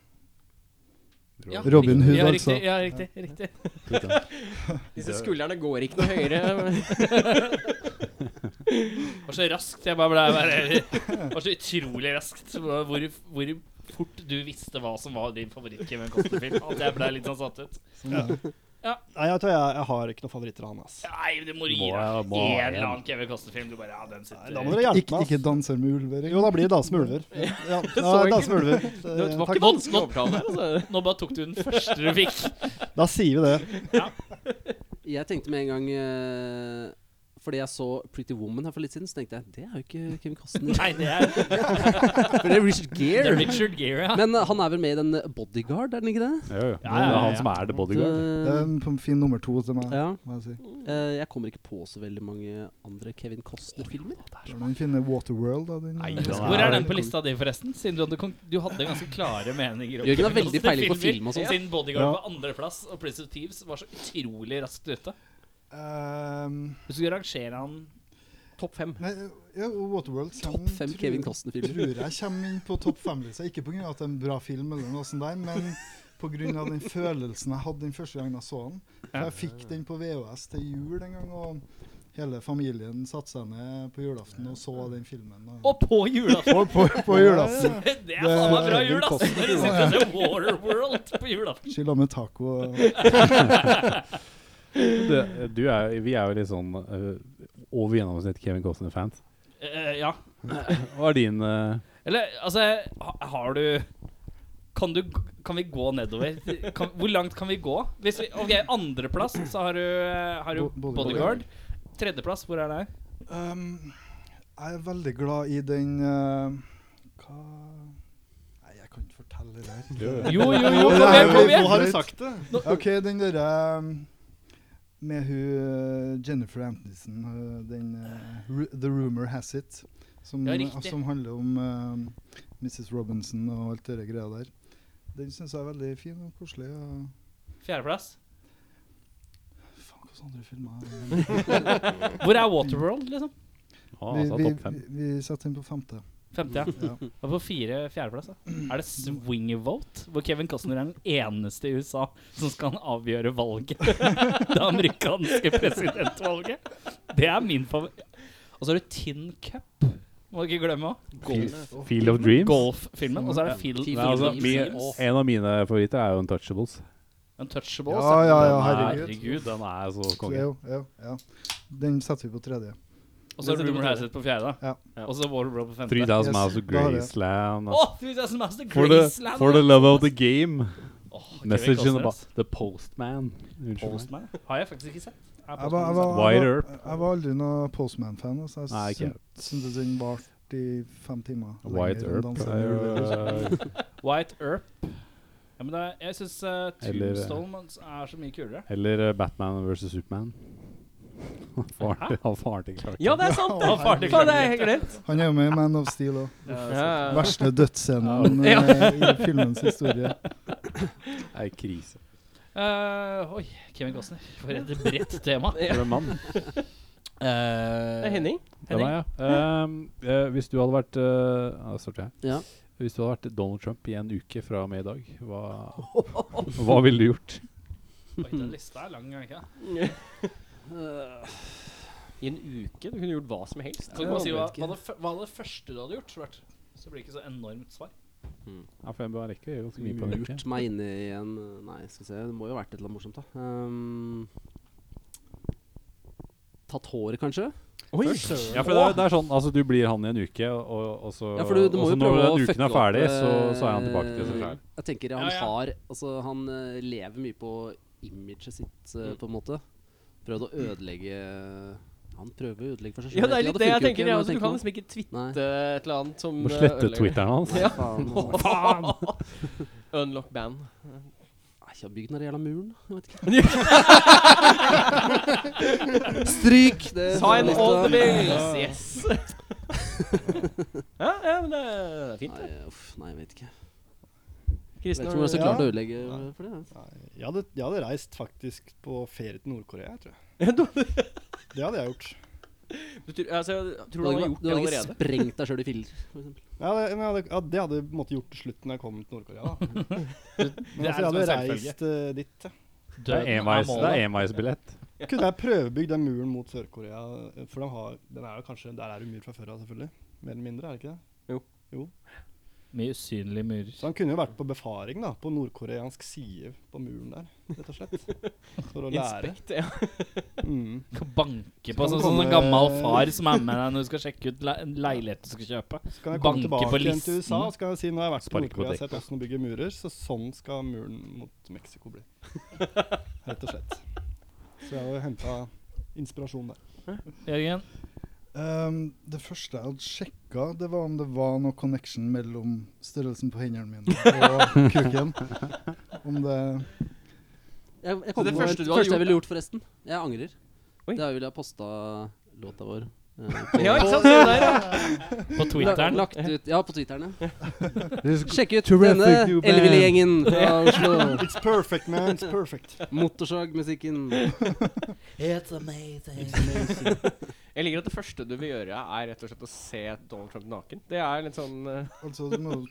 Speaker 1: Ja,
Speaker 7: Robin
Speaker 1: riktig.
Speaker 7: Hood,
Speaker 1: ja,
Speaker 7: altså.
Speaker 1: Riktig, ja, riktig. riktig.
Speaker 3: Disse skuldrene går ikke noe høyere.
Speaker 1: Det var så raskt. Jeg bare ble bare, Det var så utrolig raskt hvor, hvor hvor fort du visste hva som var din favoritt-Kevin Costner-film. At jeg ble litt sånn satt ut.
Speaker 8: Nei, jeg, tror jeg, jeg har ikke noen favoritter av han, ass.
Speaker 1: Nei, du må gi
Speaker 2: Må
Speaker 1: deg
Speaker 2: jeg- må
Speaker 1: en
Speaker 2: jeg-
Speaker 1: eller annen Kevin Costner-film. Du bare Ja, den sitter
Speaker 8: Da må dere hjelpe
Speaker 7: Ikke,
Speaker 8: meg.
Speaker 7: ikke danser med ulver.
Speaker 8: Jo, da blir det danse med ulver. Ja, ja,
Speaker 3: så
Speaker 8: danse med ulver.
Speaker 3: Det var
Speaker 8: Eh,
Speaker 3: ikke
Speaker 8: takk.
Speaker 3: vanskelig å overtale deg. Altså.
Speaker 1: Nå bare tok du den første du fikk.
Speaker 8: Da sier vi det.
Speaker 6: Jeg tenkte med en gang eh, Fordi jeg så Pretty Woman her for litt siden, så tenkte jeg det er jo ikke Kevin Costner.
Speaker 1: Nei, det er,
Speaker 6: For det er Richard
Speaker 1: det er
Speaker 6: Gere.
Speaker 1: Richard Gere, ja.
Speaker 6: Men eh, han er vel med i den Bodyguard, er den ikke
Speaker 2: Ja,
Speaker 6: det?
Speaker 2: ja.
Speaker 1: Ja,
Speaker 2: Men Det
Speaker 1: ja,
Speaker 2: er han
Speaker 1: ja.
Speaker 2: som er the bodyguard.
Speaker 7: Det er
Speaker 6: Eh,
Speaker 7: en p- fin nummer to til meg.
Speaker 6: ja.
Speaker 7: Må jeg si.
Speaker 6: Eh, jeg kommer ikke på så veldig mange andre Kevin Costner-filmer.
Speaker 7: Hvordan man finner Waterworld, da. Den,
Speaker 2: Nei,
Speaker 7: eh,
Speaker 2: da.
Speaker 1: Hvor er den på lista di, forresten? Siden du hadde, kon- du hadde ganske klare meninger. om
Speaker 6: Jørgen har
Speaker 1: Kevin
Speaker 6: veldig peiling på
Speaker 1: Costner-filmer,
Speaker 6: film og sånn. sånt.
Speaker 1: Siden Bodyguard
Speaker 8: Ja.
Speaker 1: var andreplass, og Prince of Thieves var så utrolig raskt ute.
Speaker 7: Ehm,
Speaker 1: Hvis du skulle rangere han
Speaker 3: Topp fem.
Speaker 7: nei, ja, Waterworld kommer,
Speaker 6: Topp fem
Speaker 7: tror-
Speaker 6: Kevin Costner-filmer.
Speaker 7: Tror jeg kommer inn på topp fem-lista. Ikke pga. at det er en bra film, eller noe sånt der, men pga. den følelsen jeg hadde den første gangen jeg så den. For jeg fikk den på VHS til jul en gang, og hele familien satte seg ned på julaften og så den filmen. Og,
Speaker 1: Og på julaften!
Speaker 7: og på, på julaften.
Speaker 1: Det er faen meg bra
Speaker 7: Kevin
Speaker 1: jul, ass! Når du sitter og ser Waterworld på julaften.
Speaker 7: Skylda med taco. og-
Speaker 2: Det, du er, vi er jo litt sånn eh, over gjennomsnitt Kevin Costner-fans.
Speaker 1: Eh, ja.
Speaker 2: Hva er din eh,
Speaker 1: Eller, altså ha- Har du Kan du Kan vi gå nedover? Kan, hvor langt kan vi gå? Hvis vi, ok, andreplass, så har du, eh, har du
Speaker 7: Bo- Bodyguard.
Speaker 1: Bodyguard. Tredjeplass, hvor er det?
Speaker 7: Um, jeg er veldig glad i den eh, Hva Nei, jeg kan ikke fortelle det her.
Speaker 1: Jo, jo, jo, kom
Speaker 7: Nei,
Speaker 1: igjen!
Speaker 7: vi-
Speaker 1: Kom igjen.
Speaker 8: Nå har du sagt det.
Speaker 7: OK, den derre um, med hun eh, Jennifer Antonsen, eh, den eh, Ru- The Rumor Has It, som,
Speaker 1: Ja, riktig.
Speaker 7: som handler om eh, Mrs. Robinson og alt det der greia der. Den syns jeg er veldig fin og koselig. Og
Speaker 1: Fjerdeplass.
Speaker 7: faen, hvilke andre filmer er det?
Speaker 1: Hvor er Waterworld, liksom?
Speaker 2: ah,
Speaker 7: vi,
Speaker 2: altså,
Speaker 7: vi,
Speaker 2: topp fem?
Speaker 7: vi, vi setter den på femte.
Speaker 1: Femte, ja.
Speaker 7: Ja.
Speaker 1: Og på fire fjerdeplass, da. Er det swing vote? Hvor Kevin Costner er den eneste i USA som skal avgjøre valget. det amerikanske presidentvalget. Det er min favoritt. Og så har du Tin Cup. Må du ikke glemme òg.
Speaker 2: Field of Dreams.
Speaker 1: Golffilmen. Og så er det Phil
Speaker 2: Nei, altså, min, en av mine favoritter er jo Untouchables.
Speaker 1: Untouchables.
Speaker 7: Ja, ja, ja, herregud.
Speaker 1: altså. herregud.
Speaker 2: Den er så
Speaker 7: Så
Speaker 2: konge.
Speaker 7: jo, jo, ja. Den setter vi på tredje.
Speaker 1: Og så har du Rumor Hazard på fjerde. da. Og så Water Bro på femte.
Speaker 2: 3000 Miles of
Speaker 7: Yes, da har jeg.
Speaker 2: Graceland. altså.
Speaker 1: Å, oh, Master
Speaker 2: For the,
Speaker 1: Graceland!
Speaker 2: for the love of the game.
Speaker 1: Åh, Kevin
Speaker 2: Message in the,
Speaker 1: Costner,
Speaker 2: bo-
Speaker 1: ass.
Speaker 2: the postman. Unnskyld meg.
Speaker 1: Postman? Har jeg faktisk ikke sett. Er
Speaker 7: Jeg var, jeg
Speaker 1: Postman
Speaker 7: var,
Speaker 2: Wide
Speaker 7: jeg var,
Speaker 2: Earp.
Speaker 7: jeg var aldri noen Postman-fan. Altså.
Speaker 2: Nei,
Speaker 7: Jeg
Speaker 2: ikke
Speaker 7: syn- syntes den varte i fem timer.
Speaker 2: White
Speaker 7: lenger enn
Speaker 2: Earp
Speaker 7: Dansen
Speaker 2: er
Speaker 7: med
Speaker 2: jo
Speaker 7: Ulver.
Speaker 2: eh,
Speaker 1: sett? White Earp. Ja, men det, er- jeg syns uh,
Speaker 2: Eller- eh,
Speaker 1: Tombstone men s- er så mye kulere.
Speaker 2: Eller eh, Batman versus Superman. Faren til, han faren til Clark.
Speaker 3: Ja, det er sant!
Speaker 1: Ja, faren
Speaker 3: det.
Speaker 1: til
Speaker 3: Faen, det er helt glemt.
Speaker 7: Han er jo med i Man of Steel òg.
Speaker 3: Ja, ja.
Speaker 7: Verste dødsscenen eh, i filmens historie.
Speaker 2: Det er krise.
Speaker 1: Eh, oi, Kevin Costner. For et bredt tema.
Speaker 2: For en mann.
Speaker 1: Eh,
Speaker 3: Det er Eh, Henning.
Speaker 2: Det var jeg. Ehm, eh, hvis du hadde vært eh, ja, da starter jeg.
Speaker 6: Ja.
Speaker 2: Hvis du hadde vært Donald Trump i en uke fra og med i dag, hva, hva ville du gjort?
Speaker 1: Oi, den lista er lang, er den ikke?
Speaker 6: Eh,
Speaker 3: I en uke? Du kunne gjort hva som helst.
Speaker 1: Kan du bare si hva,
Speaker 6: vet ikke.
Speaker 1: hva, det, fø- hva det første du hadde gjort? Svart? Så blir det ikke så enormt svar.
Speaker 2: Ja, for en rekke er jo ganske mye på en uke.
Speaker 6: Lurt meg inn i en Nei, skal vi se. Det må jo ha vært et eller annet morsomt, da. Ehm, tatt håret, kanskje?
Speaker 3: Oi!
Speaker 2: Ja, for det er, det er sånn, altså du blir han i en uke, og, og så,
Speaker 6: Ja, for du, du
Speaker 2: og
Speaker 6: må
Speaker 2: så
Speaker 6: jo
Speaker 2: når
Speaker 6: prøve å
Speaker 2: den uken
Speaker 6: fucke
Speaker 2: er ferdig,
Speaker 6: opp,
Speaker 2: så,
Speaker 6: eh,
Speaker 2: så er han tilbake til seg sjøl.
Speaker 6: Jeg tenker han
Speaker 1: Ja, ja.
Speaker 6: har Altså, han eh, lever mye på imaget sitt,
Speaker 3: Mm.
Speaker 6: eh, på en måte. Prøvd å ødelegge Han prøver å ødelegge for seg selv.
Speaker 3: Ja, det er
Speaker 6: egentlig,
Speaker 3: litt
Speaker 6: og
Speaker 3: det jeg
Speaker 6: funker jo
Speaker 3: tenker.
Speaker 6: ikke,
Speaker 3: ja,
Speaker 6: men
Speaker 3: altså, du
Speaker 6: tenker
Speaker 3: kan
Speaker 6: noe.
Speaker 3: liksom ikke twitte
Speaker 6: Nei.
Speaker 3: et eller annet som
Speaker 2: Må
Speaker 3: eh,
Speaker 2: slette
Speaker 3: ødelegger.
Speaker 2: tweeteren hans.
Speaker 3: Ja.
Speaker 6: Faen, altså.
Speaker 3: Unlock ban.
Speaker 6: Nei, jeg har bygd den der jævla muren. Jeg vet ikke.
Speaker 3: Stryk!
Speaker 6: Det
Speaker 3: Sign
Speaker 6: det-
Speaker 3: all the bills! Yes! ja, ja, men det er fint, det.
Speaker 6: Nei, uff, nei, jeg vet ikke. Jeg vet
Speaker 3: Kristen,
Speaker 6: ikke om jeg
Speaker 3: har
Speaker 6: skal
Speaker 3: du-
Speaker 6: klare å ødelegge for det. altså.
Speaker 8: Jeg hadde, jeg hadde reist faktisk på ferie til Nord-Korea, jeg tror jeg.
Speaker 3: Ja, du-
Speaker 8: Det hadde jeg gjort.
Speaker 3: du tror- altså, jeg
Speaker 6: Du
Speaker 3: Tror du han
Speaker 6: har
Speaker 3: har
Speaker 6: ikke,
Speaker 3: gjort
Speaker 6: du
Speaker 3: det
Speaker 6: har ikke
Speaker 3: allerede?
Speaker 6: sprengt deg sjøl i filler, for eksempel.
Speaker 8: Ja, det, men jeg hadde, ja, det hadde jeg på en måte gjort til slutt når jeg kom til Nord-Korea. da. Men
Speaker 1: er
Speaker 8: altså, jeg
Speaker 1: liksom en
Speaker 8: hadde
Speaker 1: selvfølge.
Speaker 8: reist eh, dit. Ja.
Speaker 2: Det er enveis- det er enveisbillett.
Speaker 8: Kunne jeg prøvebygd den muren mot Sør-Korea? eh, For den, har, den er jo kanskje, der er det mur fra før av, selvfølgelig. Mer eller mindre, er det ikke det?
Speaker 1: Mye usynlige murer.
Speaker 2: Sånn.
Speaker 8: Så han kunne jo vært på befaring da, på nordkoreansk side på muren der, rett og slett. For å lære.
Speaker 3: Inspekt, ja.
Speaker 8: Mm.
Speaker 1: Kan banke på
Speaker 8: Kan
Speaker 1: sånn som en
Speaker 8: komme-
Speaker 1: gammel far som er med deg når du skal sjekke ut le en leilighet du skal kjøpe.
Speaker 8: Så kan jeg komme
Speaker 1: Banke på
Speaker 8: tilbake igjen til USA
Speaker 1: listen.
Speaker 8: og så kan jeg si nå har jeg vært på
Speaker 2: Sparke på
Speaker 8: Nord-Korea og
Speaker 2: dekket.
Speaker 8: sett åssen de bygger murer, så sånn skal muren mot Mexico bli. Rett og slett. Så jeg har jo henta inspirasjon der.
Speaker 1: Jørgen?
Speaker 7: Ehm, det første jeg hadde sjekka, det var om det var noe connection mellom størrelsen på hendene mine og kuken. Om det
Speaker 6: Jeg, jeg kom
Speaker 3: det første
Speaker 6: på det
Speaker 3: du hadde
Speaker 6: første jeg
Speaker 3: gjort-
Speaker 6: ville gjort, forresten. Jeg angrer.
Speaker 3: Oi.
Speaker 6: Det er jo ville jeg posta låta vår. eh, på-
Speaker 3: ja, ikke sant? Se der, ja.
Speaker 1: På Twitteren?
Speaker 6: Lagt ut, ja, på Twitteren. ja.
Speaker 2: This
Speaker 6: Sjekk ut
Speaker 2: Terrific
Speaker 6: denne
Speaker 2: new band.
Speaker 6: Elleville-gjengen fra Oslo.
Speaker 8: It's perfect, man. It's perfect.
Speaker 6: Motorsagmusikken.
Speaker 3: Jeg liker at det første du vil gjøre, er rett og slett å se Donald Trump naken. Det er litt sånn eh,
Speaker 7: Altså, du må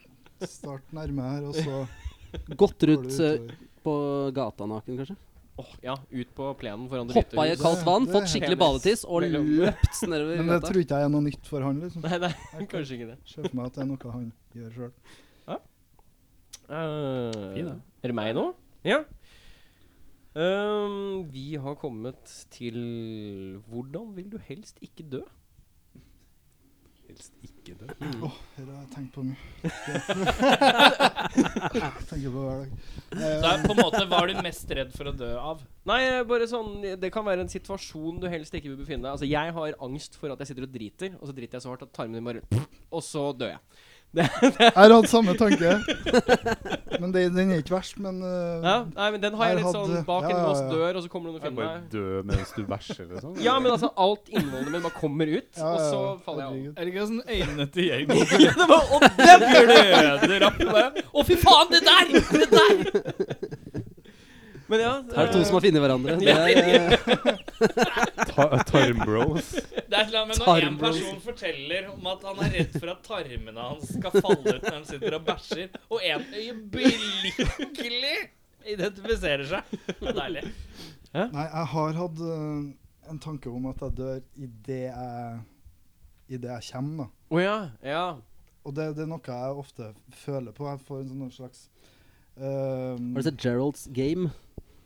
Speaker 7: starte nærme her, og så
Speaker 6: Gått
Speaker 7: går det
Speaker 6: rundt eh,
Speaker 7: utover.
Speaker 6: på gata naken, kanskje.
Speaker 3: Åh, ja, ut på plenen foran det
Speaker 6: Hoppa i et kaldt vann,
Speaker 7: Det er
Speaker 6: fått skikkelig badetiss og
Speaker 3: Mellom-
Speaker 6: løpt nedover
Speaker 7: Men det tror ikke jeg er noe nytt for han. liksom.
Speaker 3: Nei, nei,
Speaker 7: Jeg kan
Speaker 3: kanskje ikke det.
Speaker 7: se for meg at det er noe han gjør sjøl.
Speaker 3: Eh,
Speaker 2: Fin, da.
Speaker 3: er det meg nå? Ja. Ehm, vi har kommet til Hvordan vil du helst ikke dø?
Speaker 2: Helst ikke dø.
Speaker 3: Mm.
Speaker 7: Dette har jeg tenkt på mye. Jeg tenker på hver dag.
Speaker 1: Så er på en måte Hva er du mest redd for å dø av?
Speaker 3: Nei, eh, bare sånn Det kan være en situasjon du helst ikke vil befinne deg Altså, jeg har angst for at jeg sitter og driter, og så driter jeg så hardt at tarmene mine bare Og så dør jeg.
Speaker 7: Jeg har hatt samme tanke. Men det, den er ikke verst, men eh,
Speaker 3: Ja, nei, men Den har jeg
Speaker 7: Jeg
Speaker 3: litt sånn
Speaker 7: hadde-
Speaker 3: bak en
Speaker 7: ja, ja,
Speaker 3: låst
Speaker 7: ja.
Speaker 3: dør, og så kommer noen og
Speaker 2: Jeg
Speaker 3: finner
Speaker 2: bare
Speaker 3: meg.
Speaker 2: dø mens du bæsjer, liksom.
Speaker 3: Ja, men altså, alt innholdet mitt bare kommer ut,
Speaker 7: ja, ja,
Speaker 3: og så
Speaker 7: ja.
Speaker 3: faller jeg av.
Speaker 7: Herregud.
Speaker 1: Er det ikke sånn øynene til Jørgen Og den blir du ødelagt med! Å, fy faen, det der! Det der!
Speaker 3: Men ja, eh,
Speaker 6: Her er det to som har funnet hverandre. Det er, eh,
Speaker 2: Ta- Tarmbros.
Speaker 1: Det er et eller annet med når en
Speaker 6: Tarmbros.
Speaker 1: person forteller om at han er redd for at tarmene hans skal falle ut når han sitter og bæsjer, og en øyeblikkelig identifiserer seg. Det er deilig.
Speaker 7: Nei, jeg har hatt eh, en tanke om at jeg dør idet jeg idet jeg kommer. da.
Speaker 3: Å ja. Ja.
Speaker 7: Og det, det er noe jeg ofte føler på. Jeg får en sånn slags ehm,
Speaker 6: Har du sett Geralds Game?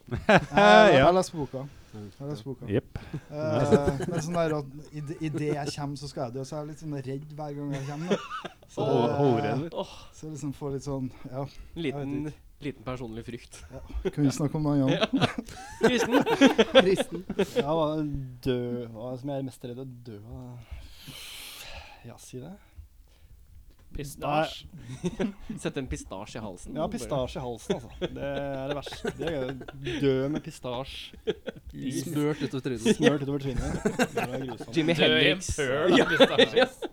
Speaker 7: Jeg, jeg,
Speaker 2: Ja.
Speaker 7: jeg leser boka. Jeg leser boka.
Speaker 2: Jepp.
Speaker 7: Eh, men sånn der at i det- i det jeg kommer, så skal jeg dø. Så jeg er litt sånn redd hver gang jeg kommer. da. Så, eh,
Speaker 2: Hoverenner.
Speaker 7: så jeg liksom får litt sånn Ja,
Speaker 3: En liten, liten personlig frykt.
Speaker 7: kan vi snakke om noe annet?
Speaker 3: Kristen.
Speaker 6: Kristen.
Speaker 8: Ja, hva er død Hva er det som jeg er mest redd å dø av? Ja, si det.
Speaker 1: Pistasje.
Speaker 3: Sett en pistasje i halsen.
Speaker 8: Ja, pistasje i halsen, altså. Det er det verste. Det er gøy. Dø med pistasje
Speaker 6: Smørt utover trynet.
Speaker 8: smørt utover trynet. Det er
Speaker 3: Bare-
Speaker 8: grusomt.
Speaker 3: Jimi
Speaker 1: Dø i en
Speaker 3: Hendrix.
Speaker 1: pøl av pistasje.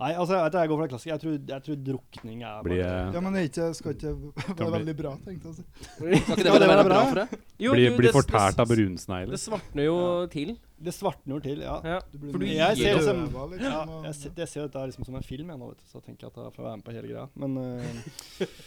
Speaker 8: Nei, altså, jeg, vet ikke, jeg går for det klassiske. Jeg tror, jeg tror drukning er
Speaker 2: Blir
Speaker 8: bare
Speaker 2: jeg
Speaker 7: Ja, men er ikke, skal ikke være veldig bra, tenkte jeg altså. å si.
Speaker 6: Skal ikke det
Speaker 8: Ja,
Speaker 6: være
Speaker 8: det var
Speaker 6: bra,
Speaker 8: bra.
Speaker 6: for deg?
Speaker 3: Jo,
Speaker 2: blir,
Speaker 3: du,
Speaker 2: blir
Speaker 3: det-
Speaker 2: fortært av
Speaker 3: det-
Speaker 2: brunsnegler.
Speaker 3: Det svartner jo til.
Speaker 8: Det svartner til, ja.
Speaker 3: Ja.
Speaker 7: Du blir
Speaker 3: For du
Speaker 7: mer
Speaker 8: Jeg ser
Speaker 3: gir
Speaker 8: det som
Speaker 7: døva, liksom,
Speaker 8: ja,
Speaker 7: og-
Speaker 8: jeg, ser, jeg ser dette liksom som en film, jeg nå, vet du. Så tenker jeg at jeg får være med på hele greia. Men eh,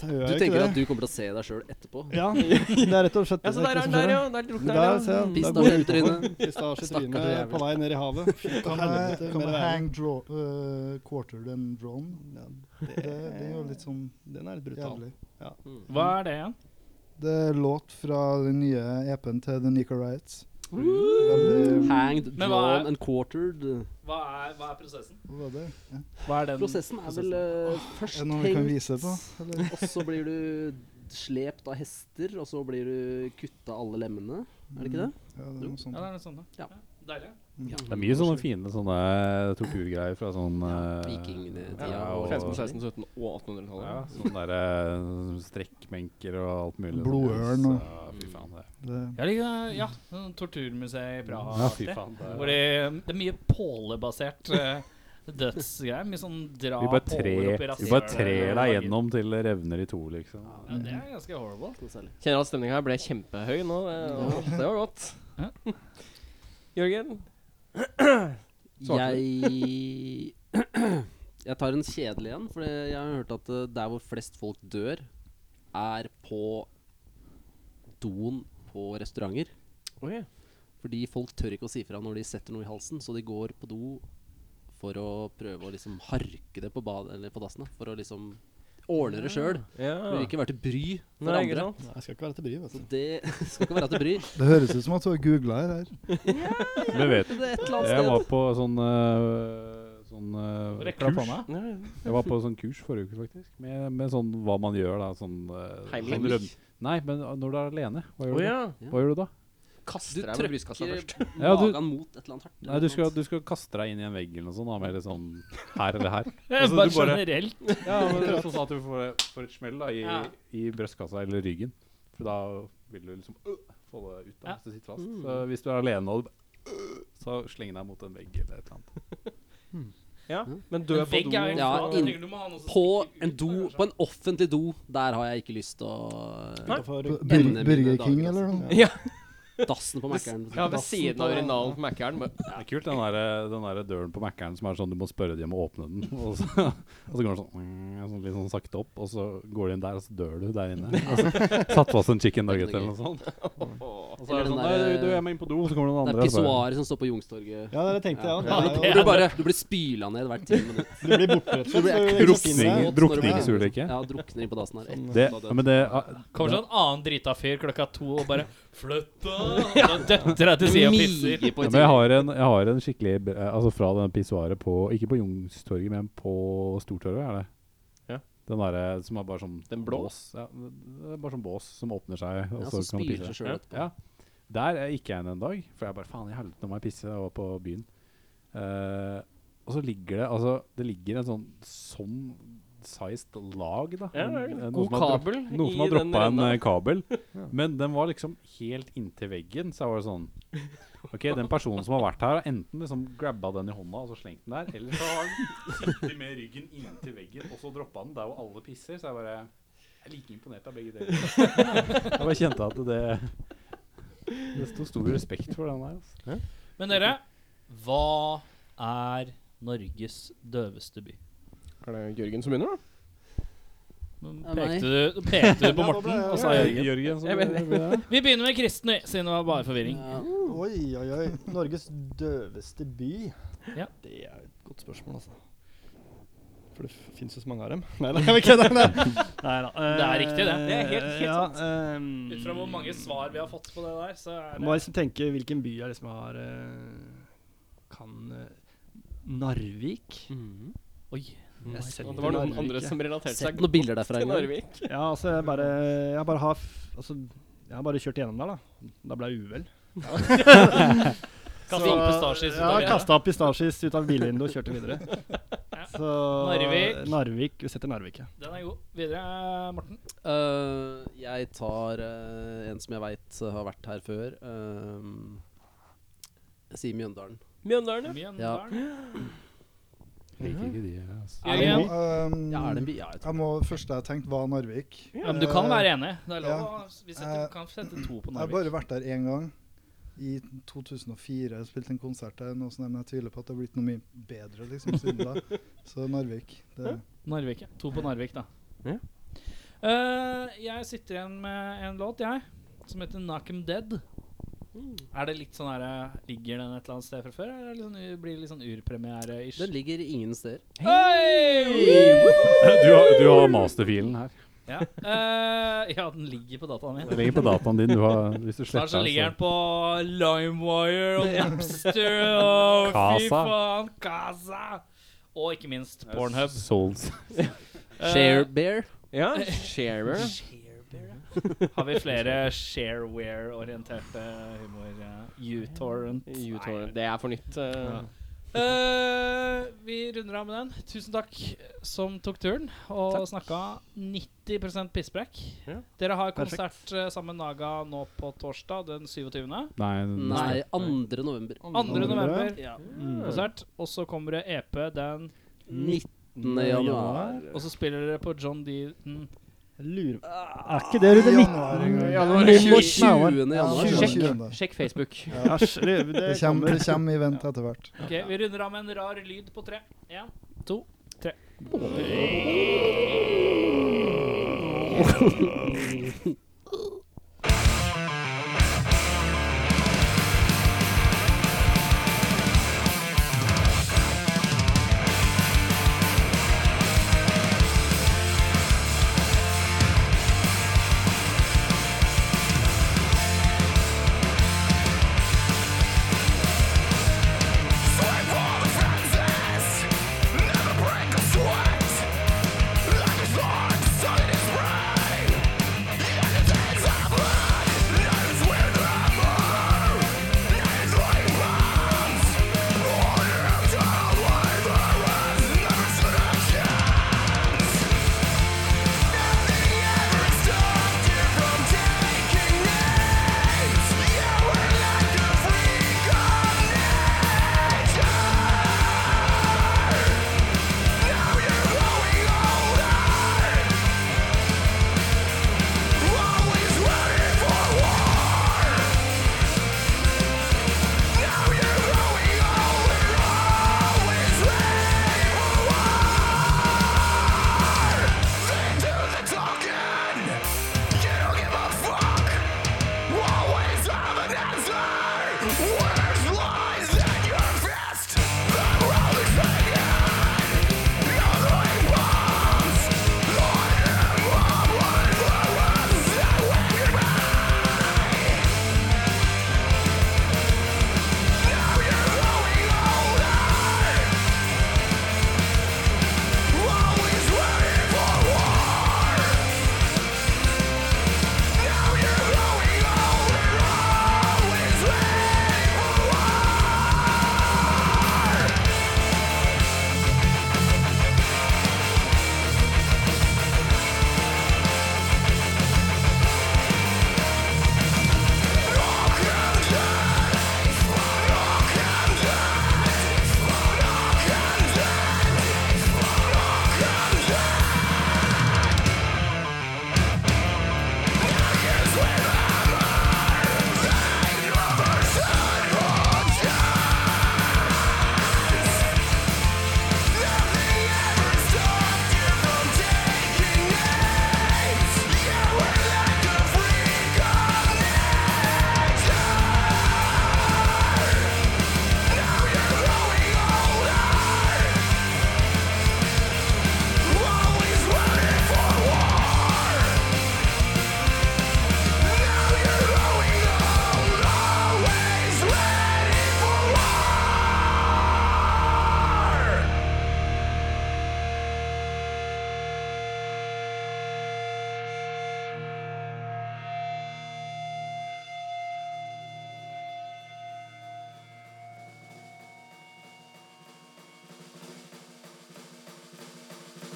Speaker 6: Du tenker at du kommer til å se deg sjøl etterpå?
Speaker 8: Ja, det er rett og slett
Speaker 3: Ja, så der er den der, ja. Mm. Der drukner
Speaker 8: Der, se,
Speaker 3: den,
Speaker 8: da
Speaker 6: Pistasje
Speaker 8: går jeg
Speaker 6: i trynet.
Speaker 8: utenfor. Pistasje i
Speaker 6: Stakkars
Speaker 8: trynet
Speaker 6: jævel.
Speaker 8: på vei ned i havet. Fy
Speaker 7: Kan
Speaker 8: faen,
Speaker 7: jeg,
Speaker 8: helvete,
Speaker 7: kan
Speaker 8: mer
Speaker 7: jeg
Speaker 8: vei.
Speaker 7: hang draw, eh, quarter than drone?
Speaker 8: Ja,
Speaker 7: Det, det er jo litt sånn
Speaker 8: Den er litt brutal.
Speaker 7: jævlig.
Speaker 1: Hva er det igjen?
Speaker 7: Det er låt fra den nye EP-en til The Nika Riots.
Speaker 6: Mm.
Speaker 7: Veldig
Speaker 6: Hanged,
Speaker 1: Men hva er-
Speaker 6: drawn and quartered.
Speaker 1: Hva er, hva er prosessen?
Speaker 7: Hva var det? Ja.
Speaker 1: Hva er den?
Speaker 6: Prosessen er vel eh, først
Speaker 7: Er det noe vi kan
Speaker 6: tenkt,
Speaker 7: vise på? Eller?
Speaker 6: og så blir du slept av hester, og så blir du kutta alle lemmene. Er det ikke det?
Speaker 7: Ja, det er noe
Speaker 1: Ja,
Speaker 7: sånt.
Speaker 1: det er noe sånt. da.
Speaker 6: Ja.
Speaker 1: Deilig.
Speaker 2: Det er mye sånne fine sånne torturgreier fra sånn
Speaker 6: Ja,
Speaker 2: eh,
Speaker 6: vikingtida
Speaker 2: ja,
Speaker 6: og-
Speaker 2: og
Speaker 3: 15, 16, 17 og
Speaker 2: ja,
Speaker 3: 1800-tallet.
Speaker 2: sånne derre strekkmenker og alt mulig. sånn.
Speaker 7: Blodørn og-
Speaker 2: Ja, Fy faen, det.
Speaker 7: Det,
Speaker 1: Jeg liker det, ja, sånn torturmuseet i Praha.
Speaker 2: Ja, fy
Speaker 1: aktig.
Speaker 2: faen, det er-
Speaker 1: Hvor det, det er mye pålebasert eh, dødsgreier. Mye sånn dra
Speaker 2: Vi bare, tre,
Speaker 1: påler oppi
Speaker 2: vi bare
Speaker 1: rasshølet.
Speaker 2: trer deg gjennom til det revner i to, liksom.
Speaker 1: Ja, det er ganske horrible.
Speaker 6: Ikke noe særlig.
Speaker 3: Kjenner at stemninga her ble kjempehøy nå. eh, og Det var godt.
Speaker 1: Ja.
Speaker 3: Jørgen?
Speaker 6: Jeg Jeg tar en kjedelig en, for jeg har hørt at eh, der hvor flest folk dør, er på doen på restauranter.
Speaker 3: Oi.
Speaker 6: Fordi folk tør ikke å si fra når de setter noe i halsen, så de går på do for å prøve å liksom harke det på, bad, eller på dassen. da, For å liksom ordne det sjøl. Du
Speaker 3: Ja.
Speaker 6: vil ikke være til bry for
Speaker 3: Nei, ikke
Speaker 6: andre.
Speaker 3: sant?
Speaker 8: Nei, jeg skal ikke være til bry, vet
Speaker 6: Så
Speaker 8: du.
Speaker 6: det skal ikke være til bry.
Speaker 7: det høres ut som at du har googla her. her.
Speaker 2: Du vet,
Speaker 6: Det er et eller
Speaker 2: jeg
Speaker 6: annet
Speaker 2: var på sånn eh, Sånn eh,
Speaker 1: Rekker du
Speaker 2: kurs.
Speaker 1: opp hånda?
Speaker 3: Ja, ja.
Speaker 2: Jeg var på sånn kurs forrige uke, faktisk. Med, med sånn hva man gjør da. Sånn, eh,
Speaker 3: Heimlich.
Speaker 2: sånn røm- Nei, men når du er alene, hva gjør
Speaker 3: Å
Speaker 2: du da?
Speaker 3: ja.
Speaker 2: Hva gjør du da?
Speaker 3: Kaster
Speaker 6: sted.
Speaker 3: deg med brystkassa først.
Speaker 6: Du
Speaker 2: Ja,
Speaker 6: trykker
Speaker 2: du-
Speaker 6: magen mot et eller annet hardt.
Speaker 2: Nei, du skal, du skal kaste deg inn i en vegg eller noe sånt, da, med liksom her eller her. Altså,
Speaker 1: bare
Speaker 2: du bare-
Speaker 1: generelt.
Speaker 2: Ja, men det er sånn at du får, får et smell da, i,
Speaker 1: Ja.
Speaker 2: i brystkassa eller ryggen. For da vil du liksom øh, få det ut da,
Speaker 1: Ja.
Speaker 2: hvis du sitter fast. Så hvis du er alene og du bare, øh, så sleng deg mot en vegg eller et eller annet.
Speaker 3: Ja. Men dø
Speaker 1: En
Speaker 3: på
Speaker 1: vegg
Speaker 3: do.
Speaker 1: er jo
Speaker 6: Ja,
Speaker 1: flott.
Speaker 6: inn-
Speaker 1: Tenker du må ha noe som
Speaker 6: På
Speaker 1: stikker
Speaker 6: en
Speaker 1: ut
Speaker 6: do,
Speaker 1: der, kanskje?
Speaker 6: på en offentlig do, der har jeg ikke lyst til å
Speaker 8: Utenfor
Speaker 7: Bu-
Speaker 6: Ender mine
Speaker 7: Bur Burger
Speaker 6: dager,
Speaker 7: King
Speaker 6: altså.
Speaker 7: eller noe?
Speaker 6: Dassen på Mækkern.
Speaker 3: Ja, ved siden av urinalen på Mækkern. bare-
Speaker 2: Det er kult, den der, den der døren på Mækkern som er sånn du må spørre dem å åpne den. Og så, og så går den sånn, mm, sånn litt sånn sakte opp, og så går du inn der, og så dør du der inne. Og så, satt fast en chicken nugget eller noe sånt. Og så er
Speaker 6: Eller
Speaker 2: det
Speaker 6: den
Speaker 2: sånn
Speaker 6: der- eh,
Speaker 2: Nei, du, jeg må inn på do, så kommer det
Speaker 6: Det
Speaker 2: noen
Speaker 6: er
Speaker 2: andre. og så bare-
Speaker 6: pissoaret som står på Youngstorget.
Speaker 8: Ja, det tenkte jeg
Speaker 6: Ja,
Speaker 8: òg.
Speaker 6: det
Speaker 8: Du,
Speaker 6: er bare, du blir spyla ned hvert ti minutt.
Speaker 8: du blir borte, rett og
Speaker 6: Du blir
Speaker 8: slett.
Speaker 6: ekkelt
Speaker 8: så sånn du
Speaker 2: Drukning.
Speaker 8: ikke
Speaker 6: våt når du-
Speaker 2: drukningsulykke?
Speaker 6: liksom. Ja, Sånn, drukner inn på dassen her.
Speaker 8: finner deg.
Speaker 2: Det, ja, men det,
Speaker 1: Kommer sånn annen drita fyr klokka to og bare 'Flytt deg!' Døtter deg til sida og pisser.
Speaker 6: Mie på
Speaker 2: Ja,
Speaker 6: et
Speaker 2: men jeg har, en, jeg har en skikkelig br- eh, Altså fra det pissoaret på Ikke på Jungstorget, men på Stortorget, er det?
Speaker 3: Ja.
Speaker 2: Den derre som er bare sånn
Speaker 3: Den blå?
Speaker 2: Bås. Ja, det er bare sånn bås som åpner seg, og
Speaker 6: Ja,
Speaker 2: så
Speaker 6: så
Speaker 2: kan man
Speaker 6: spyler
Speaker 2: pisse.
Speaker 6: seg sjøl etterpå.
Speaker 2: Ja. Der eh, gikk jeg inn en dag, for jeg bare Faen i helvete, nå må jeg pisse, og på byen. Eh, og så ligger det Altså, det ligger en sånn sånn sized lag, da.
Speaker 3: Ja, det er
Speaker 2: En-
Speaker 3: en
Speaker 2: en-
Speaker 3: god
Speaker 2: noe som har dropp-
Speaker 3: kabel
Speaker 2: Noen som
Speaker 3: i
Speaker 2: har
Speaker 3: den
Speaker 2: droppa en
Speaker 3: renna.
Speaker 2: eh, kabel. Men den var liksom helt inntil veggen, så jeg var sånn Ok, den personen som har vært her, har enten liksom grabba den i hånda og så slengt den der, eller så har den sittet med ryggen inntil veggen og så droppa den der hvor alle pisser. Så jeg bare Jeg er like imponert av begge deler. Jeg bare kjente at det Det sto stor respekt for den der. Altså.
Speaker 1: Men dere, hva er Norges døveste by?
Speaker 3: Er det Jørgen som begynner, da?
Speaker 1: Nå
Speaker 6: Ja, nei.
Speaker 1: Pekte du, pekte du på Morten, og sa Jørgen.
Speaker 2: Jørgen.
Speaker 3: Jeg mener-
Speaker 1: Vi begynner med kristen, vi, siden det var bare forvirring.
Speaker 6: Ja.
Speaker 8: Oi, oi, oi. Norges døveste by.
Speaker 1: Ja.
Speaker 8: Det er et godt spørsmål, altså. For det fins jo så mange av dem. Nei da, jeg kødder. Nei da.
Speaker 1: Det er riktig, det. Det er helt- helt sant.
Speaker 8: sant.
Speaker 1: Ut fra hvor mange svar vi har fått på det der, så er
Speaker 8: Må
Speaker 1: det
Speaker 8: liksom tenke hvilken by jeg liksom har eh, Kan eh, Narvik?
Speaker 1: Mhm. Oi.
Speaker 8: Jeg setter
Speaker 3: Det var noen
Speaker 8: Narvik,
Speaker 3: andre
Speaker 8: jeg.
Speaker 3: som relaterte
Speaker 6: Sett
Speaker 3: seg
Speaker 6: noen bilder derfra
Speaker 3: til
Speaker 6: en gang.
Speaker 3: Narvik.
Speaker 8: Ja, altså, jeg bare Jeg bare har f- Altså, jeg har bare kjørt gjennom der, da. Da ble jeg uvel.
Speaker 1: Kasta opp pistasjes ut
Speaker 8: Ja,
Speaker 1: av vinduet.
Speaker 8: kasta pistasjes ut av bilvinduet og kjørte videre. Så
Speaker 1: Narvik.
Speaker 8: Narvik. Vi setter Narvik, ja.
Speaker 1: Den er god. Videre, Morten.
Speaker 6: Øh, jeg tar øh, en som jeg veit har vært her før. eh, Øhm, jeg sier Mjøndalen.
Speaker 3: Mjøndalen, ja.
Speaker 1: Mjøndalen.
Speaker 2: Liker ikke de, altså.
Speaker 1: Jørgen.
Speaker 7: Um,
Speaker 6: Ja, er det en by? Ja, jeg tror
Speaker 7: jeg må, første jeg tenkte, var Narvik.
Speaker 1: Ja, men du kan være enig. Det er lov.
Speaker 7: Ja.
Speaker 1: å- Vi setter,
Speaker 7: Eh,
Speaker 1: kan sette to på
Speaker 7: Jeg har bare
Speaker 1: Narvik.
Speaker 7: vært der én gang. I 2004 jeg spilte en konsert der, noe sånt, men jeg tviler på at det har blitt noe mye bedre liksom, siden da. Så Narvik. Det,
Speaker 1: Narvik, ja. To på Narvik, da.
Speaker 3: Ja.
Speaker 1: Eh, jeg sitter igjen med en låt, jeg, som heter 'Knock 'em Dead'.
Speaker 7: Mm.
Speaker 1: Er det litt sånn her eh, Ligger den et eller annet sted fra før, eller er det litt sånn, u- blir det litt sånn urpremiere-ish?
Speaker 6: Den ligger ingen steder.
Speaker 1: Hei!
Speaker 2: Du har, du har masterfilen her.
Speaker 1: Ja. eh, ja, den ligger på dataen min.
Speaker 2: Det ligger på dataen din. Du har, hvis du
Speaker 1: Snart så
Speaker 2: sletter
Speaker 1: ligger den
Speaker 2: den,
Speaker 1: på LimeWire og Napster og fy
Speaker 2: Casa.
Speaker 1: faen, Casa! Og ikke minst
Speaker 2: så
Speaker 1: Pornhub.
Speaker 2: Souls.
Speaker 1: Eh,
Speaker 6: Sharebear.
Speaker 3: ja. Sharer.
Speaker 1: Sharebear, ja. Eh, Har vi flere shareware-orienterte humor? eh, Ja. uTorrent.
Speaker 3: U-Torrent. Det er for nytt. eh.
Speaker 1: Nei. Eh, vi runder av med den. Tusen takk som tok turen og
Speaker 3: Takk.
Speaker 1: snakka 90 pisspreik.
Speaker 3: Ja.
Speaker 1: Dere har
Speaker 8: Perfekt.
Speaker 1: konsert eh, sammen med Naga nå på torsdag den 27.
Speaker 2: Nei,
Speaker 6: Nei, 2. november.
Speaker 1: 2. november.
Speaker 8: Mm.
Speaker 1: konsert. Og så kommer det EP den
Speaker 6: 19. januar.
Speaker 1: Og så spiller dere på John Deaton
Speaker 8: Jeg lurer
Speaker 1: Ah,
Speaker 8: Er ikke det rundt 19?
Speaker 7: Januar en gang.
Speaker 3: Januar
Speaker 8: Nei,
Speaker 3: 20.
Speaker 6: 20.
Speaker 7: Ja,
Speaker 6: januar.
Speaker 3: Sjekk,
Speaker 7: Tjuende.
Speaker 3: sjekk Facebook.
Speaker 8: Ja, sj- det, det,
Speaker 7: Det kommer, det kommer i vent etter hvert.
Speaker 1: Ok, Vi runder av med en rar lyd på tre. Én, to, tre.
Speaker 9: Always have an answer!